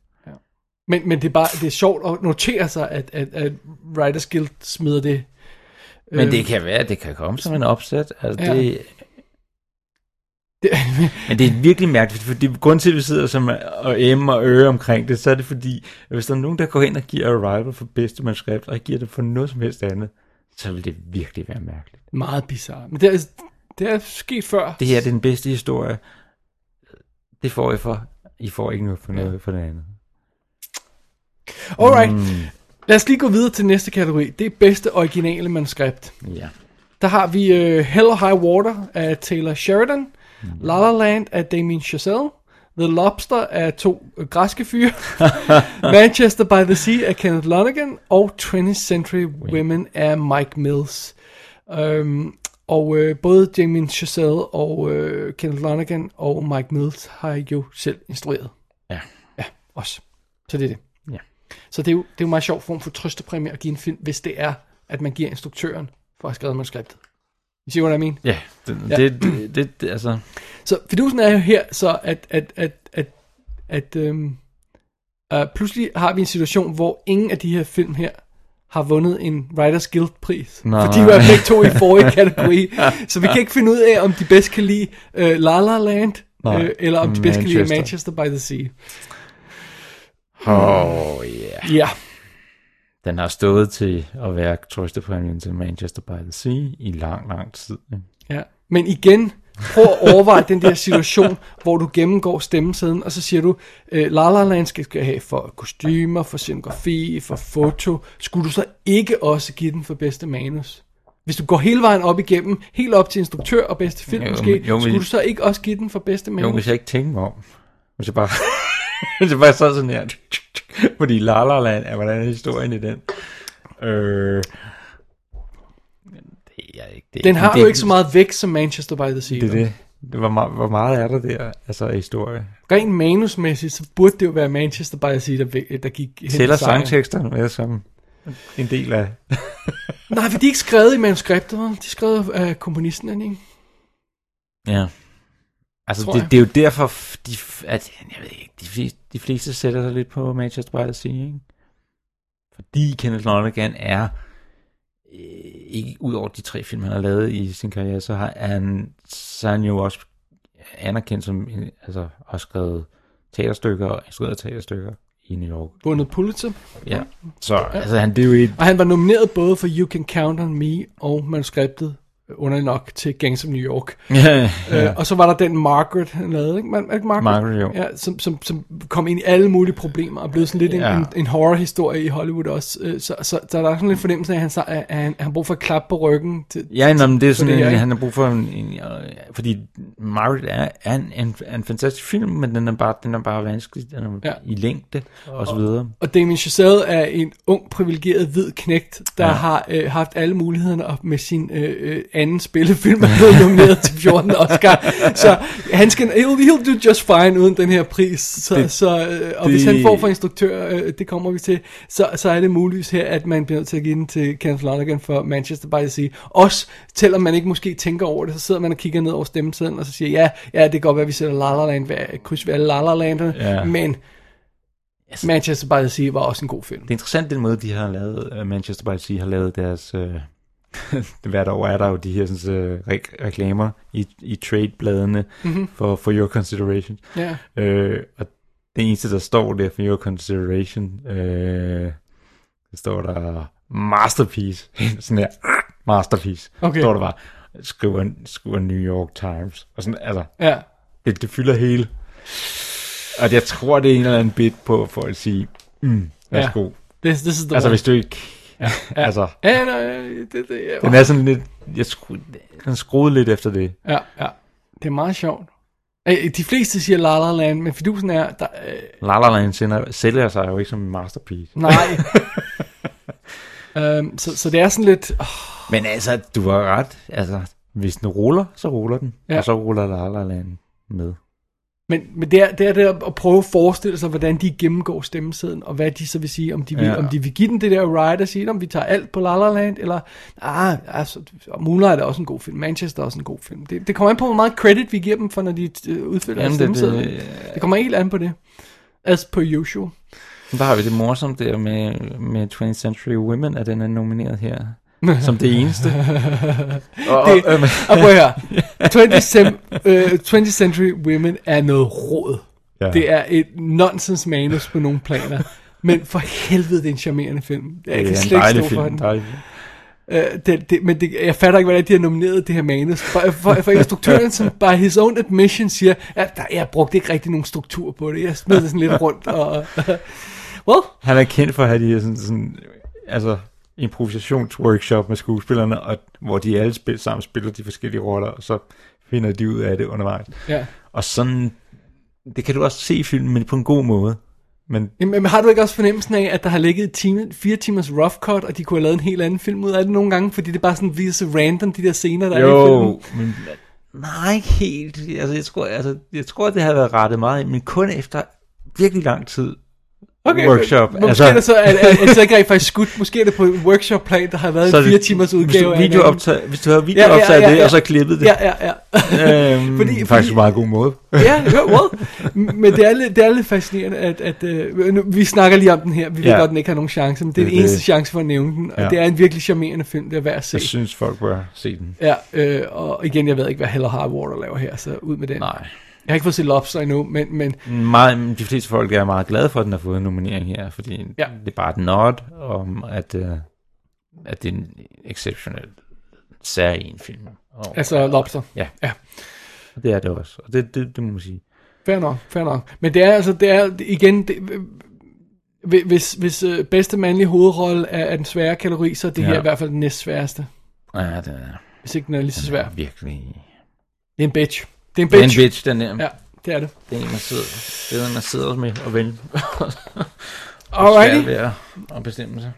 Men, men det er bare det er sjovt at notere sig, at, at, at Writers Guild smider det.
Men
øh,
det kan være, at det kan komme som en opsæt. Altså,
Ja.
ja. det, Men det er virkelig mærkeligt, fordi grunden til, at vi sidder som og emme og øre omkring det, så er det fordi, at hvis der er nogen, der går ind og giver Arrival for bedste manuskript, og ikke giver det for noget som helst andet, så vil det virkelig være mærkeligt.
Meget bizarre. Men det er, det er sket før.
Det her det er den bedste historie. Det får I for. I får ikke noget for noget for det andet.
Alright. Mm. Lad os lige gå videre til næste kategori. Det er bedste originale manuskript.
Ja.
Der har vi uh, Hell or High Water af Taylor Sheridan, mm. La La Land af Damien Chazelle, The Lobster af to øh, græske fyre, Manchester by the Sea af Kenneth Lonergan, og 20th Century Women af Mike Mills. Um, og uh, både Damien Chazelle og uh, Kenneth Lonergan og Mike Mills har jo selv instrueret.
Ja.
Ja, også. Så det er det.
Ja.
Så det er jo, det er jo en meget sjov form for trøstepræmie at give en film, hvis det er, at man giver instruktøren for at have skrevet manuskriptet. You see what I mean?
Ja, det, ja. Det, det, det, det, altså,
Så fidusen er jo her, så at, at, at, at, at øhm, øh, pludselig har vi en situation, hvor ingen af de her film her har vundet en Writers Guild pris.
Nej.
For de var begge to i forrige kategori. Så vi kan ikke finde ud af, om de bedst kan lide øh, La La Land,
Nej,
øh, eller om de bedst kan lide Manchester
Manchester.
by the Sea.
Oh yeah.
Ja.
Den har stået til at være trøstepræmien til Manchester by the Sea i lang, lang tid. ikke?
Ja. Men igen, prøv at overveje den der situation, hvor du gennemgår stemmesedlen, og så siger du, øh, La La Land skal, skal have for kostymer, for scenografi, for foto. Skulle du så ikke også give den for bedste manus? Hvis du går hele vejen op igennem, helt op til instruktør og bedste film
Jo,
jo,
men-
måske,
jo,
jo,
men-
skulle du så ikke også give den for bedste
Jo,
manus?
hvis jeg ikke tænkte mig om. Hvis jeg bare, hvis jeg bare sad sådan her. Fordi La La Land, er, hvordan er historien i den? Øh, det er ikke, det er
den har
det er
jo ikke så meget vægt som Manchester by the Sea.
Det er
vel?
det. det hvor, meget, hvor meget er der der, altså af historie?
Rent manusmæssigt, så burde det jo være Manchester by the Sea, der, vi- der gik hen til
Tæller
sejren.
sangteksterne med som en del af...
Nej, for de er ikke skrevet i manuskriptet, vel? de er skrevet af komponisten, er de ikke?
Ja. Altså,
Tror
det,
jeg.
det, er jo derfor, f- de, f- at, jeg ved ikke, de, fleste, de fleste sætter sig lidt på Manchester by the Sea, ikke? Fordi Kenneth Lonergan er, øh, ikke ud over de tre film, han har lavet i sin karriere, så har han, så er han jo også anerkendt som, en- altså, har skrevet teaterstykker og instrueret teaterstykker i New York.
Vundet Pulitzer.
Ja, så altså, han, det er jo et
Og han var nomineret både for You Can Count On Me og manuskriptet øh, underligt nok til Gangs of New York.
Ja, ja.
Øh, og så var der den Margaret, han lavede, ikke? Man, er ikke Margaret?
Margaret, jo.
Ja, som, som, som kom ind i alle mulige problemer og blev sådan lidt
Ja.
ja. en, en horrorhistorie i Hollywood også. Øh, Så, så, så der er sådan lidt fornemmelse af, at han, så- at han, at han brug for et klap på ryggen. Til,
Ja, nå, men det er
for
sådan,
her,
en,
ikke?
han har brug for en, en, øh, fordi Margaret er, er en, en, en, fantastisk film, men den er bare, den er bare vanskelig den er ja.
Ja.
i længde og så videre.
Og Damien Chazelle er en ung, privilegeret hvid knægt, der
Ja.
ja. har øh, haft alle mulighederne og med sin øh, øh, anden spillefilm er blevet nomineret til 14 Oscar. Så han skal, he'll, he'll do just fine uden den her pris. Så,
Det-
det, så, øh, og
det-
det, hvis han får for instruktør, øh, det kommer vi til, så, så er det muligvis her, at man bliver nødt til at give den til Kenneth Lonergan for Manchester by the Sea. Også selvom man ikke måske tænker over det, så sidder man og kigger ned over stemmesedlen, og så siger, ja, ja det kan godt være, at vi sætter La La Land, ved- kryds ved alle La La Landerne,
Ja.
ja. men Manchester by the Sea var også en god film.
Det er interessant den måde, de har lavet, øh, Manchester by the Sea har lavet deres, øh, hvert år er der jo de her sådan, øh, re- reklamer i, i tradebladene mm-hmm.
Mhm.
for, for your consideration.
Ja.
Øh, og det eneste, der står der for your consideration, øh, der står der masterpiece, sådan her, masterpiece,
Okay.
står der bare, skriver, skriver New York Times, og sådan, altså,
Ja.
det, det fylder hele. Og jeg tror, det er en eller anden bit på, for at sige, mm, værsgo.
Ja. This- this is the
altså,
one.
hvis du ikke, ja. altså,
Ja, nej, det, det, det,
den er sådan lidt, jeg skru, den skruede lidt efter det.
Ja, ja. Det er meget sjovt. Øh, De fleste siger La La Land, men fidusen er, der, øh,
La La Land sender- sælger sig jo ikke som en masterpiece.
nej. øhm, så, så det er sådan lidt, åh,
Men altså, du har ret. Altså, hvis den ruller, så ruller den. Ja.
Ja.
Og så ruller La La Land med.
men, men det, er, det er det at prøve at forestille sig, hvordan de gennemgår stemmesedlen, og hvad de så vil sige, om de vil,
Ja.
ja. om de vil give den det der ride og sige, om vi tager alt på La La Land, eller, ah, altså, og Moonlight er også en god film, Manchester er også en god film. Det, det kommer an på, hvor meget credit vi giver dem for, når de øh, udfylder
Jamen,
Jamen,
det- det-
stemmesedlen. Det, det, det kommer helt an på det. As per usual.
Men Der har vi det morsomt der med, med 20th Century Women, at den er nomineret her. Som det eneste.
og, det,
øh,
og, prøv her. 20th, cen- øh, 20th Century Women er noget råd.
Ja.
Ja. Det er et nonsens manus på nogle planer. Men for helvede, det er en charmerende film. Jeg
Det er
kan
en
slet ikke
dejlig
stå
film,
for den.
dejlig film.
Øh, det, det, men det, jeg fatter ikke, hvordan de har nomineret det her manus. For, for, for instruktøren, som by his own admission siger, at der, jeg brugte ikke rigtig nogen struktur på det. Jeg smed det sådan lidt rundt. Og, well,
Han er kendt for at have de her sådan, sådan altså, improvisationsworkshop med skuespillerne, og, hvor de alle spil, sammen spiller de forskellige roller, og så finder de ud af det undervejs.
Ja.
Og sådan, det kan du også se i filmen, men på en god måde. Men
Jamen, men har du ikke også fornemmelsen af, at der har ligget time, fire timers rough cut, og de kunne have lavet en helt anden film ud af det nogle gange, fordi det bare sådan viser så random, de der scener, der er i filmen?
jo, men nej, ikke helt. Altså, jeg tror, altså, jeg tror, det havde været rettet meget ind, men kun efter virkelig lang tid,
Okay,
workshop.
Måske altså... er det så, at, at, at, så ikke rent faktisk skudt. Måske er det på en workshop-plan, der har været
Så er
en
det-
fire timers
hvis du
udgave. af en
videooptag-
anden.
hvis du har videooptaget det, og så klippet det.
Ja, ja, ja.
Øhm, er faktisk en meget god måde.
ja, jo, well. Men det er lidt, det er lidt fascinerende, at, at øh, nu, vi snakker lige om den her. Vi ved
Ja.
godt, den ikke har nogen chance, men det er
Det
den
er det.
eneste chance for at nævne den. Og
Ja.
det er en virkelig charmerende film, det er værd at se.
Jeg synes, folk bør se den.
Ja, øh, og igen, jeg ved ikke, hvad Hell og High Water laver her, så ud med den.
Nej.
Jeg har ikke fået set Lobster endnu, men, men
Meget, de fleste folk er meget glade for, at den har fået en nominering her, fordi
Ja.
ja. det er bare et nod om, at, øh, at det er en exceptionel særlig film. Og,
altså Lobster.
Ja.
ja.
Og det er det også, og det, det, det må man sige.
Fair nok, fair nok. Men det er altså, det er igen, det, hvi- hvis, hvis øh, bedste mandlige hovedrolle er, er den svære kategori, så er det
Ja.
her i hvert fald den næstsværeste.
Ja, det er
Hvis ikke den er lige så svær.
virkelig...
Det er en bitch. Det er en
Det er en
bitch.
bitch, den der.
Ja, det er det.
Det er en, man sidder, det er en, man sidder med og vælger.
Alrighty.
Det er at bestemme sig.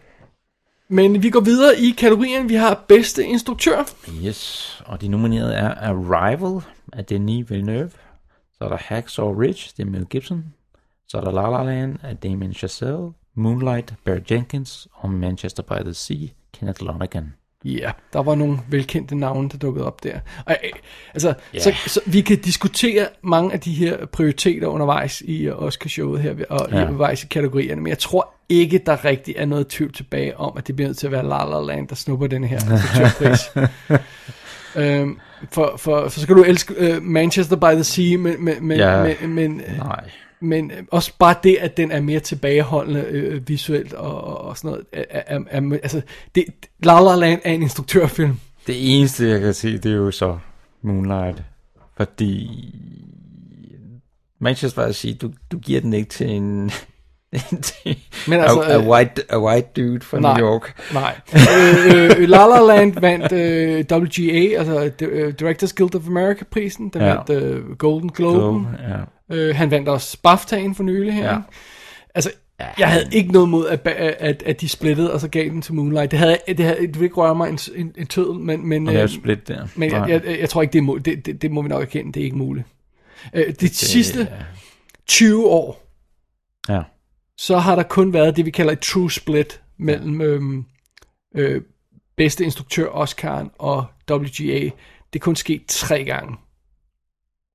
Men vi går videre i kategorien, vi har bedste instruktør.
Yes, og de nominerede er Arrival af Denis Villeneuve, så er der Hacksaw Ridge, det er Mel Gibson, så er der La La Land af Damien Chazelle, Moonlight, Barry Jenkins og Manchester by the Sea, Kenneth Lonergan.
Ja, der var nogle velkendte navne, der dukkede op der. Og, øh, altså,
Ja.
så, så vi kan diskutere mange af de her prioriteter undervejs i øh, Oscarshowet her, og ja.
Ja.
undervejs i kategorierne, men jeg tror ikke, der rigtig er noget tvivl tilbage om, at det bliver nødt til at være La La Land, der snupper den her instruktørpris. øhm, for, for, for så kan du elske øh, Manchester by the Sea, men, men, men,
Ja.
men, men, øh,
Nej.
men øh, også bare det, at den er mere tilbageholdende øh, visuelt og, og, og sådan noget. Er, er, er, er, altså, det, La La Land er en instruktørfilm.
Det eneste, jeg kan se, det er jo så Moonlight, fordi Manchester by the Sea, du, du giver den ikke til en... til
Men altså,
a, a,
øh,
white, a white dude fra
nej,
New York.
Nej. øh, øh, La La Land vandt øh, WGA, altså D- øh, Directors Guild of America-prisen. Den
Ja.
ja. vandt øh, Golden Globe.
Globe,
ja. øh, han vandt også BAFTA'en for nylig her.
Ja.
Ja. Altså, jeg havde ikke noget mod, at, ba- at, at de splittede, og så gav den til Moonlight. Det havde, det havde det ville ikke røre mig en, en, en tødel, men... men
Og lave
øh,
split der.
Men jeg,
Nej.
jeg, jeg, jeg tror ikke, det er muligt. Det, det, det må vi nok erkende, det er ikke muligt. Øh, de sidste 20 år,
Ja.
så har der kun været det, vi kalder et true split mellem øhm, øh, bedste instruktør Oscar'en og WGA. Det er kun sket tre gange.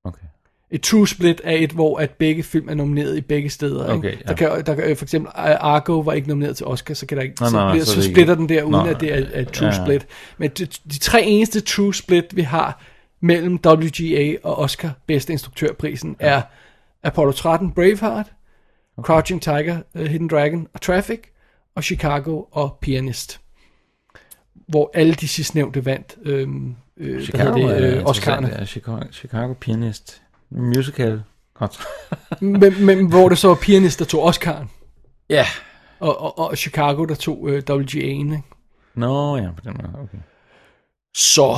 Okay.
Et true split er et, hvor at begge film er nomineret i begge steder.
Okay,
ikke?
ja.
Der kan, der kan, for eksempel øh, Argo var ikke nomineret til Oscar, så, kan der ikke,
Nej,
så,
nej, nej,
bliver,
så
så,
er det
så
ikke-
splitter den der, uden
Nej,
at det er, er et true
ja.
split. Men de, de tre eneste true split, vi har mellem WGA og Oscar bedste instruktørprisen, ja. er Apollo 13 Braveheart, Crouching Tiger, uh, Hidden Dragon og Traffic, og Chicago og Pianist. Hvor alle de sidstnævnte vandt øhm, øh, Chicago,
Chicago,
det,
er
øh,
interessant,
Oscar'erne.
ja. Chicago, Chicago Pianist. Musical. Godt.
men, men hvor det så var Pianist, der tog Oscar'en.
Ja.
Og, og, og Chicago, der tog øh, WGA'en. Ikke?
Nå ja, på den måde. Okay.
Så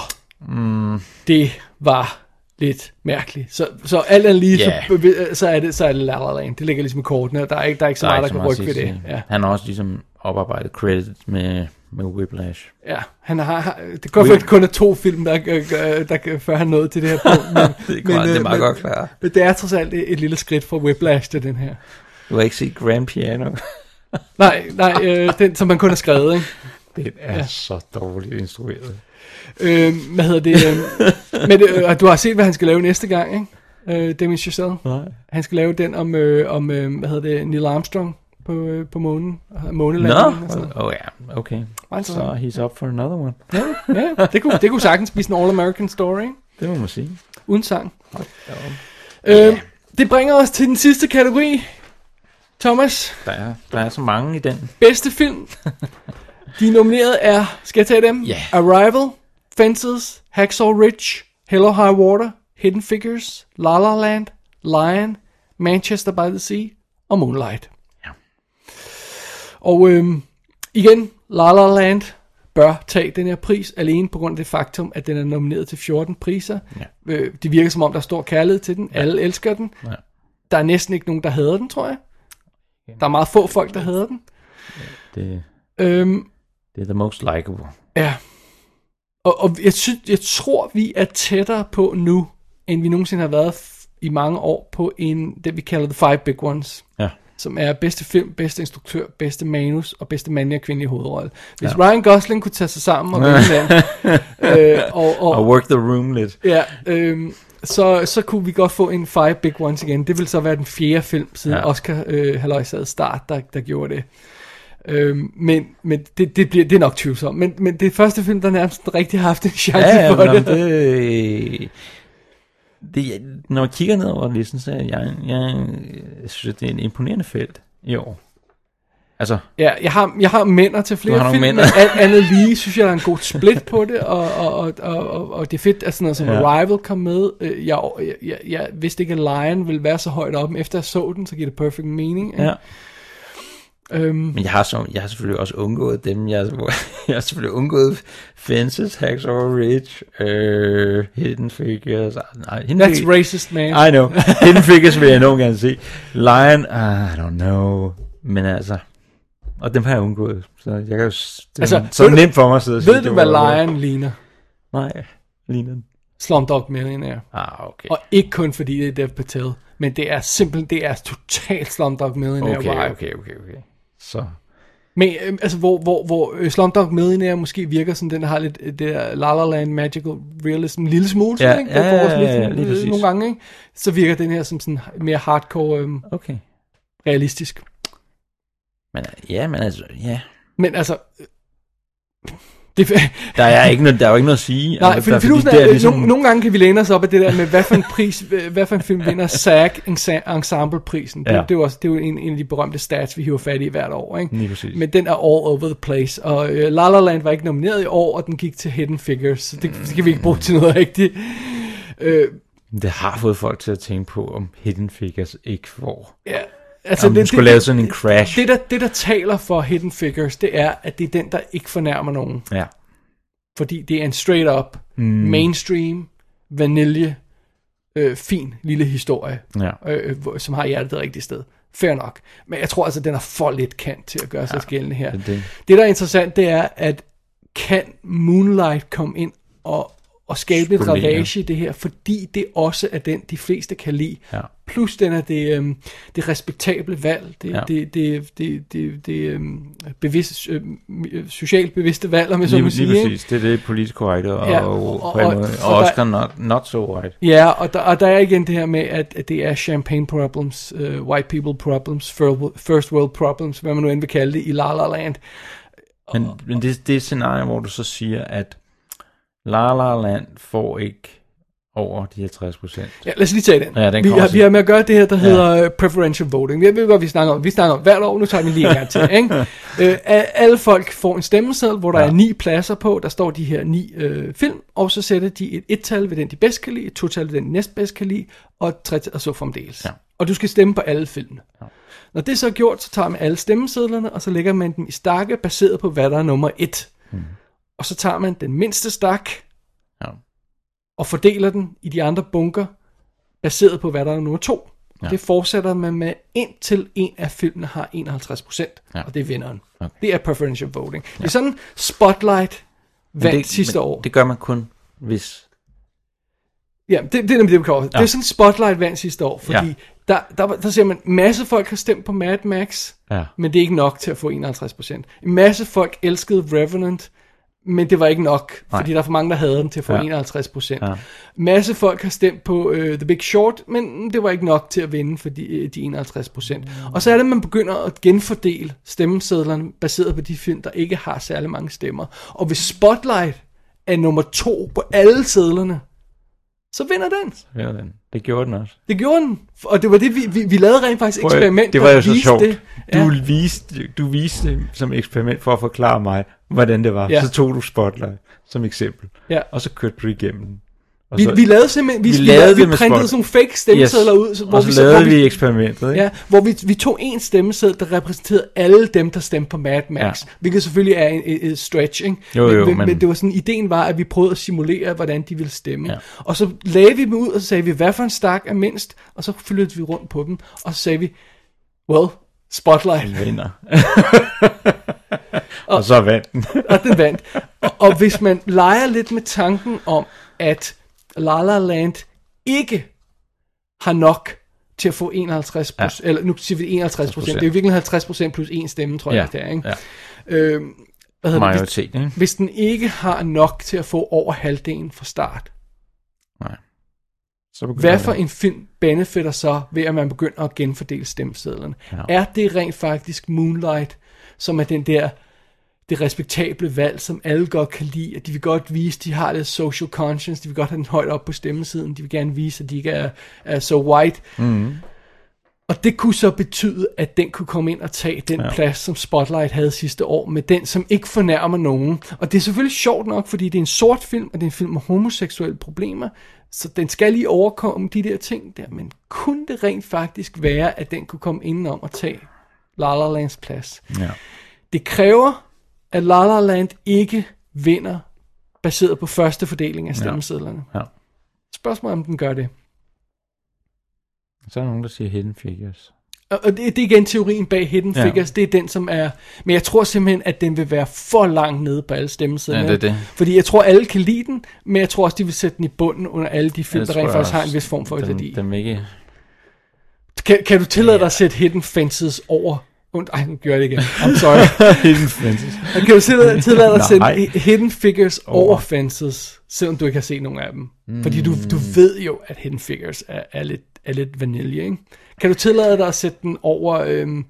Mm,
det var lidt mærkeligt. Så, så alt andet lige,
Ja.
yeah. så, så, er det, så er det La La Land. Det ligger ligesom i kortene, og der er ikke, der er ikke så
der er
meget, der
ikke så
kan
meget at
rykke
sige
ved
til
det.
det.
Ja.
Han har også ligesom oparbejdet credit med, med Whiplash.
Ja, han har, har det går faktisk kun er to film, der, der, der, der før han nåede til det her punkt. Men,
Det er godt- det er
øh,
meget godt klaret.
Men det er trods alt et, et lille skridt fra Whiplash til den her.
Du har ikke set Grand Piano.
Nej, nej, øh, den som man kun har skrevet, ikke?
det er
Ja.
ja. så dårligt instrueret.
Øh, hvad hedder det? Øh, men øh, og du har set, hvad han skal lave næste gang, ikke? Øh, Damien Chazelle.
Nej.
Han skal lave den om, øh, om øh, hvad hedder det, Neil Armstrong på, øh, på månen. og Månelandingen og sådan noget.
Nå, åh oh, ja, okay.
Meget
Så
interessant.
he's up for another one.
Ja, ja, det kunne, det kunne sagtens blive sådan en all-American story, ikke?
Det må man sige.
Uden sang. Øh, det bringer os til den sidste kategori. Thomas,
Der er, der er så mange i den.
bedste film. De nominerede er, skal jeg tage dem?
Ja.
Arrival, Fences, Hacksaw Ridge, Hello High Water, Hidden Figures, La La Land, Lion, Manchester by the Sea og Moonlight. Og øhm, igen, La La Land bør tage den her pris, alene på grund af det faktum, at den er nomineret til 14 priser. Ja. Øh, det virker som om, der er stor kærlighed til den. Ja. Alle elsker den.
Ja.
Der er næsten ikke nogen, der hader den, tror jeg. Der er meget få folk, der hader den.
Det,
Øhm,
det er the most likable.
ja. Og, og jeg, synes, jeg tror, vi er tættere på nu, end vi nogensinde har været f- i mange år på en, det vi kalder The Five Big Ones.
Ja.
som er bedste film, bedste instruktør, bedste manus og bedste mandlige og kvindelige hovedrolle. Hvis ja. Ryan Gosling kunne tage sig sammen og vinde den,
øh, og, og, og work the room lidt.
Ja, øh, så, så kunne vi godt få en Five Big Ones igen. Det vil så være den fjerde film siden ja. Oscar øh, Halløjsad start, der, der gjorde det. Øhm, men men det, det, bliver, det er nok tvivlsomt. Men, men det er første film, der nærmest rigtig har haft en chance
Ja, ja
for
men
det.
det, det, når jeg kigger ned over listen, så jeg, jeg, jeg synes, at det er en imponerende felt i år. Altså,
Ja, jeg har, jeg har mænder til flere
Du har nogle
film, men
mænder.
alt andet lige, synes jeg, der er en god split på det, og, og, og, og, og, og det er fedt, at sådan noget som
Ja.
ja. Arrival kom med. Øh, Jeg, jeg, jeg, jeg vidste ikke, at Lion ville være så højt oppe, men efter jeg så den, så giver det perfect meaning. ikke?
Ja.
Øhm,
men jeg har, så, jeg har selvfølgelig også undgået dem. Jeg, jeg har selvfølgelig undgået Fences, Hacksaw Ridge, øh, Hidden Figures. ah, Nej, Hidden
That's racist, man.
I know. Hidden Figures vil jeg nogen gange se. Lion, ah, I don't know. Men altså, og dem har jeg undgået. Så jeg kan jo, s- det er altså, så
ved du-
nemt for mig at sidde og sige,
Ved du,
det
hvad
var-
Lion ligner?
Nej, ligner den.
Slumdog Millionaire.
Ah, okay.
Og ikke kun fordi det er Dev Patel, men det er simpelthen, det er totalt Slumdog Millionaire
Okay,
vibe.
okay, okay, okay. Så,
Men øh, altså, hvor, hvor, hvor øh, Slumdog Millionaire måske virker sådan, den der har lidt øh, det der La La Land Magical Realism en lille smule,
Ja,
sådan, ikke? Det
ja,
får også
ja,
lidt
ja,
sådan,
lige
øh,
præcis.
nogle gange, ikke? Så virker den her som sådan mere hardcore øh,
okay.
realistisk.
Men, ja, men altså, ja.
Men altså... øh, Det,
Der er ikke noget, der er jo ikke noget at sige.
Nej,
altså,
for,
der,
for, for, er, ligesom... nogle, nogle gange kan vi læne os op af det der med, hvad for en, pris, øh, hvad for en film vinder SAG ensa- Ensemble-prisen. Det,
Ja. Mm.
ja. det, er jo også det er jo en, en af de berømte stats, vi hiver fat i hvert år. Ikke?
Lige præcis.
Men den er all over the place. Og øh, La La Land var ikke nomineret i år, og den gik til Hidden Figures. Så det, det kan vi ikke bruge til noget rigtigt. Øh,
Det har fået folk til at tænke på, om Hidden Figures ikke får.
ja,
Altså, om det, skulle lave sådan en crash.
Det der, det, der taler for Hidden Figures, det er, at det er den, der ikke fornærmer nogen.
ja.
fordi det er en straight up, mm. mainstream, vanilje, øh, fin lille historie,
Ja.
øh, hvor- som har hjertet det rigtige sted. Fair nok. Men jeg tror altså, den er for lidt kant til at gøre sig gældende her.
det er det.
det, der er interessant, det er, at kan Moonlight komme ind og, og skabe lidt
Spolere.
ravage i det her, fordi det også er den, de fleste kan lide.
Ja.
Plus den er det, øhm, det respektable valg, det,
Ja.
ja. det, det, det, det, det øhm, bevidst, øhm, øh, socialt bevidste valg, om jeg så
Lige,
må sige.
lige
ikke?
præcis. Det er det politisk korrekte, og,
Ja,
og,
og- og-
og,
og-
og, og
og der-
Oscar not, not so right.
Ja, og der, og der er igen det her med, at, at det er champagne problems, uh, white people problems, fir- first world problems, hvad man nu end vil kalde det, i La La Land.
Men, men det, det er et scenarie, hvor du så siger, at La La Land får ikke over de 50 procent.
Ja, lad os lige tage den.
Ja, den
vi,
kommer
har, vi har med at gøre det her, der
Ja.
hedder øh, preferential voting. Jeg ved godt, vi snakker om. Vi snakker om hvert år, nu tager vi lige en gang til. Ikke? Øh, a- alle folk får en stemmeseddel, hvor der
Ja.
ja. er ni pladser på. Der står de her ni øh, film, og så sætter de et et-tal ved den, de bedst kan lide, et to-tal ved den, de næstbedst kan lide, og, et tre, og så fremdeles.
Ja.
Og du skal stemme på alle filmene. Når det så er gjort, så tager man alle stemmesedlerne, og så lægger man dem i stakke, baseret på, hvad der er nummer et. Mm. Og så tager man den mindste stak,
Ja.
og fordeler den i de andre bunker, baseret på, hvad der er nummer to.
Ja.
Ja. Det fortsætter man med indtil en af filmene har 51%,
Ja.
ja. og det er vinderen.
Okay.
Det er preferential voting. Ja. Det er sådan Spotlight
Men
vandt
det,
sidste
men
år.
Det gør man kun, hvis...
Ja, det, det er nemlig det, vi kommer ja. Det
Ja.
er jo sådan Spotlight vandt sidste år, fordi
Ja.
ja. der, der, var- der ser man, masse folk har stemt på Mad Max,
Ja.
men det er ikke nok til at få 51%. En masse folk elskede Revenant, men det var ikke nok,
Nej.
fordi der er for mange, der havde den til at få
Ja.
ja. 51%.
Ja.
Ja. Masse folk har stemt på øh, The Big Short, men det var ikke nok til at vinde for de, øh, de 51%.
Mm.
Og så er det, at man begynder at genfordele stemmesedlerne baseret på de film, der ikke har særlig mange stemmer. Og hvis Spotlight er nummer to på alle sedlerne, så vinder den.
Ja, den. Det gjorde den også.
Det gjorde den. Og det var det, vi, vi, vi lavede rent faktisk et
Prøv at-
eksperiment,
det var
der
jo så
viste
sjovt.
det.
Du, viste, du viste det som eksperiment for at forklare mig, hvordan det var.
Ja.
Så tog du Spotlight som eksempel,
Ja.
og så kørte du igennem den. Og
Vi,
så,
vi lavede simpelthen, vi, vi, lavede, vi printede sådan nogle fake stemmesedler ud, så, hvor,
hvor og så
vi,
vi,
så-
lavede
hvor vi,
vi eksperimentet, ikke?
ja, hvor vi, vi tog en stemmeseddel, der repræsenterede alle dem, der stemte på Mad Max,
Ja.
ja. hvilket selvfølgelig er en, en, en stretch, ikke?
Jo, jo,
men,
men-
men, men det var sådan, ideen var, at vi prøvede at simulere, hvordan de ville stemme.
Ja.
Ja. Og så lagde vi dem ud, og så sagde vi, hvad for en stak er mindst, og så flyttede vi rundt på dem, og så sagde vi, well, spotlight.
Vinder. og, så vandt den.
og den vandt. Og, og hvis man leger lidt med tanken om, at La La Land ikke har nok til at få 51 procent, ja. eller nu siger vi 51 procent, det er jo virkelig 50 procent plus en stemme, tror jeg,
Ja,
det er, ikke?
ja.
Øhm, hvad hedder det? Hvis-
Majoritet, ikke?
Hvis den ikke har nok til at få over halvdelen fra start,
Nej. Så begynder
hvad
det.
for en film benefitter så ved, at man begynder at genfordele stemmesedlerne?
Ja.
Ja. Er det rent faktisk Moonlight, som er den der det respektable valg, som alle godt kan lide, at de vil godt vise, de har lidt social conscience, de vil godt have den højt op på stemmesiden, de vil gerne vise, at de ikke er, er så white.
Mhm.
Og det kunne så betyde, at den kunne komme ind og tage den
Ja.
ja. plads, som Spotlight havde sidste år, med den, som ikke fornærmer nogen. Og det er selvfølgelig sjovt nok, fordi det er en sort film, og det er en film med homoseksuelle problemer, så den skal lige overkomme de der ting der, men kunne det rent faktisk være, at den kunne komme indenom og tage La La Lands plads?
Ja.
Det kræver, at La La Land ikke vinder baseret på første fordeling af stemmesedlerne.
Ja.
Spørgsmålet er, om den gør det.
Så er der nogen, der siger Hidden Figures.
Og og det, det er igen teorien bag Hidden
Ja.
Figures, Altså, det er den, som er... Men jeg tror simpelthen, at den vil være for langt nede på alle stemmesiderne.
Ja, det er det.
Fordi jeg tror, alle kan lide den, men jeg tror også, de vil sætte den i bunden under alle de film,
Ellers
der
tror
rent
jeg
faktisk har
også,
en vis form for
dem-
værdi.
Dem ikke...
Kan, kan du tillade dig at sætte Hidden Fences over... Und, ej, nu gjorde jeg det igen. I'm sorry.
Hidden Fences.
Kan du tillade, tillade dig at sætte
Nej.
Hidden Figures over
Over.
Fences, selvom du ikke har set nogen af dem? Fordi du,
Mm.
du ved jo, at Hidden Figures er, er, lidt, er lidt vanilje, ikke? Kan du tillade dig at sætte den over... Øhm,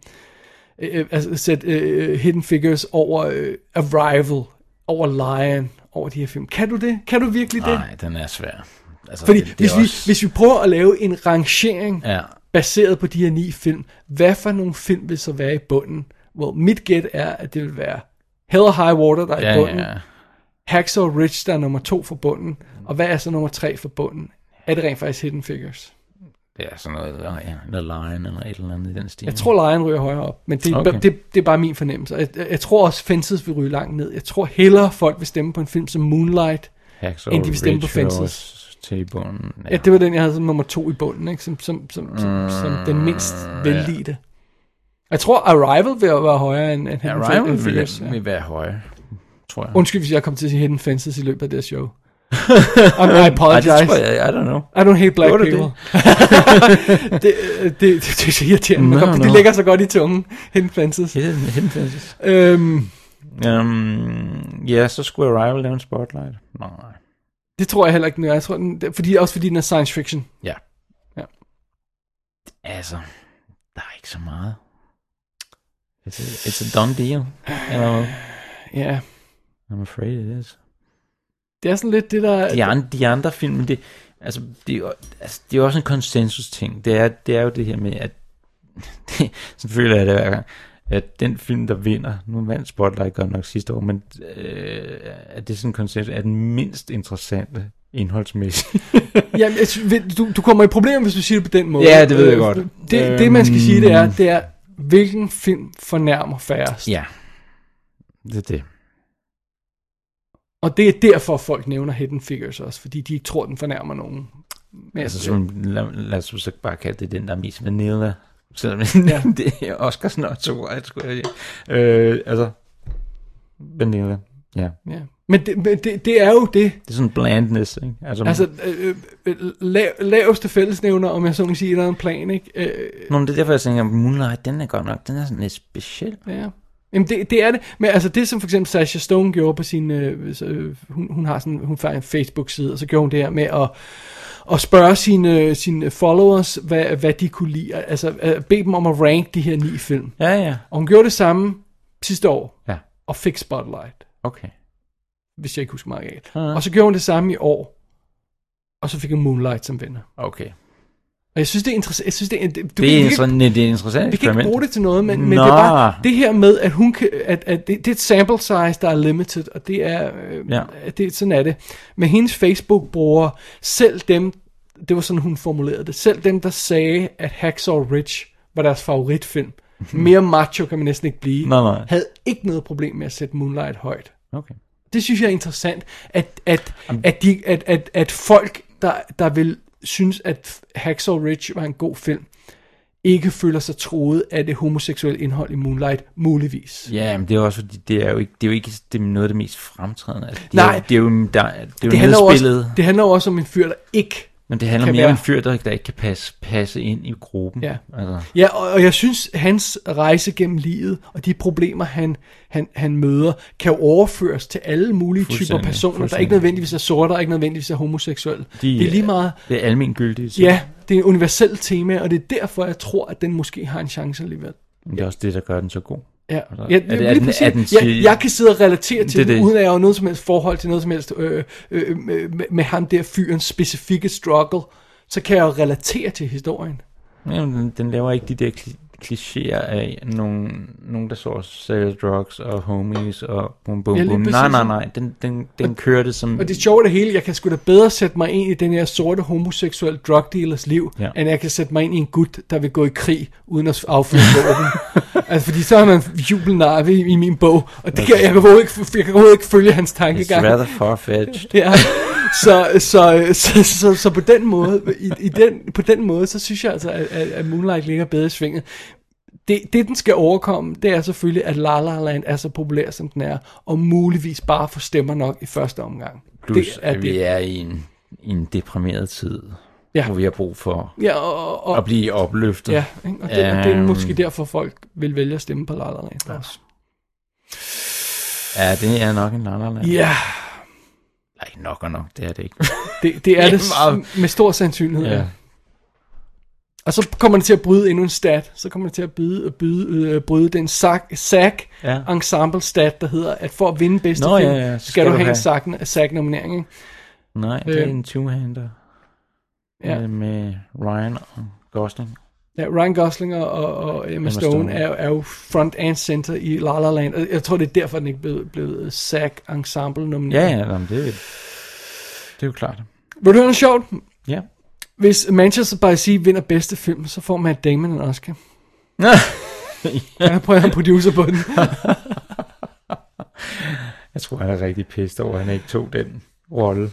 øh, altså sætte øh, Hidden Figures over øh, Arrival, over Lion, over de her film? Kan du det? Kan du virkelig det?
Nej, den er svær. Altså,
Fordi
det, det er
hvis, vi,
også-
hvis vi prøver at lave en rangering
Ja.
baseret på de her ni film, hvad for nogle film vil så være i bunden? Well, mit gæt er, at det vil være Hell or High Water, der er
Ja,
i bunden.
ja.
Hacksaw Ridge, der er nummer to for bunden. Og hvad er så nummer tre for bunden? Er det rent faktisk Hidden Figures?
Det er sådan noget, ja, The Lion eller et eller andet i den stil.
Jeg tror, Lion ryger højere op, men det,
Okay.
okay. det, det er bare min fornemmelse. Jeg, jeg tror også, Fences vil ryge langt ned. Jeg tror hellere, folk vil stemme på en film som Moonlight,
Hacksaw
end de vil stemme på
Ridge hører
Fences.
også Til i bunden.
Ja. ja, det var den, jeg havde som nummer to i bunden, ikke? Som, som, som, som,
Mm,
som den mindst
ja.
vellidte. Jeg tror, Arrival vil være højere end, end
Ja,
Hidden
Ryan
Fences.
ville,
ja.
ville være højere, tror jeg.
Undskyld, hvis jeg kom til at sige Hidden Fences i løbet af det her show. I apologize.
Ej, det tror jeg- I don't know.
I don't hate black
Gjorde du
people. det,
det?
det, øh, det, det, er så irriterende. No,
Nå,
kom,
nå.
Det ligger så godt i tungen. Hidden Fences.
Hidden, hidden Fences.
Øhm,
Um, ja, så skulle Arrival lave en spotlight. Nej.
det tror jeg heller ikke, den er. Jeg tror, den, det- fordi, også fordi den er science fiction.
Ja.
Ja.
Altså, der er ikke så meget. It's a, it's a done deal. Eller hvad?
Ja.
I'm afraid it is.
Det er sådan lidt det, der...
De andre, de andre film, det, altså, det, er jo- altså, det er jo også en konsensus-ting. Det er, det er jo det her med, at det, selvfølgelig er det hver gang, at den film, der vinder, nu vandt Spotlight godt nok sidste år, men øh, at det er sådan en konsensus, er den mindst interessante indholdsmæssigt.
Jamen, jeg synes, ved- du, du kommer i problemer, hvis du siger det på den måde.
Ja, det ved jeg
Øh,
godt.
Det, det man skal sige, det er,
Øhm.
det er, hvilken film fornærmer færrest.
ja, det er det.
Og det er derfor, folk nævner Hidden Figures også, fordi de ikke tror, den fornærmer nogen. Men
altså,
jeg-
så, lad, lad os så bare kalde det den, der er mest vanilla. Selvom ja. det er Oscars not so white, skulle jeg sige. Øh, altså, vanilla, ja.
ja. Men, det, men det, det er jo det.
Det er sådan blandness, ikke? Altså,
Altså, øh, øh, lav, laveste fællesnævner, om jeg så må sige, eller en plan, ikke? Øh,
Nå, men det er derfor, jeg tænker, at Moonlight, den er godt nok, den er sådan lidt speciel.
Ja. Jamen det, det er det, men altså det som for eksempel Sasha Stone gjorde på sin, øh, så, øh, hun, hun har sådan, hun har en Facebook-side, og så gjorde hun det her med at, at spørge sine, sine followers, hvad, hvad de kunne lide, altså øh, bede dem om at rank de her ni film.
Ja, ja.
Og hun gjorde det samme sidste år,
Ja.
og fik Spotlight,
Okay.
hvis jeg ikke husker meget galt.
Ja.
Og så gjorde hun det samme i år, og så fik hun Moonlight som vinder.
Okay.
Og jeg synes, det er interessant. Jeg synes, det er, det, du
Det
kan-
er,
vi kan-
sådan, det er et interessant
vi kan ikke
eksperiment.
bruge det til noget, men, men det
Nå.
er bare det her med, at hun kan, at, at det, det er et sample size, der er limited, og det er, øh,
Ja.
ja. det, sådan er det. Men hendes Facebook-brugere, selv dem, det var sådan, hun formulerede det, selv dem, der sagde, at Hacksaw Ridge var deres favoritfilm, mere macho kan man næsten ikke blive,
Nej, nej.
havde ikke noget problem med at sætte Moonlight højt.
Okay.
Det synes jeg er interessant, at, at, at, de, at, at, at folk, der, der vil synes, at Hacksaw Ridge var en god film, ikke føler sig troet af det homoseksuelle indhold i Moonlight, muligvis.
Ja, men det er også fordi, det er jo ikke, det er jo ikke det er noget af det mest fremtrædende. Altså, det
Nej.
Er, jo- det er jo, der, det er jo
handler jo
nedspillet.
også, det handler jo også om en fyr, der ikke
Men det handler
kan
mere
være.
om en fyr, der, der ikke kan passe, passe ind i gruppen.
Ja.
Altså,
Ja, og, og jeg synes, hans rejse gennem livet og de problemer, han, han, han møder, kan jo overføres til alle mulige typer
Fuldstændig,
personer, der
fuldstændig.
ikke nødvendigvis er sorte og ikke nødvendigvis er homoseksuelle.
de, øh,
det er lige meget.
Det er almengyldigt.
Ja, det er et universelt tema, og det er derfor, jeg tror, at den måske har en chance alligevel.
Men det er også det, der gør den så god.
Ja,
Altså,
ja
er det- er den- er den
jeg,
sige-
jeg kan sidde og relatere til
Det er
det, det.
det.
uden at jeg har noget som helst forhold til noget som helst øh, øh, med, med ham der fyrens specifikke struggle, så kan jeg jo relatere til historien.
Jamen, den, den laver ikke de der kli- klichéer af nogen, nogen der så sælger drugs og homies og bum bum
Ja, lige
bum. Nej,
præcis.
nej, nej. Den, den, den kører det som...
Og det sjove af det hele, jeg kan sgu da bedre sætte mig ind i den her sorte homoseksuelle drug dealers liv, ja.
Ja.
end jeg kan sætte mig ind i en gut, der vil gå i krig uden at affyre våben. altså, fordi så er man jubelnarve i, i min bog, og det kan, jeg, kan overhovedet ikke, jeg kan overhovedet ikke følge hans tankegang.
It's rather far-fetched.
ja. Så, så, så, så, så på den måde, i, i den, på den måde, så synes jeg altså, at, at at Moonlight ligger bedre i svinget. Det, det, den skal overkomme, det er selvfølgelig, at La La Land er så populær, som den er, og muligvis bare får stemmer nok i første omgang.
Plus,
det
det er at vi er i en, i en deprimeret tid,
Ja.
hvor vi har brug for
Ja, og- og-
at blive opløftet.
Ja, ikke? og det, og det er
Øhm,
måske derfor, folk vil vælge at stemme på La La Land ja. også.
Ja, det er nok en landerland.
Ja.
Nej, nok og nok, det er det ikke.
Det, det er det
meget-
s- med stor sandsynlighed, ja.
Ja.
Og så kommer det til at bryde endnu en stat. Så kommer det til at byde, byde, øh, bryde den sack, sack ja.
Ja.
ensemble stat, der hedder, at for at vinde bedste
Nå,
film,
ja, ja,
skal, skal du have en sack, sack nominering. Ikke?
Nej, det er
Øh.
en two-hander
Ja.
ja. med Ryan og Gosling.
Ja, Ryan Gosling og, og, og Emma
Emma
Stone, Stone.
Stone.
Er, er jo front and center i La La Land. Og jeg tror, det er derfor, den ikke blev blevet sack ensemble
Ja,
nomineret.
ja, jamen, det, det er jo klart.
Vil du høre noget sjovt?
Ja.
Hvis Manchester by Sea vinder bedste film, så får Matt Damon en Oscar. Jeg prøver at producer på den.
Jeg tror, han er rigtig pissed over, at han ikke tog den rolle.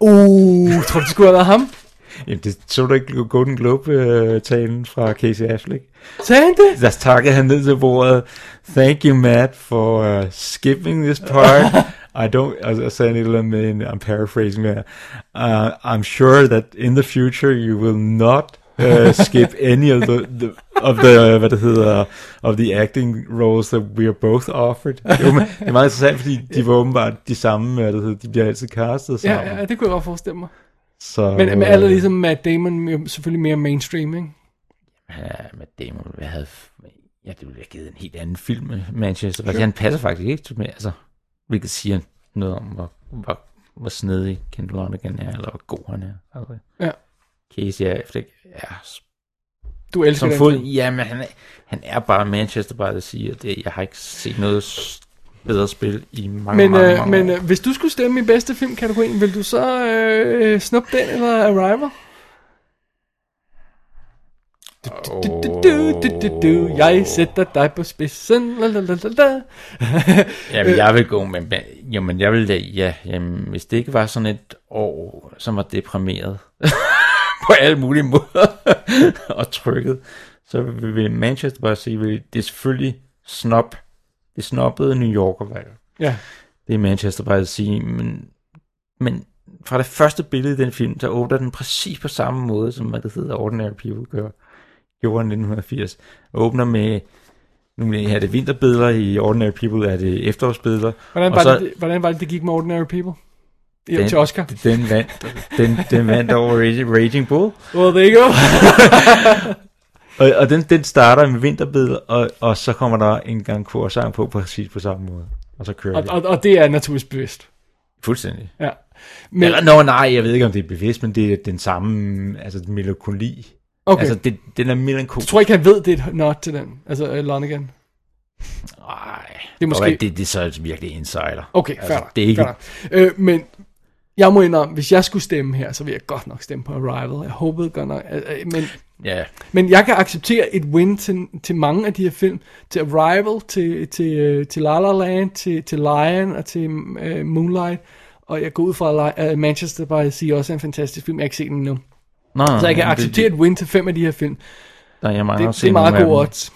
Uh, tror du, det skulle have været ham?
Jamen, det så du ikke Golden Globe-talen fra Casey Affleck?
Sagde han det?
Der takkede han ned til bordet, thank you, Matt, for uh, skipping this part. I don't, og så sagde han et eller andet med, en- I'm paraphrasing her, uh, I'm sure that in the future you will not uh, skip any of the, the of the, hvad det hedder, of the acting roles that we are both offered. Det var- det er meget interessant, fordi de var åbenbart de samme, hvad det hedder, de bliver altid castet sammen.
Ja, ja, det kunne jeg godt forestille mig.
Så,
Men, men
øh,
alle ligesom Matt Damon jo selvfølgelig mere mainstream, ikke?
Ja, men det må jeg have... Ja, det ville have givet en helt anden film med Manchester. Fordi han passer faktisk ikke til med, altså... Hvilket siger noget om, hvor, hvor, hvor snedig Kent Lonergan er, eller hvor god han er. Altså,
Ja.
Casey Affleck er... s-
Du elsker
som
den
fod,
film.
Ja, men han er, han er bare Manchester by the Sea, og det, jeg har ikke set noget s- bedre spil i mange,
Men,
mange,
øh,
mange
men
år.
øh, hvis du skulle stemme i bedste filmkategorien, vil du så øh, snuppe den eller Arrival? Du, øh, du, du, du, du, du, du. Jeg sætter dig på spidsen. La, la, la, la, la. øh,
Jamen, jeg vil gå med... men- Jamen, jeg vil da... Ja, jamen, hvis det ikke var sådan et år, som var deprimeret på alle mulige måder og trykket, så vil Manchester bare sige, vil- det er selvfølgelig snop. Det snoppede New Yorker-valg.
Ja.
Det er Manchester by the Sea, men, men fra det første billede i den film, så åbner den præcis på samme måde, som hvad det hedder Ordinary People gør, gjorde i 1980. Åbner med, nu er det vinterbilleder, i Ordinary People er det efterårsbilleder.
Hvordan
og
var,
så-
det, hvordan var det, det gik med Ordinary People? Den,
den,
til Oscar.
Den vandt, den, den vandt over Raging, Raging Bull.
Well, there you go.
og, og den, den starter med vinterbilleder, og, og så kommer der en gang korsang på præcis på samme måde. Og så kører
og,
det.
og, og det er naturligvis bevidst.
Fuldstændig.
Ja.
Men... Eller, nå, nej, jeg ved ikke, om det er bevidst, men det er den samme altså, melankoli.
Okay.
Altså, det, den er melankol.
Du tror ikke, han ved, det er et not til den? Altså, øh, Lonergan?
Nej.
Det er måske-
Det, det er så altså virkelig insider.
Okay, fair
altså,
altså,
det er ikke...
øh, Men jeg må indrømme, hvis jeg skulle stemme her, så ville jeg godt nok stemme på Arrival. Jeg håbede godt nok. Øh, øh, men,
Ja.
men jeg kan acceptere et win til, til mange af de her film. Til Arrival, til, til, øh, til La La Land, til, til Lion og til øh, Moonlight. Og jeg går ud fra, at Li- øh, Manchester by the Sea også er en fantastisk film. Jeg har ikke set den endnu.
Nå,
så jeg kan
men det-
acceptere et win til fem af de her film.
Nej, jeg mangler
det,
at se
det er
nogle af
meget
dem.
gode odds.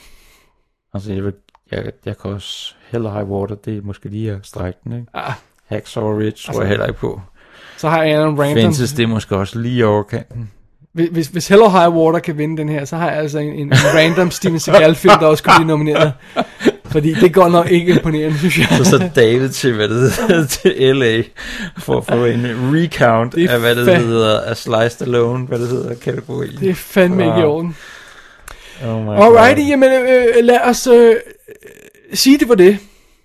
Altså, jeg, vil, jeg, jeg kan også heller high water, det er måske lige at strække den, ikke?
Ah.
Hacksaw Ridge tror
Altså-
jeg heller ikke på.
Så har jeg Adam Random.
Fences, det er måske også lige overkanten.
Hvis, hvis, hvis Hello High Water kan vinde den her, så har jeg altså en, en random Steven Seagal film, der også kunne blive nomineret. Fordi det går nok ikke imponerende, synes jeg.
Så så David til, hvad det hedder, til LA, for at få en recount
Ah. Det er
af, hvad det
fa-
hedder, af Sliced Alone, hvad det hedder, kategorien.
Det er fandme ikke i
Wow.
orden.
Oh my
Alrighty,
God.
jamen øh, lad os øh, sige det var det.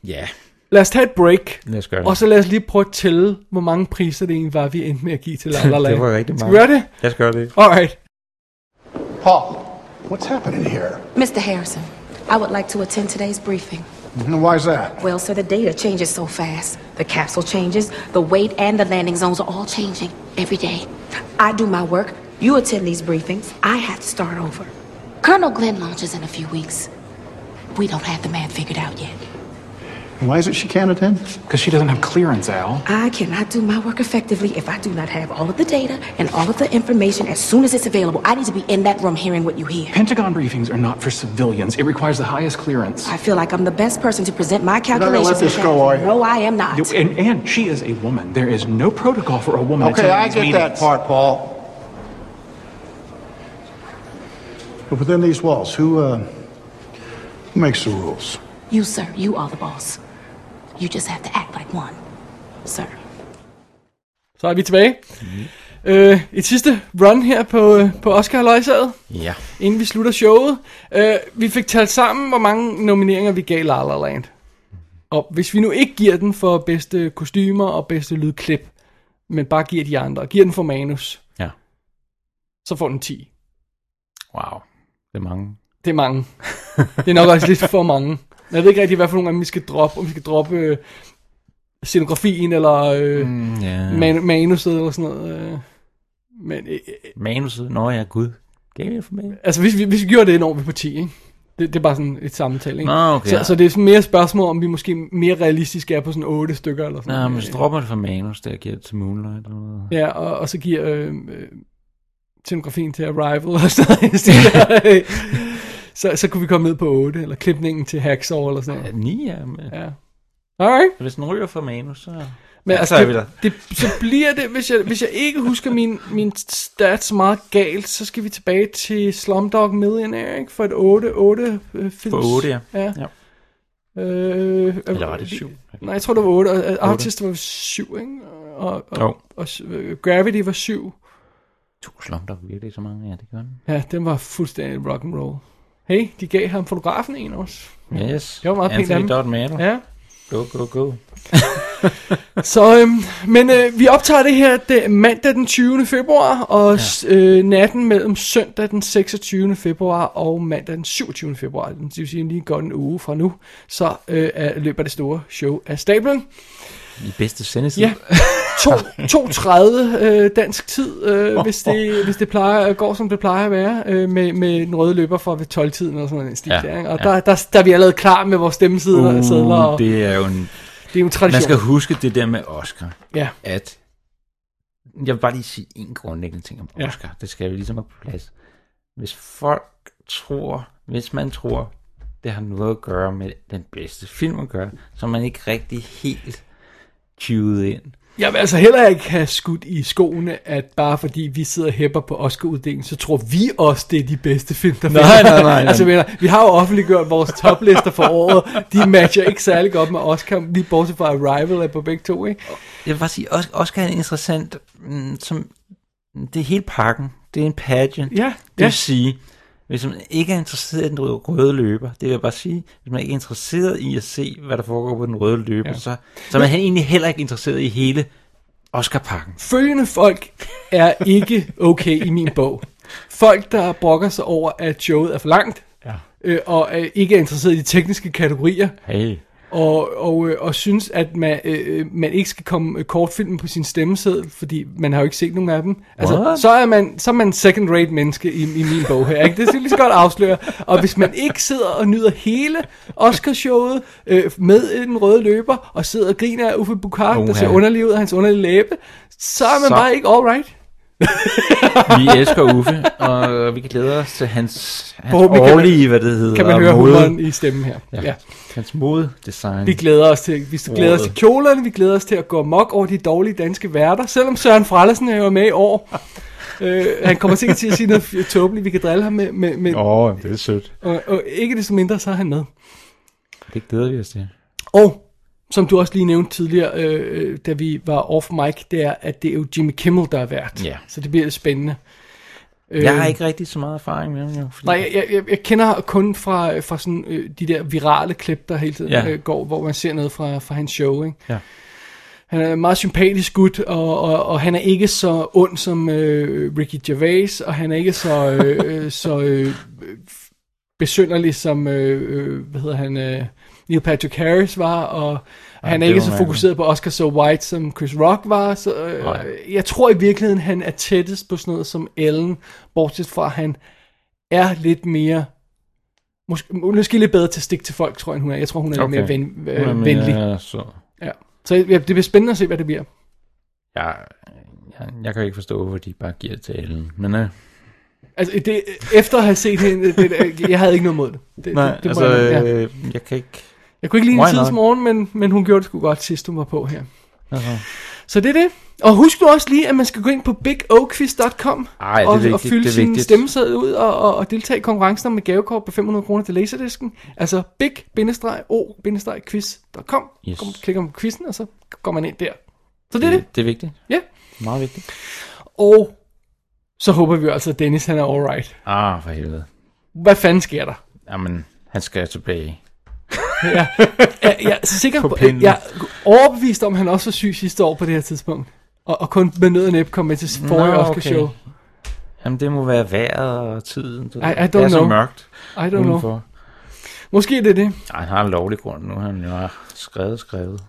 Ja,
Lad os tage et break.
lad os gøre det.
Og så lad os lige prøve at tælle, hvor mange priser det egentlig var, vi endte med at give til La La Land.
det var rigtig meget.
Skal vi gøre det?
Lad os gøre det.
Alright.
Paul, what's happening here?
Mr. Harrison, I would like to attend today's briefing.
And why's that?
Well, sir, the data changes so fast. The capsule changes, the weight and the landing zones are all changing every day. I do my work, you attend these briefings, I have to start over. Colonel Glenn launches in a few weeks. We don't have the man figured out yet.
Why is it she can't attend?
Because she doesn't have clearance, Al.
I cannot do my work effectively if I do not have all of the data and all of the information as soon as it's available. I need to be in that room hearing what you hear.
Pentagon briefings are not for civilians. It requires the highest clearance.
I feel like I'm the best person to present my
not gonna let
calculations.
this
to
go,
that.
are you?
No, I am not.
And, and she is a woman. There is no protocol for a woman.
Okay,
attending
I
these
get that
meetings.
part, Paul. But within these walls, who, uh, who makes the rules?
You, sir, you are the boss. You just have to act like one, sir.
Så er vi tilbage. Mm. Øh, et sidste run her på, øh, på Oscar Løjsaget.
Ja.
Inden vi slutter showet. Øh, vi fik talt sammen, hvor mange nomineringer vi gav La La Land. Og hvis vi nu ikke giver den for bedste kostymer og bedste lydklip, men bare giver de andre, giver den for manus,
Ja.
så får den 10.
Wow. Det er mange.
Det er mange. Det er nok også lidt for mange. Men Jeg ved ikke rigtig, hvad for nogle af dem vi skal droppe. Om vi skal droppe øh, scenografien, eller øh,
Mm, ja.
man- manuset, eller sådan noget. Øh. Men øh,
Manuset, nå ja, gud. Gav jeg for mig?
altså, hvis vi, hvis vi gjorde det, når vi på 10, ikke? Det, det er bare sådan et sammental, ikke?
Nå, okay.
så, så det er sådan mere et spørgsmål, om vi måske mere realistisk er på sådan 8 stykker, eller sådan
Nå,
noget.
men så dropper det for manus, der giver det til Moonlight. Eller noget.
Ja, og, og så giver øh, øh, scenografien til Arrival og sådan noget. i stedet. så, så kunne vi komme ned på 8, eller klipningen til Hacksaw eller sådan noget.
9, ja. Men...
ja. Alright.
Hvis den ryger for manus, så...
Men
Ja,
altså,
så er vi der.
det, det, så bliver det, hvis jeg, hvis jeg ikke husker min, min stats meget galt, så skal vi tilbage til Slumdog Millionaire, ikke? For et 8, 8 øh, films.
For 8, ja.
ja. Øh,
Eller var det syv?
Nej, jeg tror, det var 8. Og, og
Otte.
Artist var 7, ikke? Og, og,
Jo.
og, og øh, Gravity var 7.
Du slumper virkelig så mange, ja, det gør den.
Ja, den var fuldstændig rock and roll. Hey, de gav ham fotografen en også.
Yes.
Det var meget pænt af
Anthony
dem.
Dodd Maddle.
Ja.
Go, go, go.
Så, øhm, men øh, vi optager det her det, mandag den 20. februar, og ja. øh, natten mellem søndag den 26. februar og mandag den 27. februar, det vil sige lige godt en uge fra nu, så øh, er, løber det store show af stablen.
I bedste sendetid.
Ja, To- 2.30 øh, dansk tid, øh, hvis, det, hvis det plejer, går som det plejer at være, øh, med, med den røde løber fra ved 12-tiden og sådan noget. Ja,
Ja,
der, og
ja.
der, der, der, er vi allerede klar med vores stemmesidler og sædler.
Uh,
Og,
det er jo en...
det er jo en tradition.
Man skal huske det der med Oscar.
Ja.
At... Jeg vil bare lige sige en grundlæggende ting om
Ja.
Oscar. Det skal vi ligesom have på plads. Hvis folk tror... Hvis man tror, det har noget at gøre med den bedste film at gøre, så er man ikke rigtig helt cued ind.
Jeg vil altså heller ikke have skudt i skoene, at bare fordi vi sidder og hæpper på Oscar-uddelingen, så tror vi også, det er de bedste film, der
Nej,
findes.
nej, nej, nej.
altså, jeg mener, vi har jo offentliggjort vores toplister for året. De matcher ikke særlig godt med Oscar, lige bortset fra Arrival er på begge to, ikke?
Jeg vil bare sige, Os- Oscar er en interessant, mm, som, det er hele pakken. Det er en pageant.
Ja,
det vil
ja.
sige, hvis man ikke er interesseret i den røde- røde løber, det vil jeg bare sige, hvis man ikke er interesseret i at se, hvad der foregår på den røde løber,
Ja.
ja. så, så er man egentlig heller ikke interesseret i hele Oscar-pakken.
Følgende folk er ikke okay i min bog. Folk, der brokker sig over, at showet er for langt,
Ja.
øh, og øh, ikke er interesseret i de tekniske kategorier,
Hey.
og, og, øh, og synes, at man, øh, øh, man ikke skal komme øh, kortfilmen på sin stemmeseddel, fordi man har jo ikke set nogen af dem. Altså,
What?
så er man, så er man second-rate menneske i, i min bog her, ikke? Det skal jeg lige så godt afsløre. Og hvis man ikke sidder og nyder hele Oscarshowet øh, med øh, den røde løber, og sidder og griner af Uffe Bukart, der
Oha.
ser underlig ud af hans underlige læbe, så er man så...
Så-
bare ikke all right.
Vi elsker Uffe, og vi glæder os til hans, hans
Forhåbentlig kan man-
årlige, hvad det hedder.
kan man høre
mode.
humoren i stemmen her.
Ja.
Ja.
ja. Hans modedesign.
Vi glæder os til, vi glæder os til kjolerne, vi glæder os til at gå mok over de dårlige danske værter, selvom Søren Frellesen er jo med i år. øh, han kommer sikkert til at sige noget f- tåbeligt, vi kan drille ham med, med, med
Åh, oh, det er sødt.
og, og ikke desto mindre, så er han med.
Det glæder vi os til.
Og som du også lige nævnte tidligere, øh, øh, da vi var off mic, det er, at det er jo Jimmy Kimmel, der er vært.
Ja.
Så det bliver lidt spændende.
Jeg har ikke rigtig så meget erfaring med ham, jo. fordi-
Øh. Nej, jeg, jeg, jeg kender kun fra, fra sådan, øh, de der virale klip, der hele tiden
Ja.
ja. øh, går, hvor man ser noget fra, fra hans show. Ikke?
Ja.
Han er en meget sympatisk gut, og, og, og han er ikke så ond som øh, Ricky Gervais, og han er ikke så, øh, øh, så øh, besynderlig som, øh, øh, hvad hedder han, øh, Neil Patrick Harris var, og
Ej,
han er
det
ikke
var
så
mærkeligt.
fokuseret på Oscar So White, som Chris Rock var. Så,
Nej.
øh, jeg tror i virkeligheden, han er tættest på sådan noget som Ellen, bortset fra, at han er lidt mere... Måske, måske lidt bedre til at stikke til folk, tror jeg, hun er. Jeg tror, hun er okay. lidt mere ven, øh,
Hun er mere
venlig.
sød.
Ja. Så ja, det bliver spændende at se, hvad det bliver.
Jeg, jeg, jeg kan ikke forstå, hvorfor de bare giver det til Ellen. Men øh,
Altså, det, efter at have set hende, det, det, jeg havde ikke noget mod det. det
Nej,
det, det må
altså,
jeg, ja.
øh, jeg kan ikke...
jeg kunne ikke lide
Why
hende
not?
tidens morgen, men, men hun gjorde det sgu godt sidst, hun var på her.
Altså.
Så det er det. Og husk nu også lige, at man skal gå ind på bigoquiz.com
Ej, det er
og, og
vigtigt,
fylde
det er
sin
vigtigt.
stemmeseddel ud og, og, og deltage i konkurrencer med gavekort på 500 kroner til Laserdisken. Altså big-o-quiz.com.
Yes.
Kom, klikker man på quizzen, og så går man ind der. Så det er det.
Det er vigtigt.
Ja.
Meget vigtigt.
Og så håber vi altså, at Dennis han er alright.
Ah, for helvede.
Hvad fanden sker der?
Jamen, han skal tilbage.
Ja, jeg, jeg er sikker
På
på,
pinden.
jeg er overbevist om, at han også var syg sidste år på det her tidspunkt. Og, og kun med nød og næppe kom med til forrige
Nå,
Oscar show.
Jamen, det må være vejret og tiden. Du
I, I
ved.
don't
det er
know.
så mørkt
I don't know.
udenfor.
Måske det er det.
Ej, han har en lovlig grund nu. Han jo har skrevet, skrevet.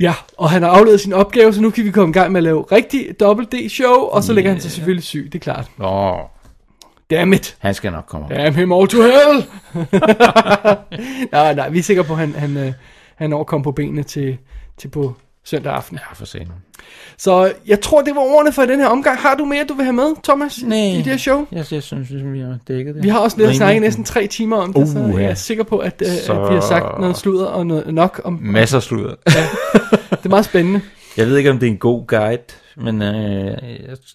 Ja, og han har aflevet sin opgave, så nu kan vi komme i gang med at lave rigtig dobbelt D-show, og så ligger han sig selvfølgelig syg, det er klart.
Nå.
Damn it.
Han skal nok komme.
Damn him all to hell! nej, nej, vi er sikre på, at han, han, øh, han overkom på benene til, til på søndag aften.
Ja, for sent.
Så øh, jeg tror, det var ordene for den her omgang. Har du mere, du vil have med, Thomas, nej. i det her show?
Jeg, jeg synes, vi har dækket det.
Vi har også lidt
Rimelig.
snakket næsten tre timer om det, så
Uha.
jeg er sikker på, at, øh,
Så-
at vi har sagt noget sludder og noget nok om...
Masser af sludder.
Det er meget spændende.
Jeg ved ikke, om det er en god guide, men øh, jeg,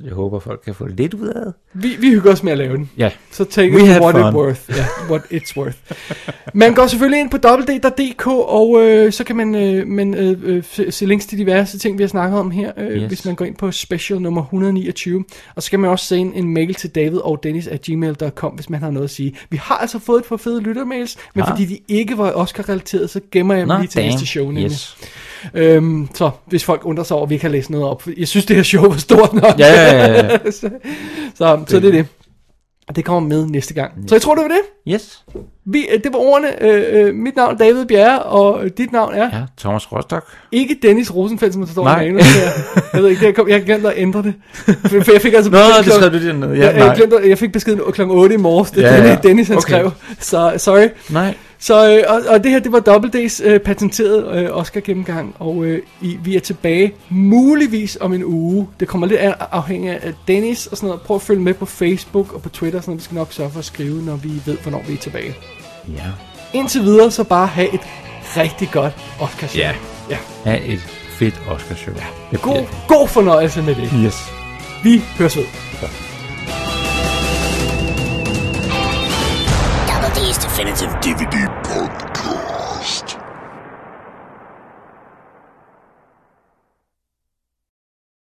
jeg håber, folk kan få lidt ud af det.
Vi, vi hygger os med at lave den.
Ja.
Så take
We
it
had
for what
fun.
it's worth. Ja, what it's worth. Man går selvfølgelig ind på www.dk, og øh, så kan man, øh, man øh, øh, se- se links til diverse ting, vi har snakket om her, øh,
Yes.
yes. hvis man går ind på special nummer 129. Og så kan man også sende en mail til David og Dennis at gmail.com, hvis man har noget at sige. Vi har altså fået et par fede lyttermails, men
Ah.
fordi de ikke var Oscar-relateret, så gemmer jeg
Nå,
dem lige til
damn.
næste show. Nemlig.
Yes.
Øhm, så hvis folk undrer sig over, at vi ikke har læst noget op. for Jeg synes, det her show var stort nok.
Ja, ja, ja, ja.
så, så, så det er det. Og det kommer med næste gang. Så jeg tror, det var det.
Yes.
Vi, øh, det var ordene. Øh, øh, mit navn er David Bjerre, og øh, dit navn er...
Ja, Thomas Rostock.
Ikke Dennis Rosenfeldt, som der står
Nej.
i manus her. Jeg ved ikke, jeg, kom, jeg glemte at ændre det. For, for jeg fik altså
Nå,
besked
det
klokken-
skrev du dernede. Ja,
jeg, jeg,
nej.
glemte, at- jeg fik beskeden kl. 8 i morges, det ja,
Ja, ja.
Dennis, Dennis han
Okay.
okay. skrev. Så sorry.
Nej.
Så, øh, og, og det her, det var Double D's øh, patenterede øh, Oscar-gennemgang, og øh, I, vi er tilbage muligvis om en uge. Det kommer lidt af, afhængig af Dennis og sådan noget. Prøv at følge med på Facebook og på Twitter, og sådan noget. Vi skal nok sørge for at skrive, når vi ved, hvornår vi er tilbage.
Ja.
Indtil videre, så bare have et rigtig godt Oscar-show.
Ja.
ja.
Ha' et fedt Oscar-show. Ja.
God, god fornøjelse med det.
Yes.
Vi høres ved.
Double D's Definitive DVD